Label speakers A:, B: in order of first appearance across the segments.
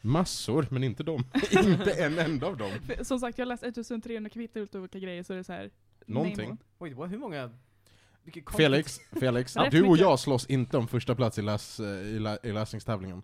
A: Massor, men inte dem. inte en enda av dem.
B: För, som sagt, jag har läst 1300 kvitton ut olika grejer, så det är så här...
A: Någonting.
B: name-
C: Oj, det var hur många... vilket konstigt-
A: Felix, Felix,
B: Rätt
A: du och
B: mycket.
A: jag slåss inte om första plats i, läs, eh, i, lä, i läsningstävlingen.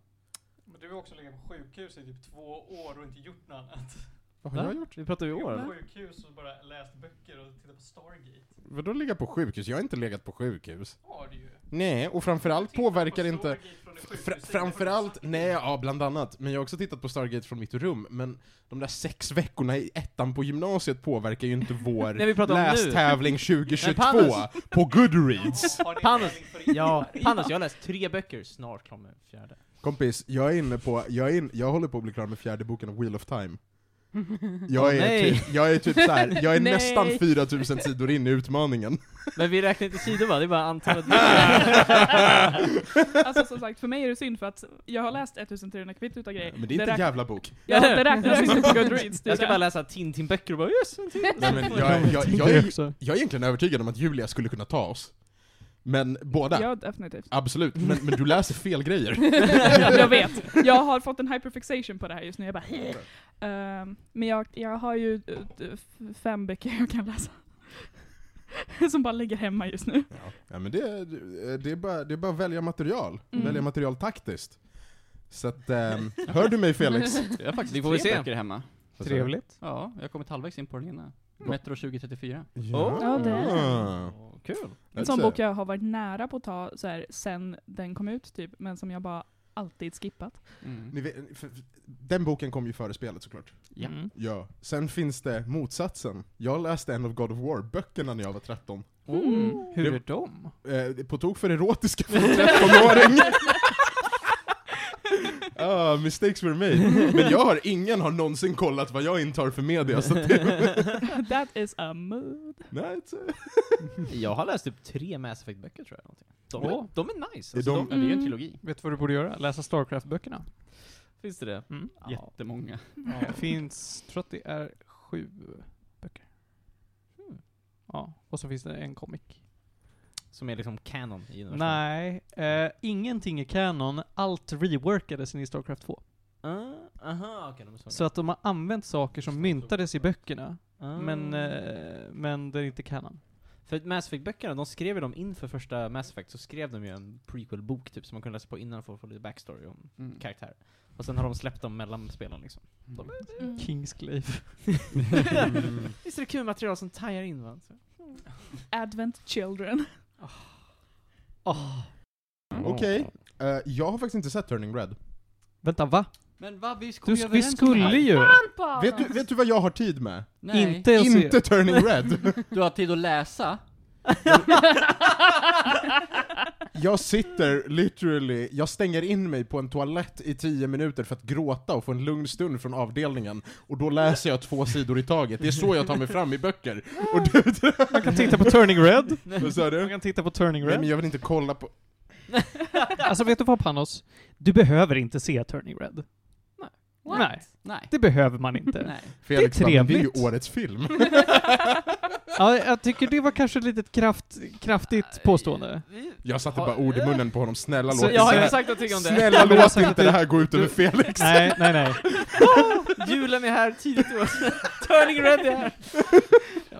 D: Men du har också legat på sjukhus i typ två år och inte gjort något annat.
A: Vad har
C: Va?
A: jag gjort?
C: Vi pratar ju i
D: Jag har
C: år.
D: på sjukhus och bara läst böcker och tittat på Stargate.
A: Vadå ligga på sjukhus? Jag har inte legat på sjukhus.
D: Har du ju.
A: Nej, och framförallt
D: Tittat på
A: påverkar inte...
D: Stargate från ett sjukhus, det är
A: Fr
D: det
A: framförallt,
D: du har
A: nej,
D: sagt.
A: ja bland annat. Men jag har också tittat på Stargate från mitt rum, men de där sex veckorna i ettan på gymnasiet påverkar ju inte vår
C: Nej, vi pratar om nu.
A: lästävling 2022
C: Men Panos-
A: på Goodreads.
D: Har din
C: Panos-
D: tävling för i
C: Ja,
D: år.
C: Hannes, jag har läst tre böcker, snart kommer den fjärde.
A: Kompis, jag är inne på, jag, är in, jag håller på att bli klar med fjärde boken av Wheel of Time. Jag
C: Åh,
A: är,
C: nej.
A: typ, jag är typ så här, jag är
B: Nej.
A: nästan 4000 sidor in i utmaningen.
C: Men vi räknar inte sidor va? Det är bara antalet böcker.
B: Alltså som sagt, för mig är det synd för att jag har läst 1300 kvitton utav grejer.
A: Men det är inte en
B: räk-
A: jävla bok.
B: Ja, det räknas inte på Goodreads. det är
C: Jag ska
B: det.
C: bara läsa Tintin-böcker och bara yes, en till. Mm.
A: Nej, men jag- jag- jag är- Jag är egentligen övertygad om att Julia skulle kunna ta oss. Men båda,
B: Ja, definitivt.
A: absolut. Men, men du läser fel grejer.
B: jag vet. Jag har fått en hyperfixation på det här just nu. Jag bara Ehm, Men jag, jag har ju eh, f- fem böcker jag kan läsa. Som bara ligger hemma just nu.
A: Ja, ja men det, det, är bara, det är bara att välja material.
B: Mm.
A: Välja material taktiskt. Så att, ehm, hör du mig Felix?
E: Jag har faktiskt
C: Vi får väl se.
E: tre böcker hemma.
C: Trevligt.
E: Ja, jag har kommit halvvägs in på den ena. Metro 2034.
A: Ja.
B: Ja, det är
C: Åh, Kul.
B: En sån bok jag har varit nära på att ta så här, sen den kom ut typ, men som jag bara alltid skippat.
E: Mm.
A: Ni vet, för- för- Den boken kom ju före spelet såklart.
E: Ja.
C: Mm.
A: Ja. Sen finns det motsatsen. Jag läste en av God of War-böckerna när jag var 13.
E: Mm.
C: Oh, hur
A: Det-
C: är de?
A: Eh, på tok för erotiska för en 13-åring. Ah, mistakes were made. Men jag har, ingen har någonsin kollat vad jag intar för media, så att det...
B: That is a mood.
A: Nej, it's- eh,
C: Jag har läst upp tre Mass Effect-böcker tror jag. Någonting. De, är,
E: Åh.
C: de är nice.
A: Är
C: Alltså,
A: de-
E: Men det är ju en
B: Mm.
E: trilogi.
F: Vet du vad du borde göra? Läsa Starcraft-böckerna.
C: Finns det det?
F: Mm.
C: Ja.
E: Jättemånga.
F: Det finns, tror att det är sju böcker.
E: Hmm.
F: Ja, och så finns det en comic.
C: Som är liksom canon i universum.
F: Nej, eh, ingenting är kanon. Allt reworkades in i Starcraft 2.
C: Ah, aha, okej, de är
F: Så att de har använt saker som myntades i böckerna,
C: Ah.
F: men, eh, men det är inte kanon.
C: För att Mass Effect-böckerna, de skrev ju dem inför första Mass Effect, så skrev de ju en prequel-bok typ, som man kunde läsa på innan för att få lite backstory om
E: Mm.
C: karaktärer. Och sen har de släppt dem mellan spelen liksom. De är,
F: Mm.
E: Mm.
F: Kingsglaive.
C: visst är det kul material som tajar in va? Så.
B: Advent Children.
A: Okej. Eh, jag har faktiskt inte sett Turning Red.
F: Vänta, va?
E: Men vad, vi kom
F: Du,
E: ju
F: vi
E: överens om det här.
F: skulle ju
A: Vet du, vet du vad jag har tid med?
E: Nej.
F: inte att se...
A: Inte Turning Red!
E: Du har tid att läsa.
A: Jag sitter literally, jag stänger in mig på en toalett i tio minuter för att gråta och få en lugn stund från avdelningen, och då läser jag två sidor i taget. Det är så jag tar mig fram i böcker. Och du,
F: Man kan titta på Turning Red.
A: vad sa
F: Man
A: du?
F: kan titta på Turning
A: Nej men
F: Red.
A: jag vill inte kolla på...
F: Alltså vet du vad Panos? Du behöver inte se Turning Red.
E: What?
F: Nej,
E: Nej.
F: det behöver man inte.
E: Nej.
A: Felix bara, men det är ju
F: trevligt.
A: årets film.
F: Ja, jag tycker det var kanske ett litet kraft, kraftigt påstående.
A: Jag satte bara ord i munnen på honom, snälla
F: Så
A: låt
C: Jag
A: inte
C: har
A: det
C: ju
A: här-
C: sagt någonting om det.
A: Snälla
F: Jag har
A: låt
F: sagt
A: inte
F: att-
A: det här gå ut över
F: du-
A: Felix.
F: Nej, nej, nej.
C: Julen är här tidigt i år. Turning Red är här.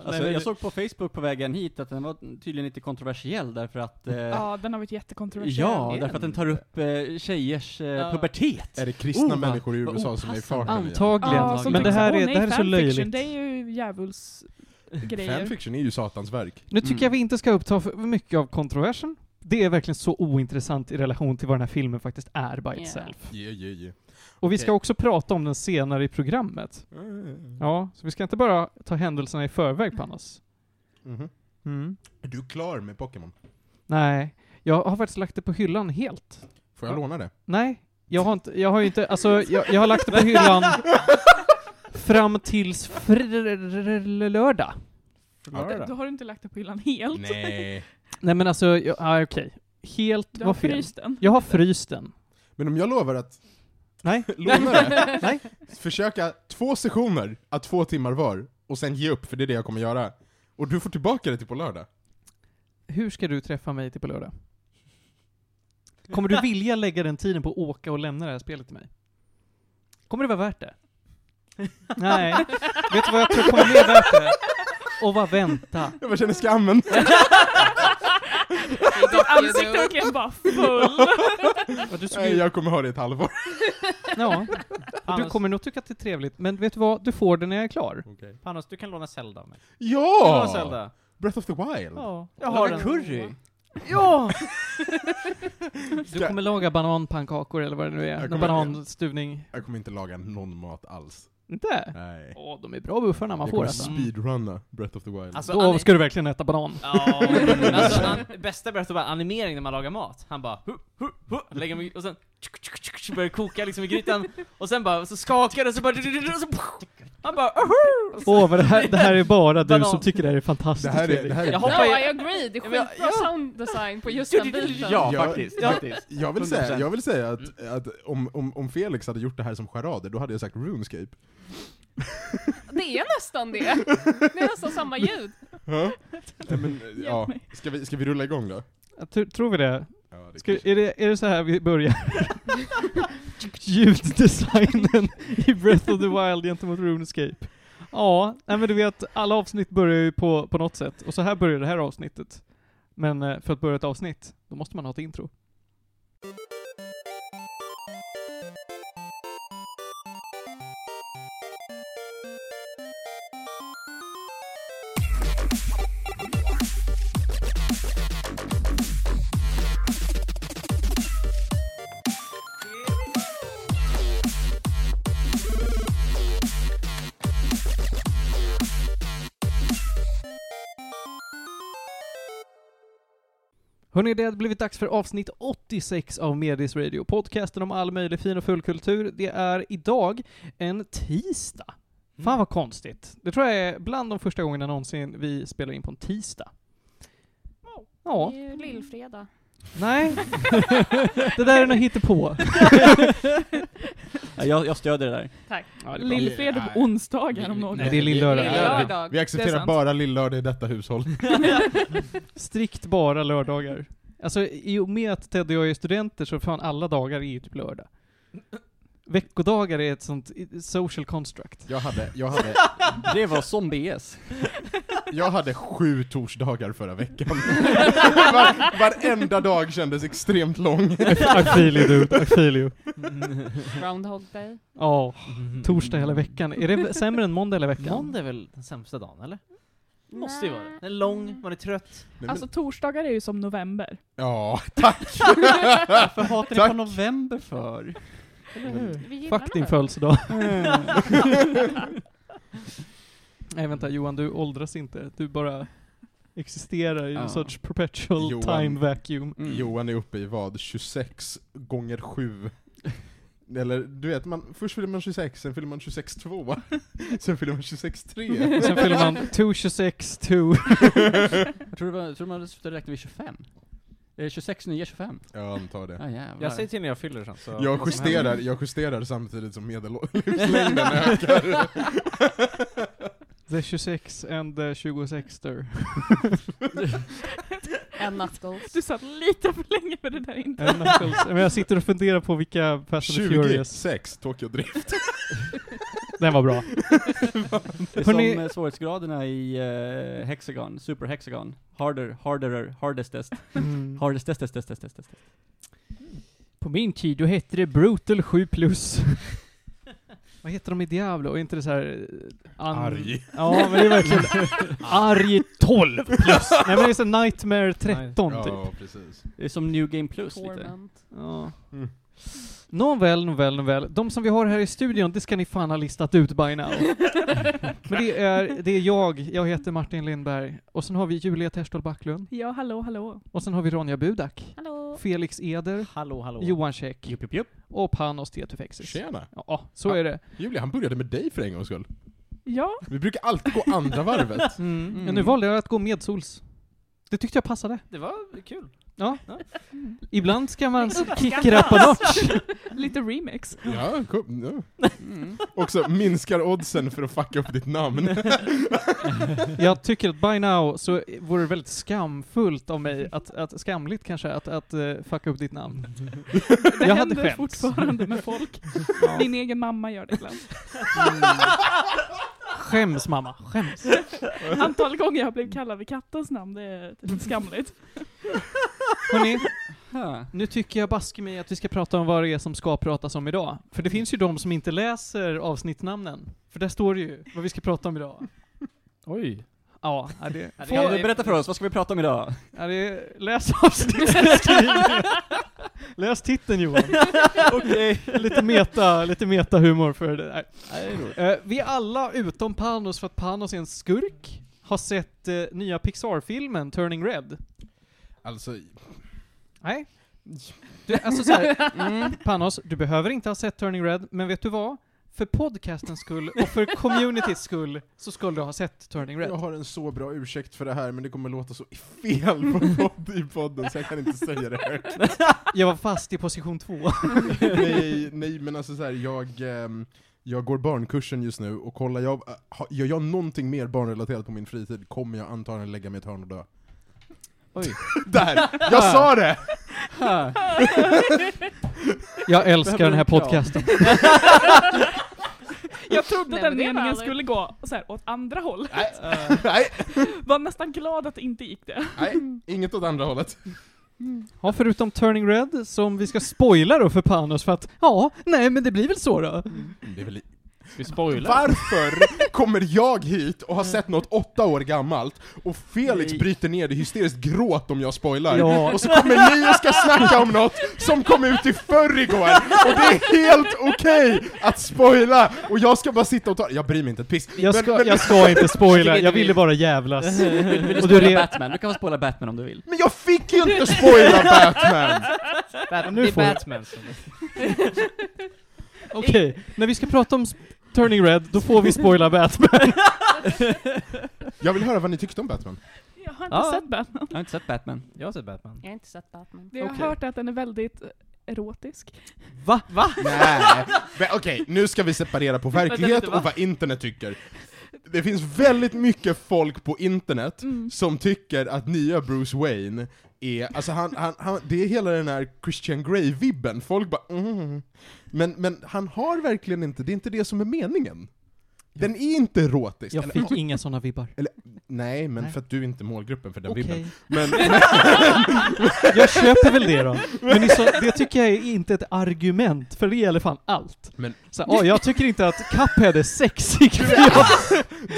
E: Alltså, jag såg på Facebook på vägen hit att den var tydligen lite kontroversiell därför att... Eh,
B: Ja, den har varit jättekontroversiell.
E: ja,
C: igen.
E: därför att den tar upp eh, tjejers eh,
C: Ja.
E: pubertet.
A: Är det kristna
E: Oh,
A: människor i
E: vad
A: USA som är i
E: opassande.
A: farten igen?
F: Antagligen.
B: Ja, som
F: men det
B: typ
F: här,
B: såhär,
F: är,
B: "Åh,
F: det här
B: nej,
F: är så
B: fanfiction,
F: löjligt.
B: Det är ju djävulsgrejer.
A: Fanfiction är ju satans verk.
F: Nu tycker
E: Mm.
F: jag vi inte ska uppta för mycket av kontroversen. Det är verkligen så ointressant i relation till vad den här filmen faktiskt är by itself.
A: Yeah, yeah, yeah.
F: Och vi
A: Okej.
F: ska också prata om den senare i programmet.
E: Mm.
F: Ja, så vi ska inte bara ta händelserna i
B: Mm.
F: förväg, Panos.
A: Mhm.
F: Mm.
A: Är du klar med Pokémon?
F: Nej, jag har faktiskt lagt det på hyllan helt.
A: Får jag
F: Ja.
A: låna det?
F: Nej, jag har inte, jag har ju inte, alltså jag, jag har lagt det på hyllan fram tills fr- lördag.
B: Du, du har inte lagt det på hyllan helt.
A: Nej.
F: Nej men alltså, jag, ah, okej. Helt
B: Du
F: var
B: har
F: fel.
B: fryst den.
F: Jag har fryst den.
A: Men om jag lovar att
F: Nej.
A: låna det,
F: Nej.
A: försöka två sessioner, att två timmar var, och sen ge upp, för det är det jag kommer göra. Och du får tillbaka det till på lördag.
F: Hur ska du träffa mig till på lördag? Kommer du vilja lägga den tiden på att åka och lämna det här spelet till mig? Kommer det vara värt det? Nej. Vet du vad jag tror kommer bli värt det? Och vad vänta?
A: Jag bara känner skammen.
B: Ditt ansikte är verkligen bara full.
F: Och du såg
A: Nej,
F: ju-
A: jag kommer ha det i ett halvår.
F: Ja. Och du
C: Annars-
F: kommer nog tycka att det är trevligt, men vet du vad? Du får det när jag är klar.
C: Panos, du kan låna Zelda av mig. Du kan låna
A: Ja!
C: Zelda.
A: Breath of the Wild.
F: Ja.
C: Jag
D: har den.
C: curry.
F: Ja!
A: Ska-
F: Du kommer laga bananpannkakor eller vad det nu är.
A: Jag
F: Någon
A: kommer-
F: bananstuvning.
A: Jag kommer inte laga någon mat alls.
F: Inte?
A: Nej.
F: Åh, de är bra buffarna man
A: Jag
F: får
A: kommer
F: alltså.
A: speedrunna Breath of the Wild.
C: Alltså,
F: Då
C: Annie-
F: ska du verkligen äta banan.
C: Ja, men alltså, an, bästa berättet var animering när man lagar mat. Han bara hu, hu, hu, lägger mig, och sen tsk, tsk, tsk, tsk, börjar koka liksom i grytan, och sen bara, så skakar det, så bara, och så, han bara, ahu!
F: Åh, men det här, det här är bara du
C: Banan.
F: som tycker det här är fantastiskt
A: det här är... Det
F: Fredrik.
A: här är
C: Jag
G: No,
C: hoppar ju-
G: I agree. Det är
C: Ja, men-
G: skitbra
C: ja.
G: sound design på just den biten.
C: Ja,
A: Jag-
C: faktiskt.
A: jag-
C: faktiskt.
A: Jag vill säga,
C: 100%.
A: jag vill säga att, att om, om, om Felix hade gjort det här som charader, då hade jag sagt RuneScape.
G: Det är nästan det. Det är nästan samma ljud.
A: Ja. Nej, men, ja.
B: mig.
A: ska, vi, ska vi rulla igång då?
F: Jag tr- Tror vi det?
A: Ja, det
F: Ska, är, det, är det så här vi börjar? Ljuddesignen i Breath of the Wild gentemot RuneScape. Ja, nej men du vet, alla avsnitt börjar ju på, på något sätt. Och så här börjar det här avsnittet. Men eh, för att börja ett avsnitt, då måste man ha ett intro. Hörni, det har blivit dags för avsnitt 86 av Medis Radio, podcasten om all möjlig fin och full kultur. Det är idag en tisdag. Fan vad konstigt. Det tror jag är bland de första gångerna någonsin vi spelar in på en tisdag. Ja.
G: Det är ju lillfredag.
F: Nej. det där är något hittepå.
E: Ja, jag, jag stödjer det där.
G: Tack.
B: Lillfredag på onsdagar om något.
F: Nej, det är lillördag.
G: Lillördag.
A: Vi, vi
B: Det är
A: accepterar
B: sant.
A: bara lillördag i detta hushåll.
F: Strikt bara lördagar. Alltså i och med att Ted och jag är studenter så fan alla dagar är ju typ lördag. Veckodagar är ett sånt i- social construct.
A: Jag hade, jag hade,
E: Det var som BS.
A: jag hade sju torsdagar förra veckan. Var, varenda dag kändes extremt lång.
F: I feel you dude, I feel you.
G: Groundhog day.
F: Ja,
C: Mm.
F: torsdag hela veckan. Är det sämre än måndag hela veckan?
C: Måndag är väl den sämsta dagen, eller? Det måste ju vara det. Den är lång, man är trött.
A: Nej, men-
B: Alltså torsdagar är ju som november.
A: ja, tack! Mm.
E: Varför hatar ni på november för?
G: Vi gillar
F: Fuck din
G: det.
F: födelsedag. Nej vänta Johan, du åldras inte. Du bara existerar i en
E: Ja.
F: sorts perpetual
A: Johan. Mm.
F: time vacuum.
A: Johan är uppe i vad? 26 gånger 7? Eller du vet, man, först fyller man 26, sen fyller man 26,2. Sen fyller man 26,3.
F: Sen fyller man 226 2.
E: Tror du, var- tror du man slutade räkna vid 25? Eh, 26 nya 25?
A: Jag antar det.
E: Ja jävlar.
C: Jag säger till när jag fyller sen, så...
A: Jag justerar, jag justerar samtidigt som medellivslängden ökar.
F: The 26 and the 26er.
G: En nattgolf.
B: Du satt lite för länge med det där
E: Eh,
B: inte.
F: And knuckles. Men jag sitter och funderar på vilka Fast and the Alltså, Furious.
A: 26, Tokyo Drift.
F: Den var bra.
E: Det är
F: Hörrni-
E: som eh, svårighetsgraderna i eh, Hexagon, Super Hexagon. Harder, harderer, hardestest,
F: mm.
E: hardestest, test, test, test, test, test.
F: På min tid då hette det Brutal 7 plus. Vad heter de i Diablo? Är inte det så här... eh, an-
A: Arg.
F: Ja, men det är verkligen Arg 12 plus. Nej men det är så Nightmare 13 typ.
A: Ja, precis.
E: Det är som New Game Plus lite.
G: Torment.
F: Ja.
A: Mm.
F: Nåväl, nåväl, nåväl. De som vi har här i studion, det ska ni fan ha listat ut by now. Men det är, det är jag, jag heter Martin Lindberg. Och sen har vi Julia Terstol Backlund.
B: Ja, hallå, hallå.
F: Och sen har vi Ronja Budak.
G: Hallå.
F: Felix Eder.
C: Hallå, hallå.
F: Johan Käck.
E: Jupp, jupp, jupp.
F: Och Panos Tetufexis.
A: Tjena!
F: Ja, så är det.
A: Julia, han började med dig för en gångs skull.
B: Ja,
A: Vi brukar alltid gå andra varvet.
F: Mm. Men nu valde jag att gå med sols. Det tyckte jag passade.
C: Det var kul.
F: Ibland ska man
G: Uppskattas.
F: kick it up a notch.
B: Lite remix.
A: Ja, kom, ja.
C: Mm.
A: Också minskar oddsen för att fucka upp ditt namn.
F: Jag tycker att by now så vore det väldigt skamfullt av mig, att, att skamligt kanske, att, att eh, fucka upp ditt namn.
B: Det
F: Jag hade
B: händer
F: skämts.
B: fortfarande med folk. Min egen mamma gör det ibland.
F: Mm. Skäms mamma, skäms.
B: Antal gånger jag har blivit kallad vid kattens namn, det är skamligt.
F: Hörrni,
E: Huh.
F: nu tycker jag baske mig att vi ska prata om vad det är som ska pratas om idag. För det finns ju de som inte läser avsnittnamnen. För där står det ju vad vi ska prata om idag.
E: Oj.
F: Ja, ja, det,
E: Kan du berätta för oss, vad ska vi prata om idag?
F: ja, det är, läs avsnittsbeskrivningen. läs titeln Johan.
E: Okej.
F: lite meta, lite metahumor för det där.
E: Nej, det är roligt.
F: Eh, vi alla utom Panos, för att Panos är en skurk, har sett eh, nya Pixar-filmen Turning Red.
A: Alltså,
F: Nej. Du, alltså så här, Panos, du behöver inte ha sett Turning Red, men vet du vad? För podcastens skull och för communityts skull så skulle du ha sett Turning Red.
A: jag har en så bra ursäkt för det här, men det kommer låta så fel på podd, i podden så jag kan inte säga det högt.
F: Jag var fast i position två.
A: nej, nej, men alltså så här, jag, ehm, jag går barnkursen just nu och kollar jag, äh, ha- gör jag någonting mer barnrelaterat på min fritid kommer jag antagligen lägga mig i ett hörn och dö.
E: Oj.
A: Där! Jag sa det!
E: Huh.
F: Jag
E: Det här
F: älskar
E: blir
F: den här
E: en kram.
F: podcasten.
B: Jag trodde
G: Nej,
B: den
G: men det är
B: meningen
G: härligt.
B: skulle gå så här, åt andra håll.
A: Nej, nej,
B: Var nästan glad att det inte gick det.
A: nej, inget åt andra hållet.
F: Ja, förutom Turning Red som vi ska spoila då för Panos för att ja, nej men det blir väl så då.
A: Det är väl
E: Vi spoilar.
A: Varför kommer jag hit och har sett något åtta år gammalt och Felix
E: Nej.
A: bryter ner det i hysteriskt gråt om jag spoilar?
F: Ja.
A: Och så kommer ni och ska snacka om något som kom ut i förrgår och det är helt okej att spoila och jag ska bara sitta och ta Jag bryr mig inte ett piss.
F: Jag
A: men,
F: ska,
A: men,
F: jag ska inte spoila,
E: Skriv
F: jag
E: det
F: ville
E: vi-
F: bara jävlas.
E: Vill, vill du
F: Och du
E: spoila
F: re-
E: Batman? Du kan väl spoila Batman om du vill?
A: men jag fick ju inte spoila Batman!
C: Bat-
F: nu
C: det är
F: får du.
C: Batman som...
F: Okej, när vi ska prata om sp- Turning Red, då får vi spoila Batman.
A: Jag vill höra vad ni tyckte om Batman.
B: Jag har inte
E: Ja.
B: sett Batman.
E: Jag har inte sett Batman.
C: Jag har sett Batman.
G: Jag har inte sett Batman.
B: Jag har
E: Okej.
B: hört att den är väldigt eh, erotisk.
E: Va? Va?
A: Nej, men okej, nu ska vi separera på verklighet
C: lite, va?
A: och vad internet tycker. Det finns väldigt mycket folk på internet
B: Mm.
A: som tycker att nya Bruce Wayne är, alltså han, han, han, det är hela den här Christian Grey-vibben, folk bara mm. men, men han har verkligen inte, det är inte det som är meningen. Den är inte erotisk.
F: Jag fick inga sådana vibbar.
A: nej, men
F: Nej.
A: för att du är inte målgruppen för den
F: Okej.
A: vibben. Men,
F: Jag köper väl det då. Men det, är så, det tycker jag är inte ett argument, för det gäller fan allt.
A: Men-
F: så, här, "Åh, jag tycker inte att Cuphead är sexig, för jag,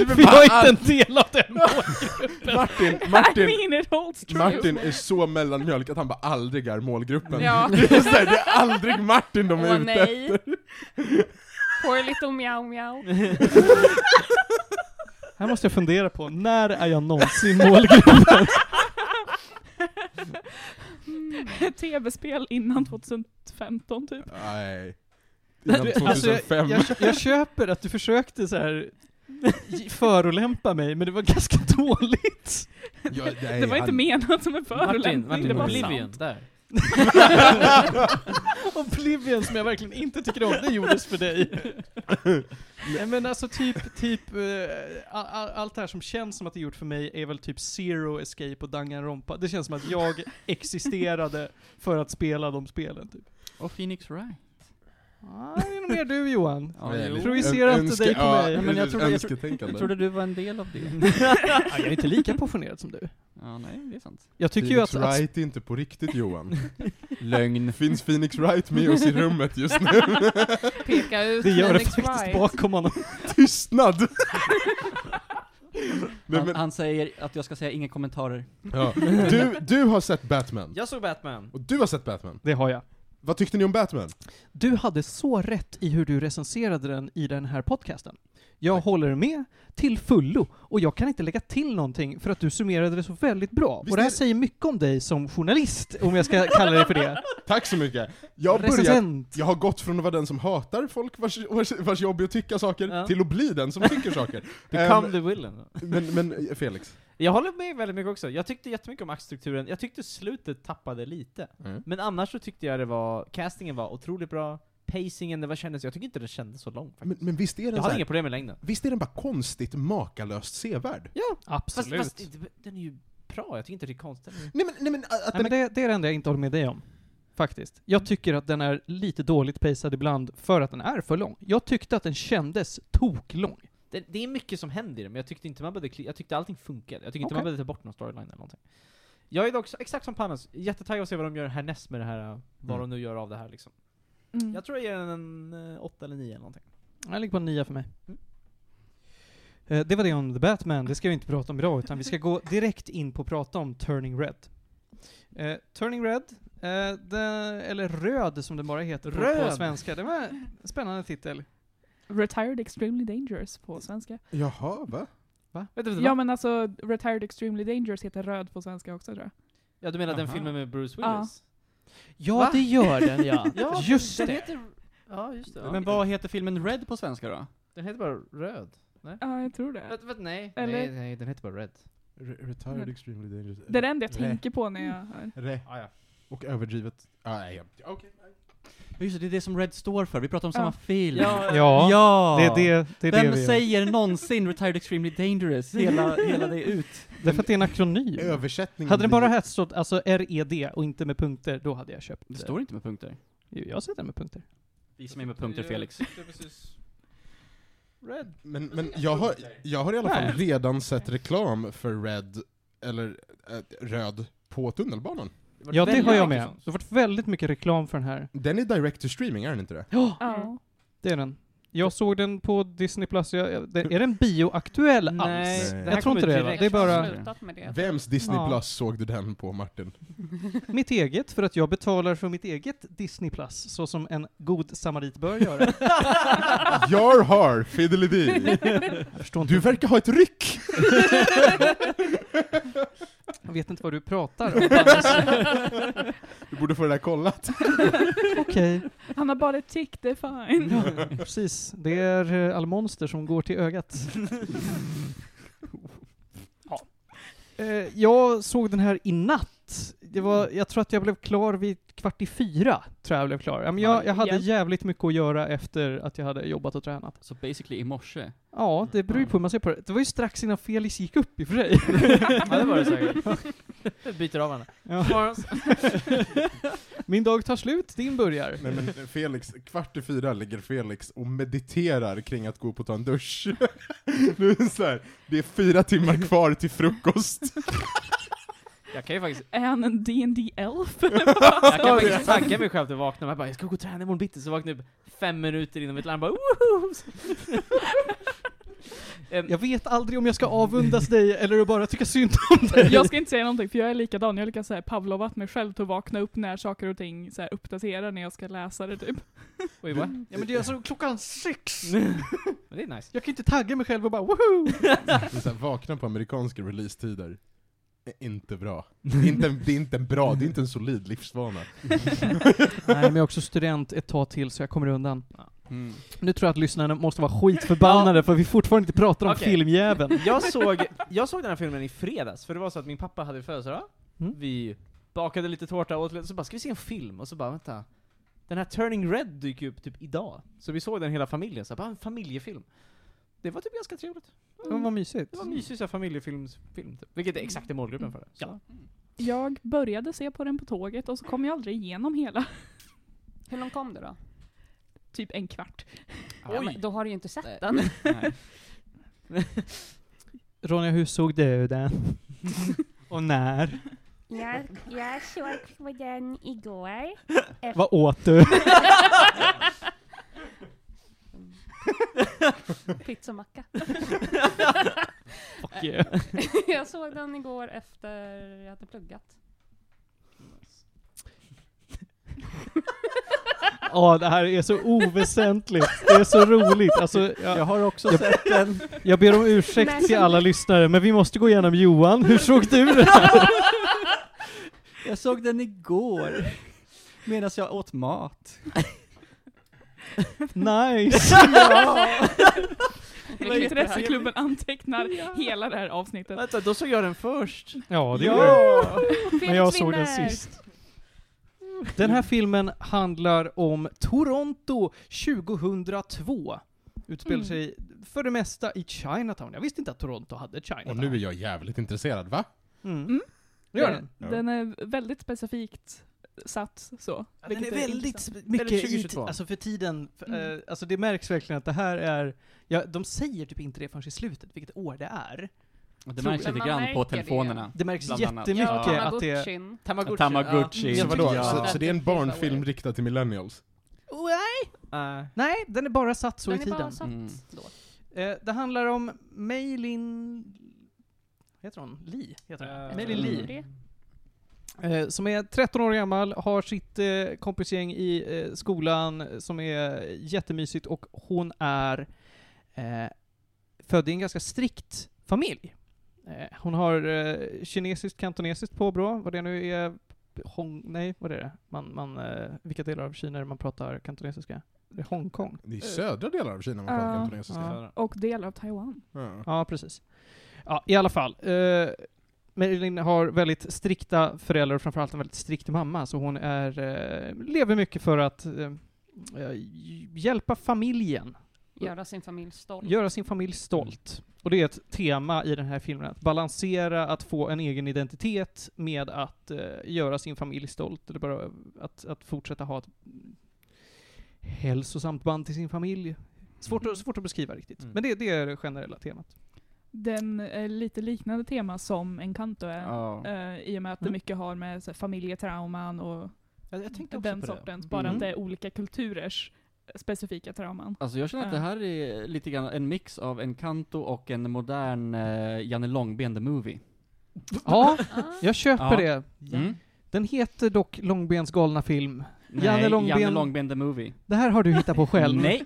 F: för jag är inte en del av den.
A: Martin,
B: I
A: Martin,
B: mean it holds true.
A: Martin är så mellanmjölk att han bara aldrig är målgruppen.
G: Ja.
A: Det, är så här, det är aldrig Martin de är
G: Åh
A: ute
G: nej. Poor little meow meow.
F: Här måste jag fundera på, när är jag någonsin målgruppen?
B: Ett tv-spel innan 2015 typ.
A: Nej. Innan
F: Du, alltså, jag,
A: 2005.
F: jag, jag köper att du förolämpa så här j- förolämpa mig, men det var ganska dåligt.
A: Jag- nej,
B: det var inte
A: han-
B: menat som en förolämpning.
C: Martin,
B: det
C: Martin
B: var
C: Oblivion,
B: sant.
C: där.
F: Oblivion som jag verkligen inte tycker om, det gjordes för dig. Nej men alltså typ, typ, eh, a- a- allt det här som känns som att det är gjort för mig är väl typ Zero Escape och Danganronpa. Det känns som att jag existerade för att spela de spelen typ.
E: Och Phoenix Wright.
F: Ah, det är nog mer du Johan.
E: Ja,
A: Nej,
E: jo.
A: lite-
F: Projicera
A: Ö-
F: inte
A: önske-
F: dig på
A: ja,
F: mig.
A: ö-
E: Men jag trodde- jag tro-
A: önsketänkande.
E: Jag trodde du var en del av det.
F: Ja, jag är inte lika passionerad som du.
E: Ja, nej, det är sant.
F: Jag tycker ju
A: Phoenix
F: att, alltså- att
A: Wright är inte på riktigt Johan.
E: Lögn.
A: Finns Phoenix Wright med oss i rummet just nu?
G: Peka ut
F: det gör det
G: Phoenix
F: faktiskt
G: Wright.
F: bakom honom.
A: Tystnad! Nej,
E: Han,
A: men,
E: han säger att jag ska säga inga kommentarer.
A: ja. du, du har sett Batman.
C: Jag såg Batman.
A: Och du har sett Batman.
F: Det har jag.
A: Vad tyckte ni om Batman?
F: Du hade så rätt i hur du recenserade den i den här podcasten. Jag håller med till fullo och jag kan inte lägga till någonting för att du summerade det så väldigt bra.
A: Visst
F: och det här
A: är det-
F: säger mycket om dig som journalist, om jag ska kalla dig för det.
A: Tack så mycket. Jag har, börjat,
F: Recensent.
A: jag har gått från att vara den som hatar folk vars, vars, vars jobb är att tycka saker,
E: Ja.
A: till att bli den som tycker saker. Ehm,
C: Become the villain.
A: men, men eh, Felix,
C: Jag håller med väldigt mycket också. Jag tyckte jättemycket om aktstrukturen. Jag tyckte slutet tappade lite.
A: Mm.
C: Men annars så tyckte jag det var, castingen var otroligt bra, pacingen, det var kändes, jag tycker inte det kändes så långt
A: Men,
C: faktiskt.
A: men visst, är den
C: jag
A: så
C: hade
A: här,
C: inga problem med längden.
A: visst är den bara konstigt makalöst sevärd?
C: Fast,
F: Absolut.
C: fast det- den är ju bra, jag tycker inte det är konstigt.
A: Nej men, nej, men att
F: Nej, men det, det är det enda jag inte håller med dig om. Faktiskt. Jag tycker att den är lite dåligt pacad ibland för att den är för lång. Jag tyckte att den kändes toklång.
C: Det, det är mycket som händer i det, men jag tyckte inte man behövde, kli- jag tyckte allting funkade. Jag tyckte inte
F: Okej.
C: man behövde ta bort någon storyline eller någonting. Jag är dock så- exakt som Panos, jättetaggad att se vad de gör härnäst med det här, eh, vad
A: Mm.
C: de nu gör av det här liksom.
B: Mm.
C: Jag tror jag ger den en 8 eller 9 eller någonting.
F: Den ligger på en nia för mig. Mm. Eh, Det var det om The Batman, det ska vi inte prata om idag utan vi ska gå direkt in på att prata om Turning Red. Eh, Turning Red, eh, den, eller Röd som den bara heter På,
C: Röd.
F: på svenska. Det var en spännande titel.
B: Retired Extremely Dangerous på svenska.
A: Jaha, va?
C: Vet du, vet du,
B: Ja
C: vad?
B: men alltså, Retired Extremely Dangerous heter röd på svenska också tror jag.
C: ja, du menar den
A: Aha.
C: filmen med Bruce Willis?
F: Ja,
C: Va?
F: det gör den ja.
C: Ja,
F: Just
C: den
F: det.
C: Heter, ja, just det. Ja.
E: Men vad heter filmen Red på svenska då?
C: Den heter bara Röd.
B: Ja, jag tror det.
C: Vänta, vänta, nej.
B: Eller-
C: nej. Nej, den heter bara Red.
A: Re- Retired
B: Mm.
A: extremely dangerous.
B: Det är det enda jag
A: Re-
B: tänker på när jag hör.
A: Re.
C: Ah, ja.
A: Och överdrivet. Ah, nej, ja. Okej.
E: Ja, Just det, det är det som Red står för. Vi pratar om
B: Ja.
E: samma film.
C: Ja,
F: Ja,
E: Ja!
F: det är det, det, är det
E: Vem
F: vi gör.
E: säger någonsin Retired Extremely Dangerous? Hela, hela det ut.
F: Därför att det är en akronym.
A: Översättningen
F: Hade den
A: blir-
F: bara här stått alltså RED och inte med punkter, då hade jag köpt
E: Det
F: det.
E: står inte med punkter.
F: Jo, jag sätter den med punkter.
E: Visa mig med punkter Felix.
D: Jag tyckte precis-
F: Red.
A: Men, men jag, har, jag har i alla fall
F: Nej.
A: redan sett reklam för Red, eller eh, Röd, på tunnelbanan.
C: var
F: Ja, det
C: väldigt
F: har jag
C: mycket
F: med.
C: sånt.
F: Det har varit väldigt mycket reklam för den här.
A: Den är direct to streaming, är den inte det?
F: Ja,
B: Ja.
F: det är den. Jag såg den på Disney Plus. Jag, jag, den- är den bioaktuell alls?
C: Nej,
A: Nej.
C: det här
F: Jag tror
C: kommer
F: inte det,
C: direkt.
F: va? Det är bara-
G: Jag har slutat med det.
A: Vems Disney
F: Ja.
A: Plus såg du den på, Martin?
F: Mitt eget, för att jag betalar för mitt eget Disney Plus, så som en god samarit bör göra.
A: Jar har fiddly
F: Jag förstår inte.
A: Du verkar ha ett ryck!
F: Jag vet inte vad du pratar om.
A: Du borde få det där kollat.
F: Okej.
B: Han har bara ett tick, det är fine.
F: Ja, precis. Det är eh, all monster som går till ögat. ja. Eh, jag såg den här i natt. Det var, jag tror att jag blev klar vid kvart i fyra, tror jag jag blev klar. Ja, Men jag, jag hade
B: Hjälp.
F: jävligt mycket att göra efter att jag hade jobbat och tränat.
E: Så basically i morse.
F: Ja, det beror ju på hur man ser på det. Det var ju strax innan Felix gick upp i och för sig.
C: Ja, det var det säkert. Jag byter av varandra. Morgons.
F: Min dag tar slut, din börjar.
A: Nej men Felix, kvart i fyra ligger Felix och mediterar kring att gå upp och ta en dusch. Nu är det så här, det är fyra timmar kvar till frukost.
C: Jag kan ju faktiskt,
B: Är han en dd elf
C: jag kan faktiskt tagga mig själv till att vakna jag bara 'Jag ska gå och träna imorgon bitti' så vaknar jag upp fem minuter innan mitt larm bara woho! Em,
F: Jag vet aldrig om jag ska avundas dig eller bara tycka synd om dig.
B: Jag ska inte säga någonting för jag är likadan. Jag lyckas så här pavlovat mig själv till att vakna upp när saker och ting så här uppdaterar när jag ska läsa det typ.
C: Oj vad?
F: Ja men det är alltså klockan sex!
C: Men det är nice.
F: Jag kan inte tagga mig själv och bara woho!
A: Det är så här, vakna på amerikanska releasetider. Är inte bra. Det är inte, det är inte en bra, det är inte en solid livsvana.
F: Nej men jag är också student ett tag till så jag kommer undan.
E: Mm.
F: Nu tror jag att lyssnarna måste vara skitförbannade för vi fortfarande inte pratar om
C: Okej.
F: filmjäveln.
C: Jag såg, jag såg den här filmen i fredags, för det var så att min pappa hade födelsedag.
F: Mm.
C: Vi bakade lite tårta och åt lite, så bara 'Ska vi se en film?' och så bara 'Vänta' Den här Turning Red dyker ju upp typ idag. Så vi såg den hela familjen, så här, bara en familjefilm. Det var typ ganska trevligt.
F: Men vad mysigt.
C: Det var en mysig så här familjefilmsfilm, typ. vilket är exakt i
E: Mm.
C: målgruppen för det. Så.
B: Jag började se på den på tåget och så kom jag aldrig igenom hela.
G: Hur långt kom du då?
B: Typ en kvart.
G: Ja, men då har du ju inte
C: Nej.
G: sett den.
E: Nej.
F: Ronja, hur såg du den? och när?
H: Jag, jag såg på den igår.
F: Vad åt du?
G: Pizzamacka.
F: Fuck yeah.
G: jag såg den igår efter jag hade pluggat.
F: Ja, det här är så oväsentligt. Det är så roligt. Alltså, jag,
E: Jag har också
F: Jag-
E: sett den.
F: jag ber om ursäkt
G: Nej.
F: till alla lyssnare, men vi måste gå igenom Johan. Hur såg du det här?
E: Jag såg den igår. Medan jag åt mat.
F: Nice!
C: Vad är det
B: Intresseklubben antecknar hela det här avsnittet.
C: Vänta, då såg jag den först.
F: Ja, det gör det.
C: Ja!
F: Men jag såg den sist. Den här filmen handlar om Toronto 2002. Utspelar
B: Mm.
F: sig för det mesta i Chinatown. Jag visste inte att Toronto hade Chinatown.
A: Och nu är jag jävligt intresserad, va?
F: Mm.
B: Mm.
F: Gör den?
B: Den är väldigt specifikt satt så.
F: Den
B: vilket
F: är väldigt
B: intressant.
F: sp- mycket i
C: 2022.
F: ti- alltså för tiden, för,
B: Mm.
F: eh, alltså det märks verkligen att det här är, ja, de säger typ inte det förrän i slutet, vilket år det är.
E: Det
F: Tror
E: märks
F: jag.
E: lite
G: Men man
E: grann
G: märker
E: på
G: det.
E: telefonerna.
F: Det märks
E: Bland annat.
F: jättemycket
G: Ja,
F: att det är...
G: Tamagotchin.
C: Tamagotchi.
E: Tamagotchi.
C: Ja.
A: Så vadå?
E: Ja.
A: Så, så det är en barnfilm riktad till millennials?
F: Oh, nej,
C: Eh,
F: nej, den är bara satt så
G: Den
F: i
G: är bara
F: tiden.
G: satt
E: Mm.
G: då.
F: Eh, det handlar om Meilin... Vad heter hon? Li? Heter hon.
D: Eh,
F: Meilin Li.
G: Det.
F: Eh, som är 13 år gammal, har sitt eh, kompisgäng i eh, skolan eh, som är jättemysigt och hon är eh, född i en ganska strikt familj. Eh, hon har eh, kinesiskt, kantonesiskt påbrå, vad det nu är. Hong, nej, vad är det? Man, man, eh, vilka delar av Kina är det man pratar kantonesiska? Det är Hongkong?
A: Det är södra delar av Kina man pratar
B: Ja.
A: kantonesiska.
F: Ja.
B: Och delar av Taiwan.
A: Ja.
F: Ja, precis. Ja, i alla fall. Eh, Marilyn har väldigt strikta föräldrar och framförallt en väldigt strikt mamma, så hon är, eh, lever mycket för att eh, eh, hjälpa familjen,
G: Göra sin familj stolt.
F: göra sin familj stolt. Och det är ett tema i den här filmen, att balansera att få en egen identitet med att eh, göra sin familj stolt, eller bara att, att fortsätta ha ett hälsosamt band till sin familj. Svårt att, svårt att beskriva riktigt,
C: Mm.
F: men det, det är det generella temat.
B: Den är lite liknande tema som Encanto är.
E: Ja.
B: eh, I och med att det
F: Mm.
B: mycket har med så här, familjetrauman och
F: Jag, jag tänkte också
B: den
F: på det.
B: sortens. Bara
E: Mm.
B: att det är olika kulturers specifika trauman.
E: Alltså jag känner att det här är lite grann en mix av en kanto och en modern eh, Janne Långben the Movie.
F: Ja,
G: Ah.
F: jag köper
E: Ja.
F: det.
E: Mm.
F: Den heter dock Långbens galna film.
E: Nej,
F: Janne
E: Janne, Långben...
F: Långben-
E: the Movie.
F: Det här har du hittat på själv.
E: Nej.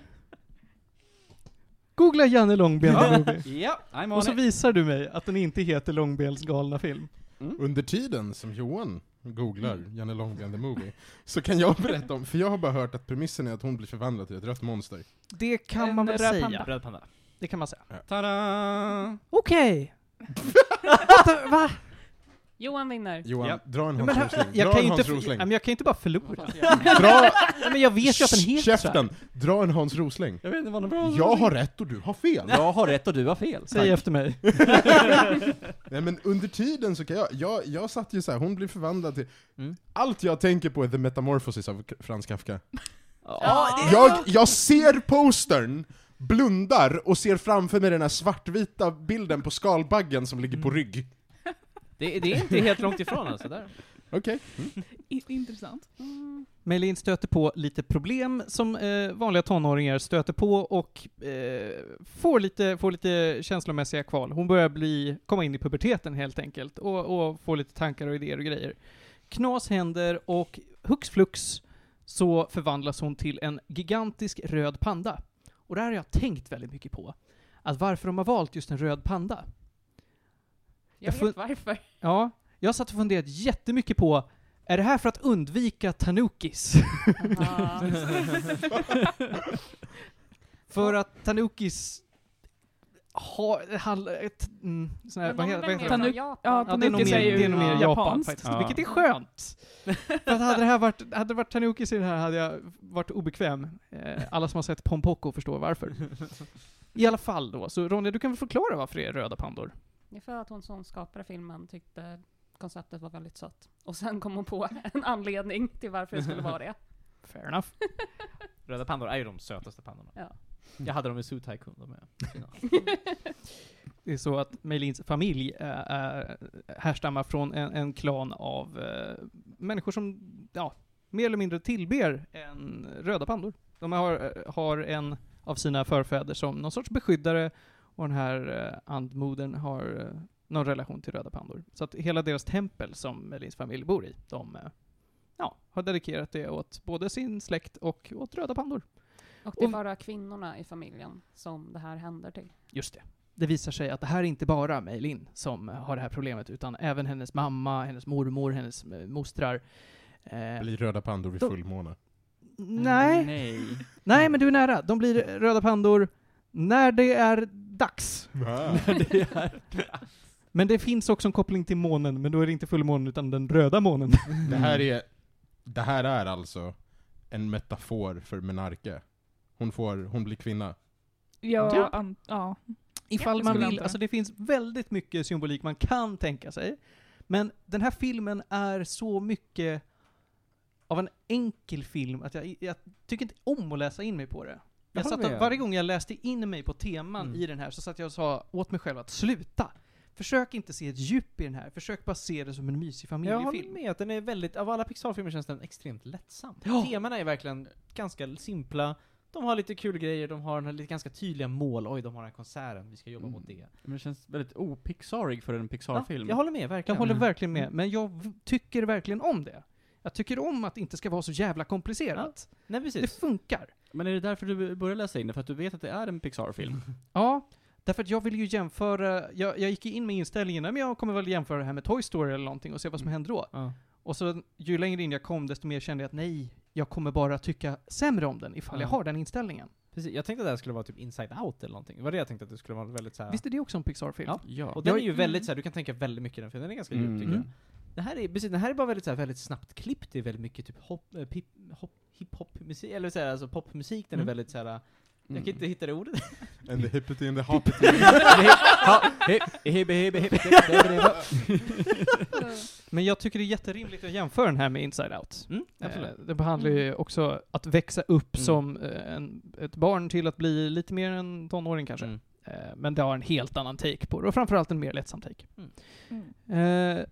F: Googla Janne Långben
E: Ja.
F: movie.
E: Ja, I'm on
F: Och så
E: it.
F: visar du mig att den inte heter Långbens galna film.
C: Mm.
A: Under tiden som Johan googlar
E: Mm.
A: Janne Långben the Movie, så kan jag berätta om, för jag har bara hört att premissen är att hon blir förvandlad till ett rött monster.
F: Det kan
B: En
F: man väl
B: röd
F: säga.
B: panda.
C: Röd panda.
F: Det kan man säga.
E: Tada!
F: Okej. Vänta, Va?
G: Johan vinner.
A: Johan,
E: Ja.
A: dra en
F: Ja, men här-
A: Hans
F: Jag kan, ju
A: Hans
F: inte, ja,
A: Rosling.
F: men jag kan ju inte bara förlora.
A: Dra,
F: Nej, men jag vet ju att den heter så här.
A: Käften! Dra en Hans Rosling.
E: Jag vet inte vad den
A: Jag har rätt och du har fel.
E: Jag har rätt och du har fel.
F: Säg efter mig.
A: Nej men under tiden så kan jag, jag, jag satt ju så här, hon blir förvandlad till...
E: Mm.
A: Allt jag tänker på är The Metamorphosis av K- Frans Kafka.
G: Ja,
C: Ah.
G: det-
A: Jag, jag ser postern, blundar och ser framför mig den här svartvita bilden på skalbaggen som ligger
C: Mm.
A: på rygg.
C: Det, det är inte helt långt ifrån alltså. Där.
A: Okej.
B: I- intressant.
G: Mm.
F: Meilin stöter på lite problem som eh, vanliga tonåringar stöter på och eh, får, lite, får lite känslomässiga kval. Hon börjar bli, komma in i puberteten helt enkelt och, och får lite tankar och idéer och grejer. Knas händer och hux flux så förvandlas hon till en gigantisk röd panda. Och det här har jag tänkt väldigt mycket på. Att varför de har valt just en röd panda.
G: Jag
F: Jag får-
G: vet varför.
F: Ja, jag satt och funderat jättemycket på, är det här för att undvika tanukis? För att Tanukis har... Hall, ett, mm, sån här,
G: Men de
F: vad
G: är
F: heter vad heter
G: väl mer
B: Tanu-
F: det?
G: från Japan?
B: ja,
F: Ja, det är nog
B: Tanukis
F: mer,
B: är ju
F: det är nog mer Japan
B: japanskt.
F: faktiskt,
E: Ja.
F: vilket är skönt. För att hade det här varit, hade det varit Tanukis i det här hade jag varit obekväm. Eh, alla som har sett Pompoko förstår varför. I alla fall då, så Ronja, du kan väl förklara varför det är röda pandor?
G: Det är för att hon som skapade filmen tyckte konceptet var väldigt sött. Och sen kom hon på en anledning till varför det skulle vara det.
F: Fair enough.
C: Röda pandor är ju de sötaste pandorna.
G: Ja.
C: Jag hade dem i Zoo Tycoon, de är fina.
F: Det är så att Meilins familj eh, är, härstammar från en, en klan av eh, människor som ja, mer eller mindre tillber en röda pandor. De har, eh, har en av sina förfäder som någon sorts beskyddare och den här eh, andmodern har eh, någon relation till röda pandor. Så att hela deras tempel som Meilins familj bor i, de eh, ja, har dedikerat det åt både sin släkt och åt röda pandor.
G: Och det är
F: Och-
G: bara kvinnorna i familjen som det här händer till.
F: Just det. Det visar sig att det här är inte bara Meilin som har det här problemet, utan även hennes mamma, hennes mormor, hennes eh, mostrar. Eh,
A: Blir röda pandor vid
F: Då-
A: fullmåne.
F: nej,
E: Nej.
C: Mm.
F: nej men du är nära. De blir röda pandor när det är dags.
A: Ah.
E: det är...
F: Men det finns också en koppling till månen, men då är det inte fullmånen utan den röda månen.
A: Det här är, det här är alltså en metafor för Menarke. Hon, får, hon blir kvinna.
B: Ja,
F: Ja.
B: An, ja.
F: Ifall
B: det
F: man
B: skulle jag
F: vill,
B: anta.
F: alltså det finns väldigt mycket symbolik man kan tänka sig. Men den här filmen är så mycket av en enkel film att jag, jag tycker inte om att läsa in mig på det. Jag
E: håller
F: satt
E: med.
F: och, varje gång jag läste in mig på teman
E: Mm.
F: i den här så satt jag och sa åt mig själv att sluta. Försök inte se ett djup i den här, försök bara se det som en mysig
C: Jag håller
F: familjefilm.
C: med att den är väldigt, av alla Pixar-filmer känns den extremt lättsam.
F: Ja.
C: Temana är verkligen ganska simpla, de har lite kul grejer, de har en- lite ganska tydliga mål. Oj, de har den här konserten, vi ska jobba
E: Mm.
C: mot det.
E: Men det känns väldigt opixarig för en
C: Ja,
E: Pixar-film.
C: jag håller med,
F: Jag
C: verkligen.
F: håller
E: Mm.
F: verkligen med, men jag v- tycker verkligen om det. Jag tycker om att det inte ska vara så jävla komplicerat.
C: Nej,
F: det
C: precis.
F: funkar.
E: Men är det därför du börjar läsa in det? För att du vet att det är en Pixar-film?
F: Ja, därför att jag vill ju jämföra, jag, jag gick ju in med inställningen, "Nej, men jag kommer väl jämföra det här med Toy Story eller någonting och se vad som
E: Mm.
F: händer då.
E: Ja.
F: Och så ju längre in jag kom desto mer kände jag att nej, jag kommer bara tycka sämre om den ifall jag
C: Ja.
F: har den inställningen.
C: precis. Jag tänkte att det här skulle vara typ Inside Out eller någonting. Det var det jag tänkte att det skulle vara väldigt såhär...
F: Visst är det också en Pixar-film?
C: Ja.
E: ja.
C: Och den
F: Jag-
C: är ju väldigt
B: mm.
C: såhär, du kan tänka väldigt mycket i den, för den är ganska
E: Mm.
C: djup tycker jag.
E: Mm.
C: Det här är, precis, den här är bara väldigt såhär, väldigt snabbt klippt, det är väldigt mycket typ hop, eh, pip, hop, hiphop-musik, eller såhär, alltså popmusik, den
F: Mm.
C: är väldigt såhär, jag kan inte hitta det ordet.
A: And the hippity and the hoppity.
F: Men jag tycker det är jätterimligt att jämföra den här med Inside Out.
C: Mm, absolut.
F: Eh, Det behandlar ju också att växa upp
C: Mm.
F: som eh, en, ett barn till att bli lite mer en tonåring kanske.
C: Mm.
F: Eh, Men det har en helt annan take på det, och framförallt en mer lättsam take.
B: Mm.
F: Eh,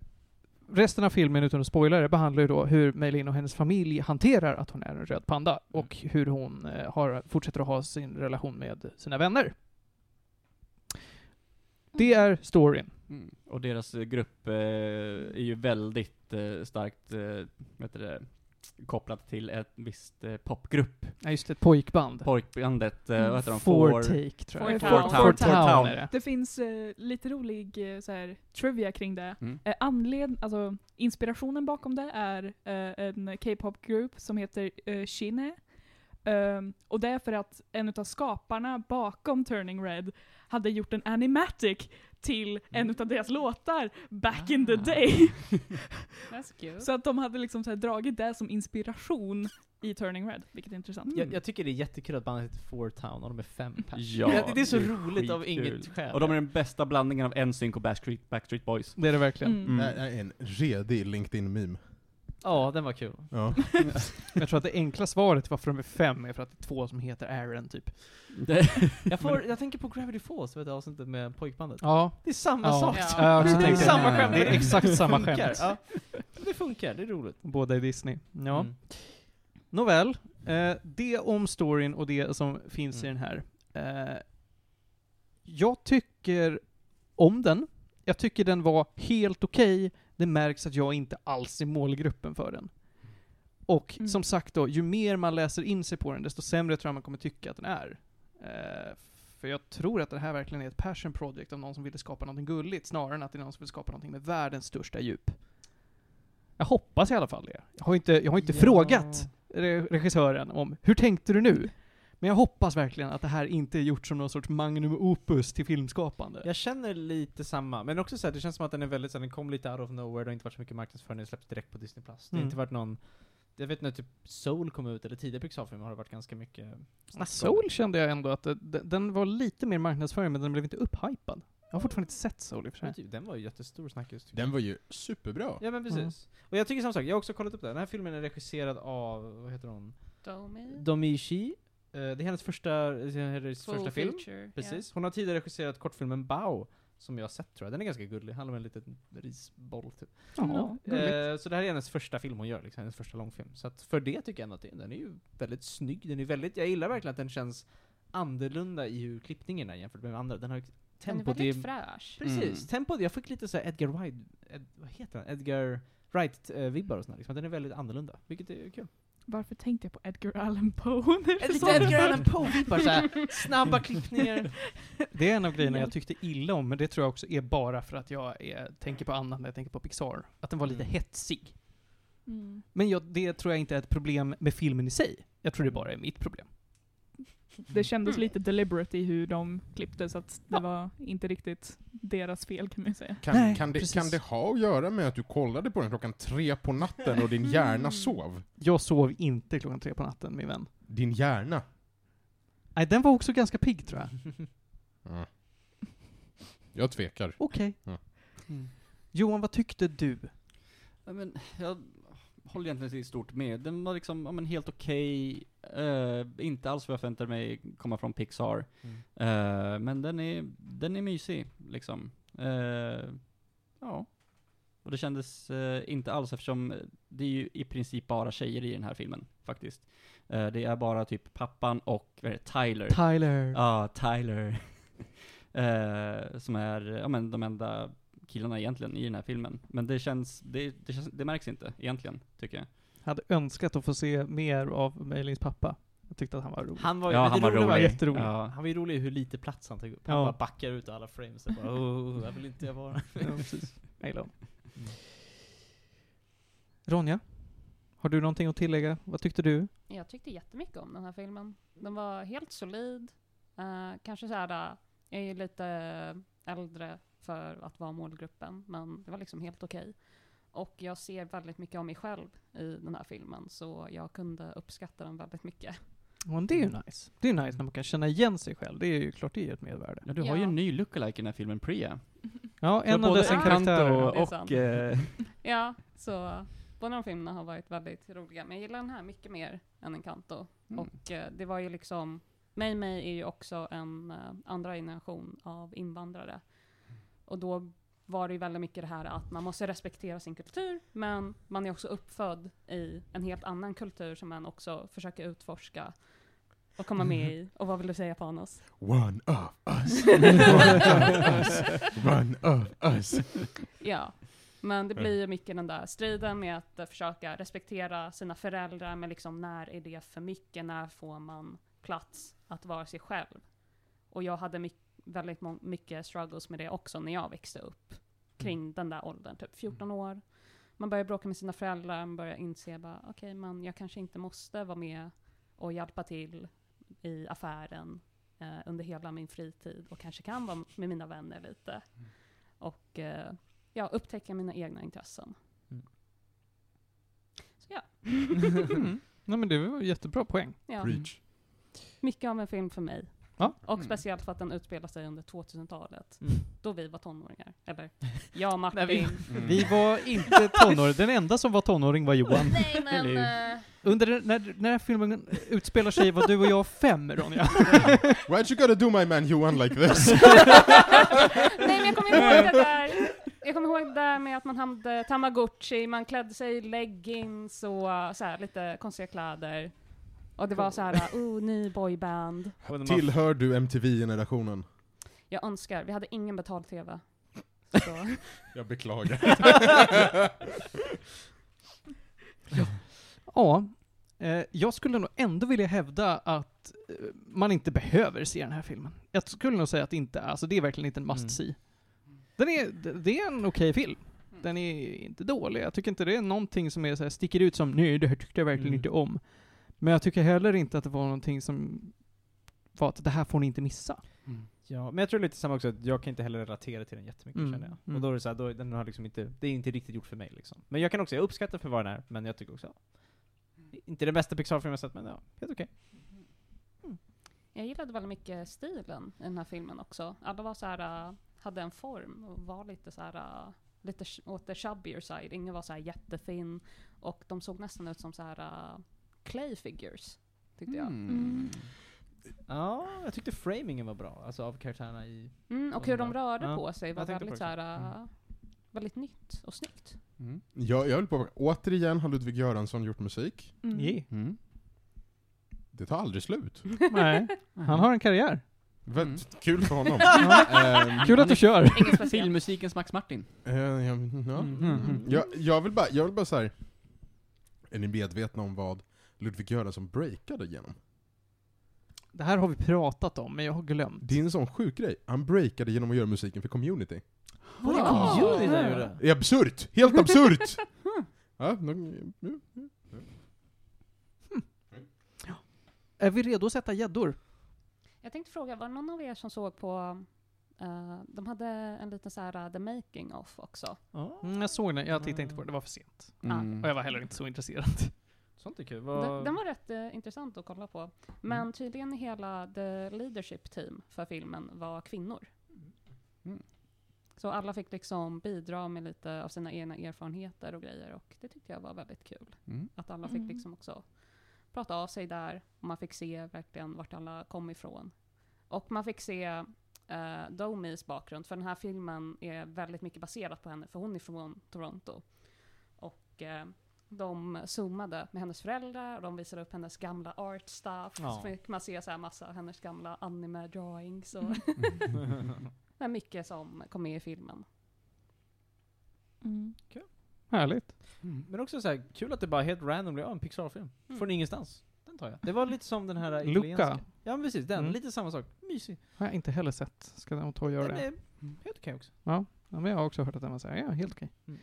F: resten av filmen, utan att spoila det, behandlar ju då hur Meilin och hennes familj hanterar att hon är en röd panda
C: Mm.
F: och hur hon eh, har, fortsätter att ha sin relation med sina vänner. Det är storyn.
E: Mm. Och deras eh, grupp eh, är ju väldigt eh, starkt eh, vad heter det, kopplat till ett visst eh, popgrupp.
F: Ja, just det, ett pojkband.
E: Pojkbandet, eh,
B: Mm.
E: vad heter de?
F: Four, Take, tror jag.
G: Four
B: Four
G: Town.
B: Town. Four
F: Four Town.
E: Town.
F: är det.
B: Det finns eh, lite rolig eh, så här, trivia kring det.
E: Mm.
B: Eh, anled- alltså, inspirationen bakom det är eh, en K-pop-grupp som heter eh, Shine. Ehm, och det är för att en av skaparna bakom Turning Red hade gjort en animatic till en av deras låtar back in the
E: Ah.
B: day.
G: That's cute.
B: Så att de hade liksom så här dragit det som inspiration i Turning Red, vilket är intressant.
F: Mm.
C: Jag, jag tycker det är jättekul att bandet heter Four Town och de är fem pers.
E: Ja,
C: det, det är så
E: det är
C: roligt av
E: skitkul.
C: inget skäl.
E: Och de är den bästa blandningen av NSYNC och Backstreet, Backstreet Boys.
F: Det är det verkligen.
B: Mm.
A: Det här är en redig LinkedIn-meme.
C: Ja, den var kul.
A: Ja.
F: Jag tror att det enkla svaret varför de är fem är för att det är två som heter Aaron, typ.
C: Jag, får, jag tänker på Gravity Falls, vet du, avsnittet med pojkbandet.
F: Ja.
C: Det är samma
F: ja.
C: sak.
F: Ja,
G: Ja.
F: jag har också
C: Det är
F: tänkt
C: samma skämt.
F: Det är exakt samma
C: funkar.
F: skämt.
C: Ja. Det funkar, det är roligt.
F: Båda är Disney. Ja.
C: Mm.
F: Nåväl, eh, det om storyn och det som finns i
C: Mm.
F: den här. Eh, jag tycker om den. Jag tycker den var helt okej. Det märks att jag inte alls är målgruppen för den. Och
B: Mm.
F: som sagt då, ju mer man läser in sig på den, desto sämre tror jag man kommer tycka att den är. Eh, för jag tror att det här verkligen är ett passion project av någon som ville skapa någonting gulligt, snarare än att det är någon som vill skapa någonting med världens största djup. Jag hoppas i alla fall det. Jag har inte, jag har inte
C: Ja.
F: frågat re- regissören om hur tänkte du nu? Men jag hoppas verkligen att det här inte är gjort som någon sorts magnum opus till filmskapande.
C: Jag känner lite samma, men också så här, det känns som att den är väldigt så här, den kom lite out of nowhere, det har inte varit så mycket marknadsföring, den släpps direkt på Disney+. Plus. Det har
F: Mm.
C: inte varit någon, jag vet när typ Soul kom ut, eller tidigare Pixar-filmer har det varit ganska mycket snack om
F: Soul
C: det.
F: kände jag ändå att eh, d- den var lite mer marknadsföring, men den blev inte upphypad. Jag har fortfarande inte sett Soul i och för
C: Men
F: sig.
C: typ, Den var ju jättestor snackis. tycker
A: Den var ju superbra.
C: Ja men precis.
G: Mm.
C: Och jag tycker samma sak, jag har också kollat upp det. här. Den här filmen är regisserad av, vad heter hon?
G: Domi.
C: Domichi. Eh, det är hennes första, det är hennes
G: Mm. Full
C: första film.
G: feature,
C: Precis. Hon har tidigare regisserat kortfilmen Bao, som jag har sett tror jag. Den är ganska gullig, handlar om en liten risboll typ.
F: Ja,
B: Ja.
F: gulligt.
C: Eh, så det här är hennes första film hon gör, liksom, hennes första långfilm. Så att för det tycker jag ändå att det- den är ju väldigt snygg. Den är väldigt, jag gillar verkligen att den känns annorlunda i hur klippningen är jämfört med andra. Den har ju
G: Ja. Den är
C: tempo, det
G: väldigt
C: är
G: fräsch.
C: Precis,
E: Mm.
C: tempot. Jag fick lite så här Edgar Wright, Ed, vad heter han? Edgar Wright-vibbar och sådär. Liksom. Den är väldigt annorlunda, vilket är kul.
B: Varför tänkte jag på Edgar Allan Poe nu?
C: Lite Edgar Allan Poe-vibbar såhär,
B: Mm.
C: snabba klippningar.
F: Det är en av grejerna jag tyckte illa om, men det tror jag också är bara för att jag är, tänker på annat när jag tänker på Pixar. Att den var lite
C: Mm.
F: hetsig.
B: Mm.
C: Mm.
F: Men jag, det tror jag inte är ett problem med filmen i sig. Jag tror det bara är mitt problem.
B: det kändes lite deliberate i hur de klippte så att det var inte riktigt deras fel kan man ju säga.
A: Kan,
F: Nej,
A: kan, det,
F: precis.
A: kan det ha att göra med att du kollade på den klockan tre på natten och din
C: Mm.
A: hjärna sov?
F: Jag sov inte klockan tre på natten, min vän.
A: Din hjärna?
F: Nej, den var också ganska pigg tror jag.
A: Mm. Jag tvekar.
F: Okej.
A: Ja.
E: Mm.
F: Johan, vad tyckte du?
E: Ja, men jag håller egentligen i stort med. Den var liksom, ja, men helt okej. Eh, inte alls vad jag förväntade mig komma från Pixar. Eh, men den är, den är mysig, liksom. Eh, ja. Och det kändes eh, inte alls eftersom det är ju i princip bara tjejer i den här filmen, faktiskt. Eh, det är bara typ pappan och, vad är det, Tyler.
F: Tyler.
E: Ja, Tyler. Eh, som är, ja men de enda killarna egentligen i den här filmen. Men det känns, det, det, känns, det märks inte egentligen, tycker jag.
F: Hade önskat att få se mer av Mejlings pappa. Jag tyckte att han var rolig.
C: Han var ju,
E: Ja,
C: men
E: han
C: det
E: var
C: roliga
F: var
E: rolig.
F: jätterolig.
E: Ja.
C: Han var ju rolig i hur lite plats han tog upp. Han
F: Ja.
C: bara backar ut alla frames och bara oh, här vill inte jag vara.
F: Ja, precis. Jag gillar honom. Ronja, har du någonting att tillägga? Vad tyckte du?
G: Jag tyckte jättemycket om den här filmen. Den var helt solid. Eh, kanske så här, eh, jag är ju lite äldre för att vara målgruppen, men det var liksom helt okej. Och jag ser väldigt mycket av mig själv i den här filmen, så jag kunde uppskatta den väldigt mycket.
F: Ja, men det är ju nice. Det är nice när man kan känna igen sig själv. Det är ju klart det ger ett mervärde.
E: Ja, du har ju
G: Ja.
E: en ny lookalike i den här filmen, Priya.
F: Ja, en av
E: både
F: dessa
E: Encanto
F: karaktärer.
G: det är
E: och,
G: sant.
E: och eh,
G: Ja, så båda de filmerna har varit väldigt roliga, men jag gillar den här mycket mer än Encanto.
E: Mm.
G: Och eh, det var ju liksom, Mei Mei är ju också en eh, andra generation av invandrare. Och då var det ju väldigt mycket det här att man måste respektera sin kultur, men man är också uppfödd i en helt annan kultur som man också försöker utforska och komma med i. Och vad vill du säga Panos?
A: One of us. One of us. One of us.
G: Ja, men det blir ju mycket den där striden med att eh, försöka respektera sina föräldrar, men liksom när är det för mycket? När får man plats att vara sig själv? Och jag hade my- väldigt mång- mycket struggles med det också när jag växte upp, kring den där åldern, typ 14 år. Man börjar bråka med sina föräldrar, man börjar inse bara, okej, men jag kanske inte måste vara med och hjälpa till i affären eh, under hela min fritid och kanske kan vara med mina vänner lite. Och eh, ja, upptäcka mina egna intressen. Så ja,
F: Mm. Nej men det var jättebra poäng.
G: ja.
A: Preach.
G: mycket av en film för mig.
F: Ja.
G: Och speciellt för att den utspelar sig under 2000-talet,
C: Mm.
G: då vi var tonåringar. Eller jag och Martin.
C: När vi-
A: Mm.
F: Vi var inte tonåring. Den enda som var tonåring var Johan.
G: Nej men, eh,
F: Under den, när, när den här filmen utspelar sig var du och jag fem, Ronja.
A: Why'd you gotta do my man Johan like this?
G: nej men jag kommer ihåg det där. Jag kommer ihåg det där med att man hade tamagotchi, man klädde sig i leggings och uh, så här, lite konstiga kläder. Och det var så här, uh, oh, ny boyband.
A: Tillhör du MTV-generationen?
G: Jag önskar, vi hade ingen betal-tv. Så.
A: Jag beklagar.
F: Ja, eh, jag skulle nog ändå vilja hävda att eh, man inte behöver se den här filmen. Jag skulle nog säga att inte, alltså det är verkligen inte en must see. Den är, d- det är en okej film. Den är inte dålig. Jag tycker inte det är någonting som är så här, sticker ut som nej, det här tyckte jag verkligen
E: Mm.
F: inte om. Men jag tycker heller inte att det var någonting som var att det här får ni inte missa.
I: Ja, men jag tror lite samma också, att jag kan inte heller relatera till den jättemycket
F: Mm,
I: känner jag.
F: mm.
I: Och då är det så här, då, den har liksom inte, det är inte riktigt gjort för mig liksom. Men jag kan också, jag uppskattar för vad den är, men jag tycker också, ja, inte den bästa Pixar-filmen jag sett, men ja, helt okej.
G: Jag gillade väldigt mycket stilen i den här filmen också. Alla var så här, äh, hade en form och var lite så här, äh, lite sh- åt the chubbier side. Ingen var så här jättefin och de såg nästan ut som så här äh, clay figures, tyckte jag.
B: Mm.
I: Ja, jag tyckte framingen var bra, alltså av karaktärerna i...
G: Mm, och
I: Ja,
G: hur
I: men
G: de
I: bra.
G: rörde
I: Ja,
G: på sig var
I: jag tänkte
G: väldigt
I: på
G: så
I: det Mm.
G: här, äh, väldigt nytt och snyggt.
A: Mm. jag, jag vill påpeka, återigen har Ludvig Göransson gjort musik.
B: Mm.
A: Det tar aldrig slut.
F: Nej. Han har en karriär.
A: Väldigt Kul för honom. Ehm,
F: Kul att du kör.
G: Inget speciellt.
E: filmmusikens Max Martin.
A: Eh, ja, men, ja.
E: Mm.
A: Jag, jag vill bara, jag vill bara så här. Är ni medvetna om vad Ludvig Göransson breakade genom?
F: Det här har vi pratat om, men jag har glömt.
A: Det är en sån sjuk grej. Han breakade genom att göra musiken för community.
F: Var det
I: Ja.
F: Community
I: Ja.
F: han gjorde?
A: Det är absurt! Helt absurt!
F: Mm.
A: ja, no, ja, ja.
F: Är vi redo att sätta gäddor?
G: Jag tänkte fråga, var det någon av er som såg på... eh, de hade en liten så här eh, The Making of också.
F: Mm, jag såg den, jag tittade inte på den, det var för sent.
A: Mm.
F: Och jag var heller inte så intresserad.
I: Sånt är kul.
G: Den,
I: Vad...
G: den var rätt eh, intressant att kolla på. Men tydligen hela the leadership team för filmen var kvinnor.
E: Mm.
G: Så alla fick liksom bidra med lite av sina egna erfarenheter och grejer och det tyckte jag var väldigt kul.
A: Mm.
G: Att alla fick
B: Mm.
G: liksom också prata av sig där och man fick se verkligen vart alla kom ifrån. Och man fick se eh, Domis bakgrund för den här filmen är väldigt mycket baserad på henne för hon är från Toronto. Och eh, de zoomade med hennes föräldrar och de visade upp hennes gamla art stuff.
I: Ja.
G: Så fick man se så här massa av hennes gamla anime drawings
F: Mm.
G: och det är mycket som kom med i filmen.
B: Mm.
F: Härligt.
I: Men också så här, kul att det bara helt random blev ja, en Pixar-film.
G: Mm.
I: Från ingenstans. Den tar jag. Det var lite som den här
F: Luca.
I: italienska. Ja men precis, den.
F: Mm.
I: Lite samma sak. Mysig.
F: Har jag inte heller sett. Ska jag nog ta och göra
I: Den
F: det.
I: är helt okej också.
F: Ja, men jag har också hört att den var såhär, ja helt okej.
I: Mm.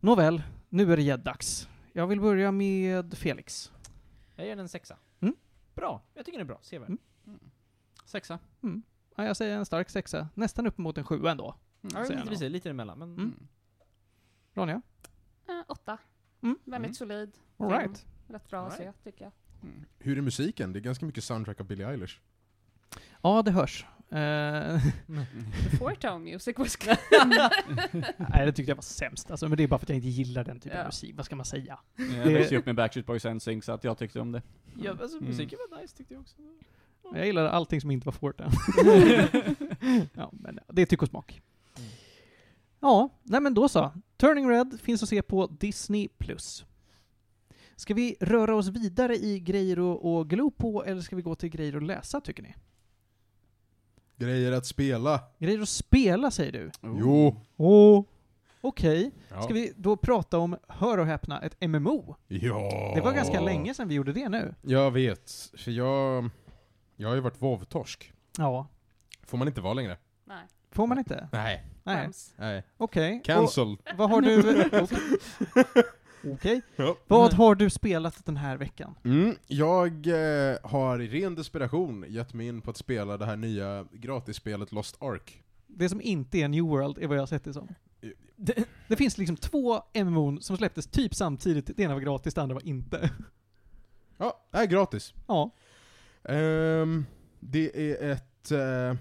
F: Nåväl, nu är det gäddags. Jag vill börja med Felix.
I: Jag ger den en sexa.
F: Mm.
I: Bra. Jag tycker den är bra. Sevärd.
F: Mm.
I: Sexa.
F: Ja, jag säger en stark sexa, nästan upp mot en sjua ändå.
I: Ja,
F: Säger
I: lite,
F: jag nog.
I: precis, lite emellan. Men
F: Mm. Ronja?
G: Eh, åtta.
F: Mm.
G: Väldigt
I: Mm.
G: solid.
F: All
G: film.
F: right.
G: Rätt bra att se tycker jag.
A: Hur är musiken? Det är ganska mycket soundtrack av Billie Eilish.
F: Ja, det hörs. Eh,
G: The Four Tone Music was good.
F: Nej, det tyckte jag var sämst. Alltså, men det är bara för att jag inte gillar den typen
G: Ja.
F: av musik. Vad ska man säga?
E: Jag
F: Det-
E: växte ju upp med Backstreet Boys och NSYNC så att jag tyckte om det.
I: ja, alltså,
E: Mm.
I: musiken var nice tyckte jag också.
F: Jag gillar allting som inte var Forten. ja, men det är tyck och smak.
A: Mm.
F: Ja, nej men då så. Turning Red finns att se på Disney+. Ska vi röra oss vidare i grejer och, och glo på, eller ska vi gå till grejer och läsa, tycker ni?
A: Grejer att spela.
F: Grejer att spela, säger du?
E: Oh.
A: Jo.
F: Åh! Okej,
A: Ja.
F: ska vi då prata om, hör och häpna, ett MMO?
A: ja.
F: Det var ganska länge sedan vi gjorde det nu.
A: Jag vet, för jag... Jag har ju varit vovtorsk.
F: Ja.
A: Får man inte vara längre?
G: Nej,
F: Får man inte?
A: Nej.
F: Nej.
G: skäms.
A: Nej.
F: Okej. Och-
A: Cancelled.
F: Vad har du... Okej.
A: Ja.
F: Vad har du spelat den här veckan?
A: Mm, jag eh, har i ren desperation gett mig in på att spela det här nya gratisspelet Lost Ark.
F: Det som inte är New World är vad jag har sett det som.
A: Eh,
F: Det, det finns liksom två MMO'n som släpptes typ samtidigt. Det ena var gratis, det andra var inte.
A: Ja, det är gratis.
F: Ja.
A: Ehm, det är ett... eh,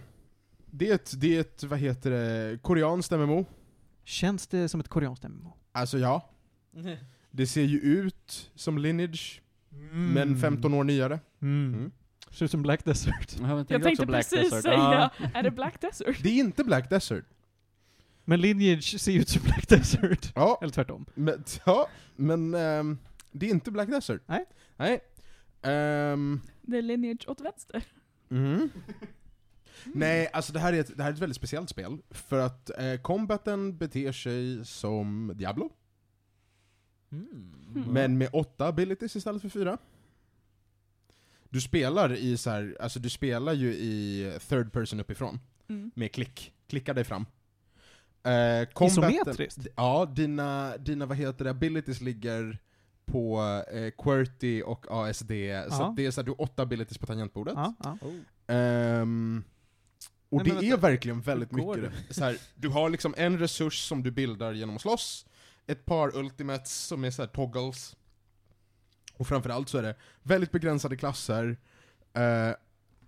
A: det är ett, det är ett, vad heter det, koreanskt MMO.
F: Känns det som ett koreanskt MMO?
A: Alltså ja,
I: Mm.
A: det ser ju ut som Lineage, men 15 år nyare.
F: Mm.
A: Mm.
F: Ser ut som Black Desert.
E: Jag
B: Jag tänkte precis säga, är det Black Desert?
A: Det är inte Black Desert.
F: Men Lineage ser ut som Black Desert.
A: Ja,
F: Eller tvärtom.
A: men, ja, men ehm, det är inte Black Desert.
F: Nej.
A: Nej. Ehm,
B: Det är Lineage åt vänster.
A: Mm. Nej, alltså det här, är ett, det här är ett väldigt speciellt spel, för att eh, combaten beter sig som Diablo,
I: Mm.
A: men med åtta abilities istället för fyra. Du spelar i så här, alltså du spelar ju i third person uppifrån,
B: Mm.
A: med klick. Klicka dig fram. Eh, combaten-
F: Isometriskt?
A: d- Ja, dina, dina vad heter det, abilities ligger på eh, QWERTY och ASD, så
F: Ja.
A: att det är så här, du har åtta abilities på tangentbordet.
F: Ja, ja.
A: Ehm, och
F: Nej, men
A: det är
F: vänta.
A: verkligen väldigt
I: Hur går
A: mycket det. så här, Du har liksom en resurs som du bildar genom att slåss, ett par ultimates som är så här toggles, och framförallt så är det väldigt begränsade klasser, Eh,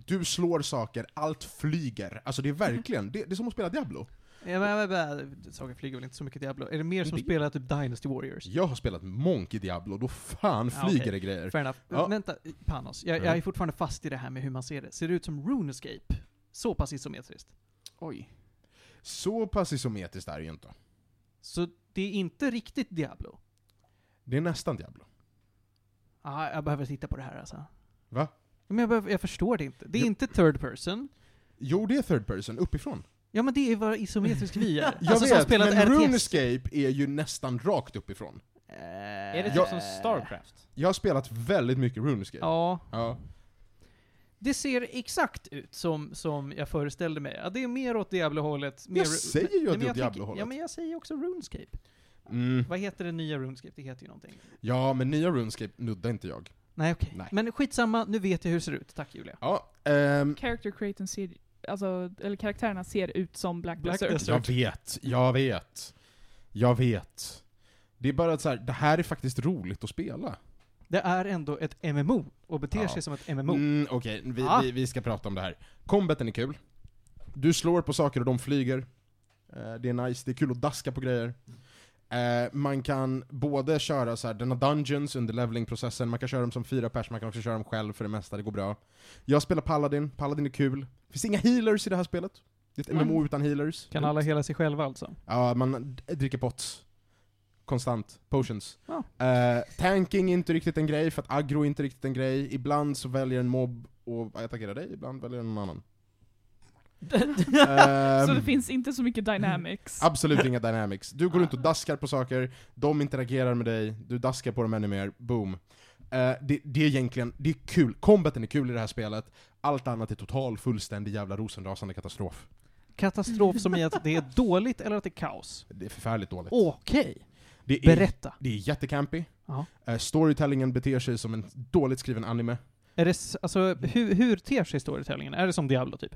A: du slår saker, allt flyger. Alltså det är verkligen, det, det är som att spela Diablo.
F: Ja, men, men, men, Saker flyger väl inte så mycket Diablo? Är det mer som
A: Det-
F: spelar typ Dynasty Warriors?
A: Jag har spelat Monk i Diablo, då fan
F: Ja,
A: flyger
F: okej.
A: det grejer.
F: Fair enough.
A: Ja.
F: Vänta, Panos. Jag,
A: Mm.
F: jag är fortfarande fast i det här med hur man ser det. Ser det ut som RuneScape? Så pass isometriskt.
E: Oj.
A: Så pass isometriskt är det ju inte.
F: Så det är inte riktigt Diablo?
A: Det är nästan Diablo.
F: Ah, jag behöver titta på det här alltså.
A: Va?
F: Men jag, behöver, jag förstår det inte. Det är
A: Jo.
F: inte third person.
A: Jo, det är third person, uppifrån.
F: Ja men det är vad isometrisk vi är.
A: Jag
F: alltså som
A: vet,
F: spelat
A: men
F: RTS.
A: RuneScape är ju nästan rakt uppifrån.
F: Eh,
I: Är det typ
A: Jag-
I: som Starcraft?
A: Jag har spelat väldigt mycket RuneScape.
F: Ja.
A: Ja.
F: Det ser exakt ut som, som jag föreställde mig. Ja, det är mer åt Diablo-hållet. mer-
A: Jag säger ju att
F: Nej, men
A: det är
F: jag tänker- Ja
A: Diablo-hållet.
F: men jag säger också RuneScape.
A: Mm.
F: Vad heter det nya RuneScape? Det heter ju någonting.
A: Ja, men nya RuneScape nuddar inte jag.
F: Nej okej.
A: Nej.
F: Men skitsamma, nu vet jag hur det ser ut. Tack Julia.
A: Ja, ehm,
B: Character creatorn ser, alltså, eller karaktärerna ser ut som Black,
F: Black
B: Desert.
F: Desert.
A: jag vet, jag vet. Jag vet. Det är bara att så här, det här är faktiskt roligt att spela.
F: Det är ändå ett MMO och beter
A: Ja.
F: sig som ett MMO.
A: Mm, Okej, vi,
F: Ah.
A: vi, vi ska prata om det här. Combaten är kul. Du slår på saker och de flyger. Eh, Det är nice, det är kul att daska på grejer. Eh, Man kan både köra så här, den har dungeons under levelingprocessen, man kan köra dem som fyra pers, man kan också köra dem själv för det mesta, det går bra. Jag spelar Paladin, Paladin är kul. Finns inga healers i det här spelet. Det är ett MMO utan healers.
F: Kan alla hela sig själva alltså?
A: Ja, man d- dricker pots. Konstant. Potions.
F: Ja.
A: Eh, tanking är inte riktigt en grej, för att aggro är inte riktigt en grej. Ibland så väljer en mobb att attackera dig, ibland väljer någon annan.
B: Så
A: Ehm,
B: det finns Ah. inte så mycket dynamics.
A: Absolut inga dynamics. Du går runt och daskar på saker, de interagerar med dig, du daskar på dem ännu mer, boom. Eh, det, det är egentligen, det är kul. Combaten är kul i det här spelet. Allt annat är total, fullständig jävla rosenrasande katastrof.
F: Katastrof som i att det är dåligt eller att det är kaos?
A: Det är förfärligt dåligt.
F: Okej,
A: det är
F: berätta.
A: Det är jättecampy.
F: Ja.
A: Eh, Storytellingen beter sig som en dåligt skriven anime.
F: Är det, s- alltså, hur, hur ter sig storytellingen? Är det som Diablo typ?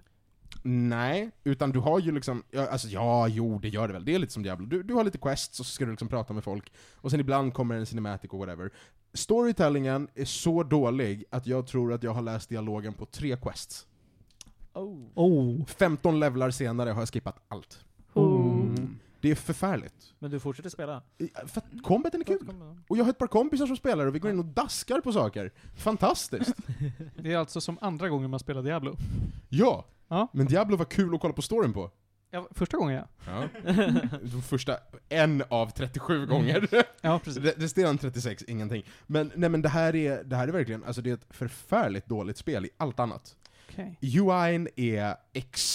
A: Nej, utan du har ju liksom, ja, alltså ja, jo, det gör det väl. Det är lite som Diablo. Du, du har lite quests och så ska du liksom prata med folk, och sen ibland kommer en cinematic och whatever. Storytellingen är så dålig att jag tror att jag har läst dialogen på tre quests.
F: Oh.
A: 15 levlar senare har jag skippat allt. Det är förfärligt.
I: Men du fortsätter spela?
A: I- För att combaten är kul. Och jag har ett par kompisar som spelar och vi går in och daskar på saker. Fantastiskt!
F: Det är alltså som andra gången man spelar Diablo.
A: Ja!
F: Ja.
A: Men Diablo var kul att kolla på storyn på.
F: Ja, första gången ja.
A: Ja. De första, en av 37 gånger.
F: Ja, precis.
A: Re- Resterande 36, ingenting. Men, nej men det här är, det här är verkligen, alltså det är ett förfärligt dåligt spel i allt annat.
F: Okej.
A: UI'n är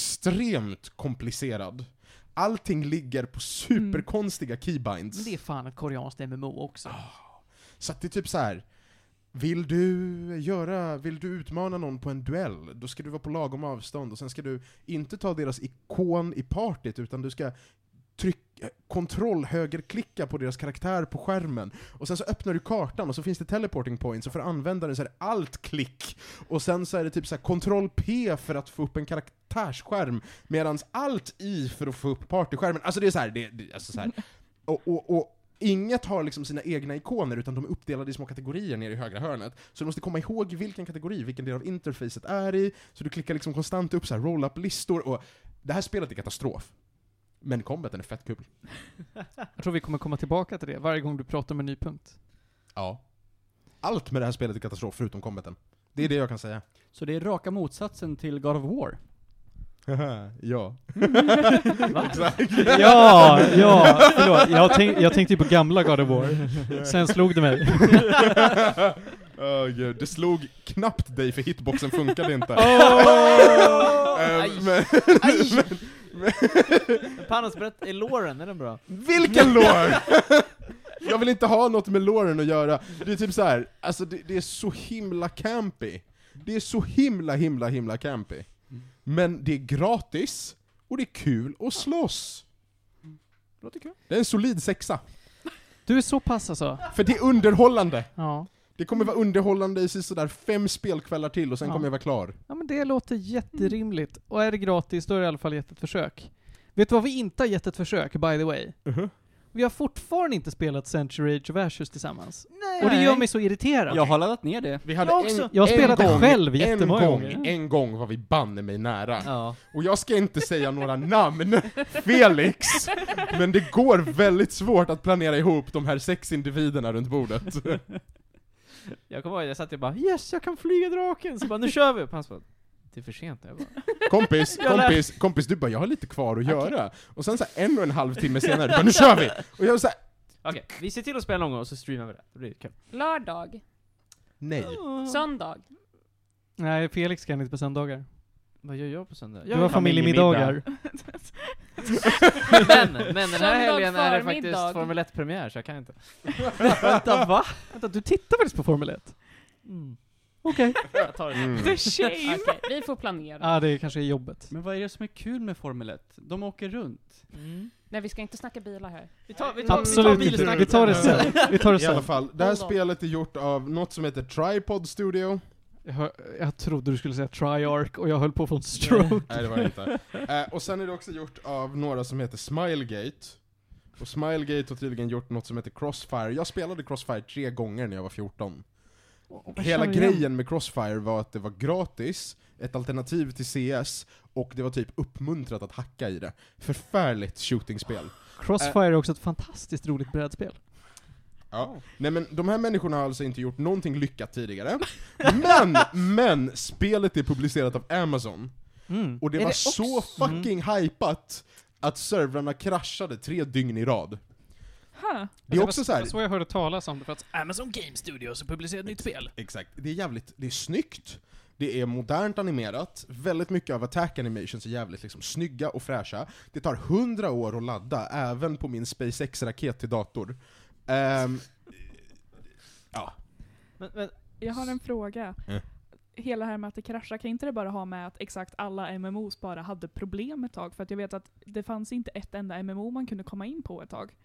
A: extremt komplicerad. Allting ligger på superkonstiga
F: Mm. Men
A: keybinds.
F: det är fan ett koreanskt MMO också.
A: Så att det är typ så här. Vill du göra, vill du utmana någon på en duell, då ska du vara på lagom avstånd och sen ska du inte ta deras ikon i partyt utan du ska trycka, kontroll högerklicka på deras karaktär på skärmen. Och sen så öppnar du kartan och så finns det teleporting points och för användaren så är det allt klick. Och sen så är det typ så här kontroll P för att få upp en karaktärsskärm medan allt I för att få upp partyskärmen. Alltså det är så här, det, det, alltså så här. Och, och, och Inget har liksom sina egna ikoner utan de är uppdelade i små kategorier nere i högra hörnet. Så du måste komma ihåg vilken kategori, vilken del av interfacet är i, så du klickar liksom konstant upp så här roll-up-listor och det här spelet är katastrof. Men combaten är fett kul.
F: Jag tror vi kommer komma tillbaka till det varje gång du pratar med en ny punkt.
A: Ja. Allt med det här spelet är katastrof förutom combaten. Det är det jag kan säga.
E: Så det är raka motsatsen till God of War.
A: ja.
F: Ja, ja, förlåt. Jag, tänk, jag tänkte ju på gamla God of War. Sen slog det mig.
A: Åh, gud. Det slog knappt dig för hitboxen funkade inte.
I: Oh!
A: Eh,
C: Aj.
A: men-
C: Panos, berätta, är låren, är den bra?
A: Vilken lår! Jag vill inte ha något med låren att göra. Det är typ så här, alltså det, det är så himla campy. Det är så himla, himla, himla campy. Men det är gratis, och det är kul att slåss.
F: Låter kul.
A: Det är en solid sexa.
F: Du är så pass alltså?
A: För det är underhållande.
F: Ja.
A: Det kommer vara underhållande i sådär fem spelkvällar till och sen
F: Ja.
A: kommer jag vara klar.
F: Ja men det låter jätterimligt. Och är det gratis, då är det i alla fall gett ett försök. Vet du vad vi inte har gett ett försök, by the way? Vi har fortfarande inte spelat Century Age of Ashes tillsammans.
I: Nej.
F: Och det gör mig så irriterad.
E: Jag har laddat ner det.
A: Vi hade
I: Jag också.
F: Jag spelade
A: gång,
F: själv
A: en
F: jättemånga
A: gång,
F: gånger.
A: en gång var vi banne mig nära.
C: Ja.
A: Och jag ska inte säga några namn, Felix, men det går väldigt svårt att planera ihop de här sex individerna runt bordet.
C: Jag kommer ihåg, jag satt och bara 'Yes, jag kan flyga draken!' Så bara 'Nu kör vi!' Och Panos bara 'Det är för sent' jag bara,
A: Kompis, kompis, kompis, du bara 'Jag har lite kvar att göra' och sen så här, en och en halv timme senare, du bara 'Nu kör vi!' Och jag såhär,
C: Okej, vi ser till att spela någon gång och så streamar vi det. Det blir kul.
G: Lördag,
A: nej.
F: Mm.
G: söndag.
F: Nej, Felix kan inte på söndagar.
C: Vad gör jag på söndag?
F: Du har familjemiddagar.
C: Men, men den här
G: Söndag
C: helgen är det
G: förmiddag.
C: faktiskt Formel 1-premiär så jag kan inte.
A: Mm.
F: Vänta, va? Vänta, du tittar faktiskt på Formel 1? Okej.
C: Jag tar det.
B: The shame!
G: Okej, vi får planera.
F: Mm. Ja, det kanske är jobbet.
E: Men vad är det som är kul med Formel 1? De åker runt.
G: Nej, vi ska inte snacka bilar här.
C: Vi tar, vi tar,
F: Absolut
C: vi tar
F: inte.
C: bilsnacket.
F: Vi tar det sen. Vi tar det
A: I alla
F: sen.
A: fall, det här
G: Hold on.
A: spelet är gjort av något som heter Tripod Studio.
F: Jag, hör- jag trodde du skulle säga triark och jag höll på att få en stroke.
A: Nej, det var det inte. Eh, och sen är det också gjort av några som heter Smilegate. Och Smilegate har tydligen gjort något som heter Crossfire. Jag spelade Crossfire tre gånger när jag var 14. Hela
F: känner igen.
A: grejen med Crossfire var att det var gratis, ett alternativ till CS, och det var typ uppmuntrat att hacka i det. Förfärligt shootingspel.
F: Crossfire är också ett fantastiskt roligt brädspel.
A: Nej men de här människorna har alltså inte gjort någonting lyckat tidigare. Men, men, spelet är publicerat av Amazon.
F: Mm.
A: Och det
I: Är det
A: var
I: också-
A: så
C: Mm.
A: fucking hypat att servrarna kraschade tre dygn i rad.
B: Huh.
A: Det är också så här.
F: så jag hörde talas om det, för att Amazon Game Studios har publicerat ett nytt spel.
A: exakt, det är jävligt, det är snyggt, det är modernt animerat, väldigt mycket av attack animations är jävligt liksom snygga och fräscha. Det tar hundra år att ladda, även på min SpaceX-raket till dator. Ehm,
I: Men, men,
B: Jag har en fråga.
A: Ja.
B: Hela det här med att det kraschar, kan inte det bara ha med att exakt alla MMOs bara hade problem ett tag? För att jag vet att det fanns inte ett enda MMO man kunde komma in på ett tag.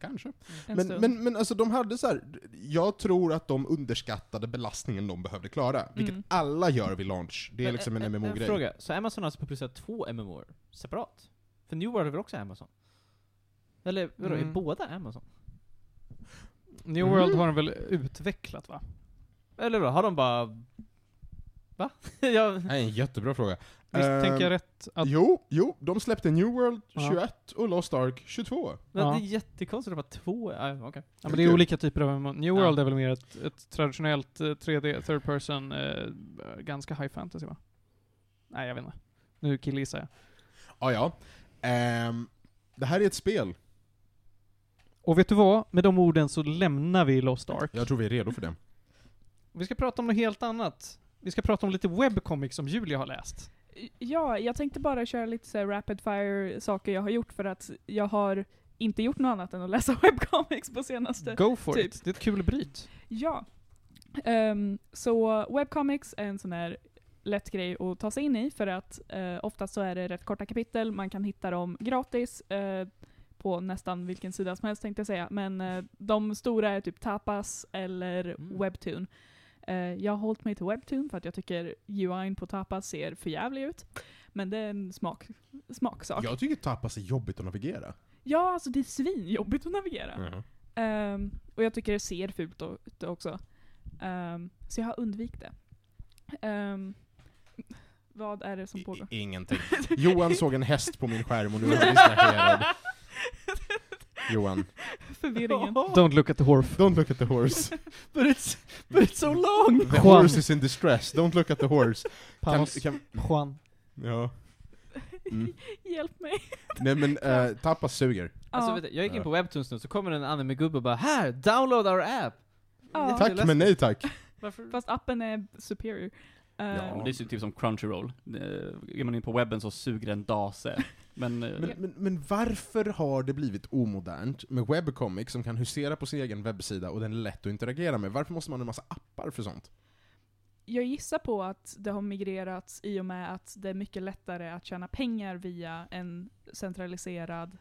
A: kanske.
B: En
A: Men,
B: stund.
A: men, men alltså de hade så här. jag tror att de underskattade belastningen de behövde klara, vilket
B: Mm.
A: alla gör vid launch. Det är liksom en
I: En
A: MMO-grej.
I: Eh, fråga. Så Amazon har alltså publicerat två MMOer separat? För New World är väl också Amazon? Eller vadå,
F: Mm.
I: är båda Amazon?
F: New World har de väl utvecklat va?
I: Eller vadå, har de bara... Va? jag,
A: Nej, en jättebra fråga.
F: Visst
A: Ehm,
F: tänker jag rätt? Att,
A: Jo, jo, de släppte New World
F: Ja.
A: 21 och Lost Ark 22.
I: men
F: Ja.
I: Det är jättekonstigt att de har två... Ja, okej.
F: ja, men det är olika typer av MMO. New
I: Ja.
F: World är väl mer ett, ett traditionellt eh, 3D, third person, eh, ganska high fantasy va? Nej, jag vet inte. Nu killgissar jag.
A: Ah, ja. Ehm, det här är ett spel.
F: Och vet du vad? Med de orden så lämnar vi Lost Ark.
A: Jag tror vi är redo för det.
F: Vi ska prata om något helt annat. Vi ska prata om lite webcomics som Julia har läst.
B: Ja, jag tänkte bara köra lite så här rapid fire saker jag har gjort för att jag har inte gjort något annat än att läsa webcomics på senaste.
F: Go for
B: Typ.
F: it. Det är ett kul bryt.
B: Ja. Ehm, så webcomics är en sån här lätt grej att ta sig in i för att eh, oftast så är det rätt korta kapitel, man kan hitta dem gratis eh, på nästan vilken sida som helst tänkte jag säga. Men eh, de stora är typ Tapas eller
I: Mm.
B: Webtoon. Eh, jag har hållit mig till Webtoon för att jag tycker UI'n på Tapas ser för jävlig ut. Men det är en smak, smaksak. Ja,
A: Jag tycker tapas är jobbigt att navigera.
B: alltså det är svinjobbigt att navigera.
A: Mm.
B: Ehm, och jag tycker det ser fult o- ut också. Ehm, så jag har undvikit det. Ehm, vad är det som
A: I-
B: pågår?
A: i- Ingenting. Johan såg en häst på min skärm och nu är han distraherad. Johan.
B: Förvirringen.
F: Don't look at the horf.
A: Don't look at the horse.
I: But it's, but it's so long!
A: The
F: Juan.
A: horse is in distress. Don't look at the horse. Kan,
F: Paus.
A: kan,
F: Juan.
A: ja. Mm.
B: Hjälp mig.
A: Nej men, eh, tapas suger.
I: Alltså,
B: Ja.
I: vet du, jag gick in
A: Ja.
I: på Webtoons nu, så kommer en anime-gubbe och bara 'Här! Download our app!'
B: Ja.
I: Tack.
A: Tack men nej tack.
I: Varför?
B: Fast appen är superior. Ehm,
A: Ja.
E: Det är ju typ som Crunchyroll. Eh, Är man in på webben så suger den dase. Men, eh,
A: Men, men, men varför har det blivit omodernt med webcomics som kan husera på sin egen webbsida och den är lätt att interagera med? Varför måste man ha en massa appar för sånt?
B: Jag gissar på att det har migrerats i och med att det är mycket lättare att tjäna pengar via en centraliserad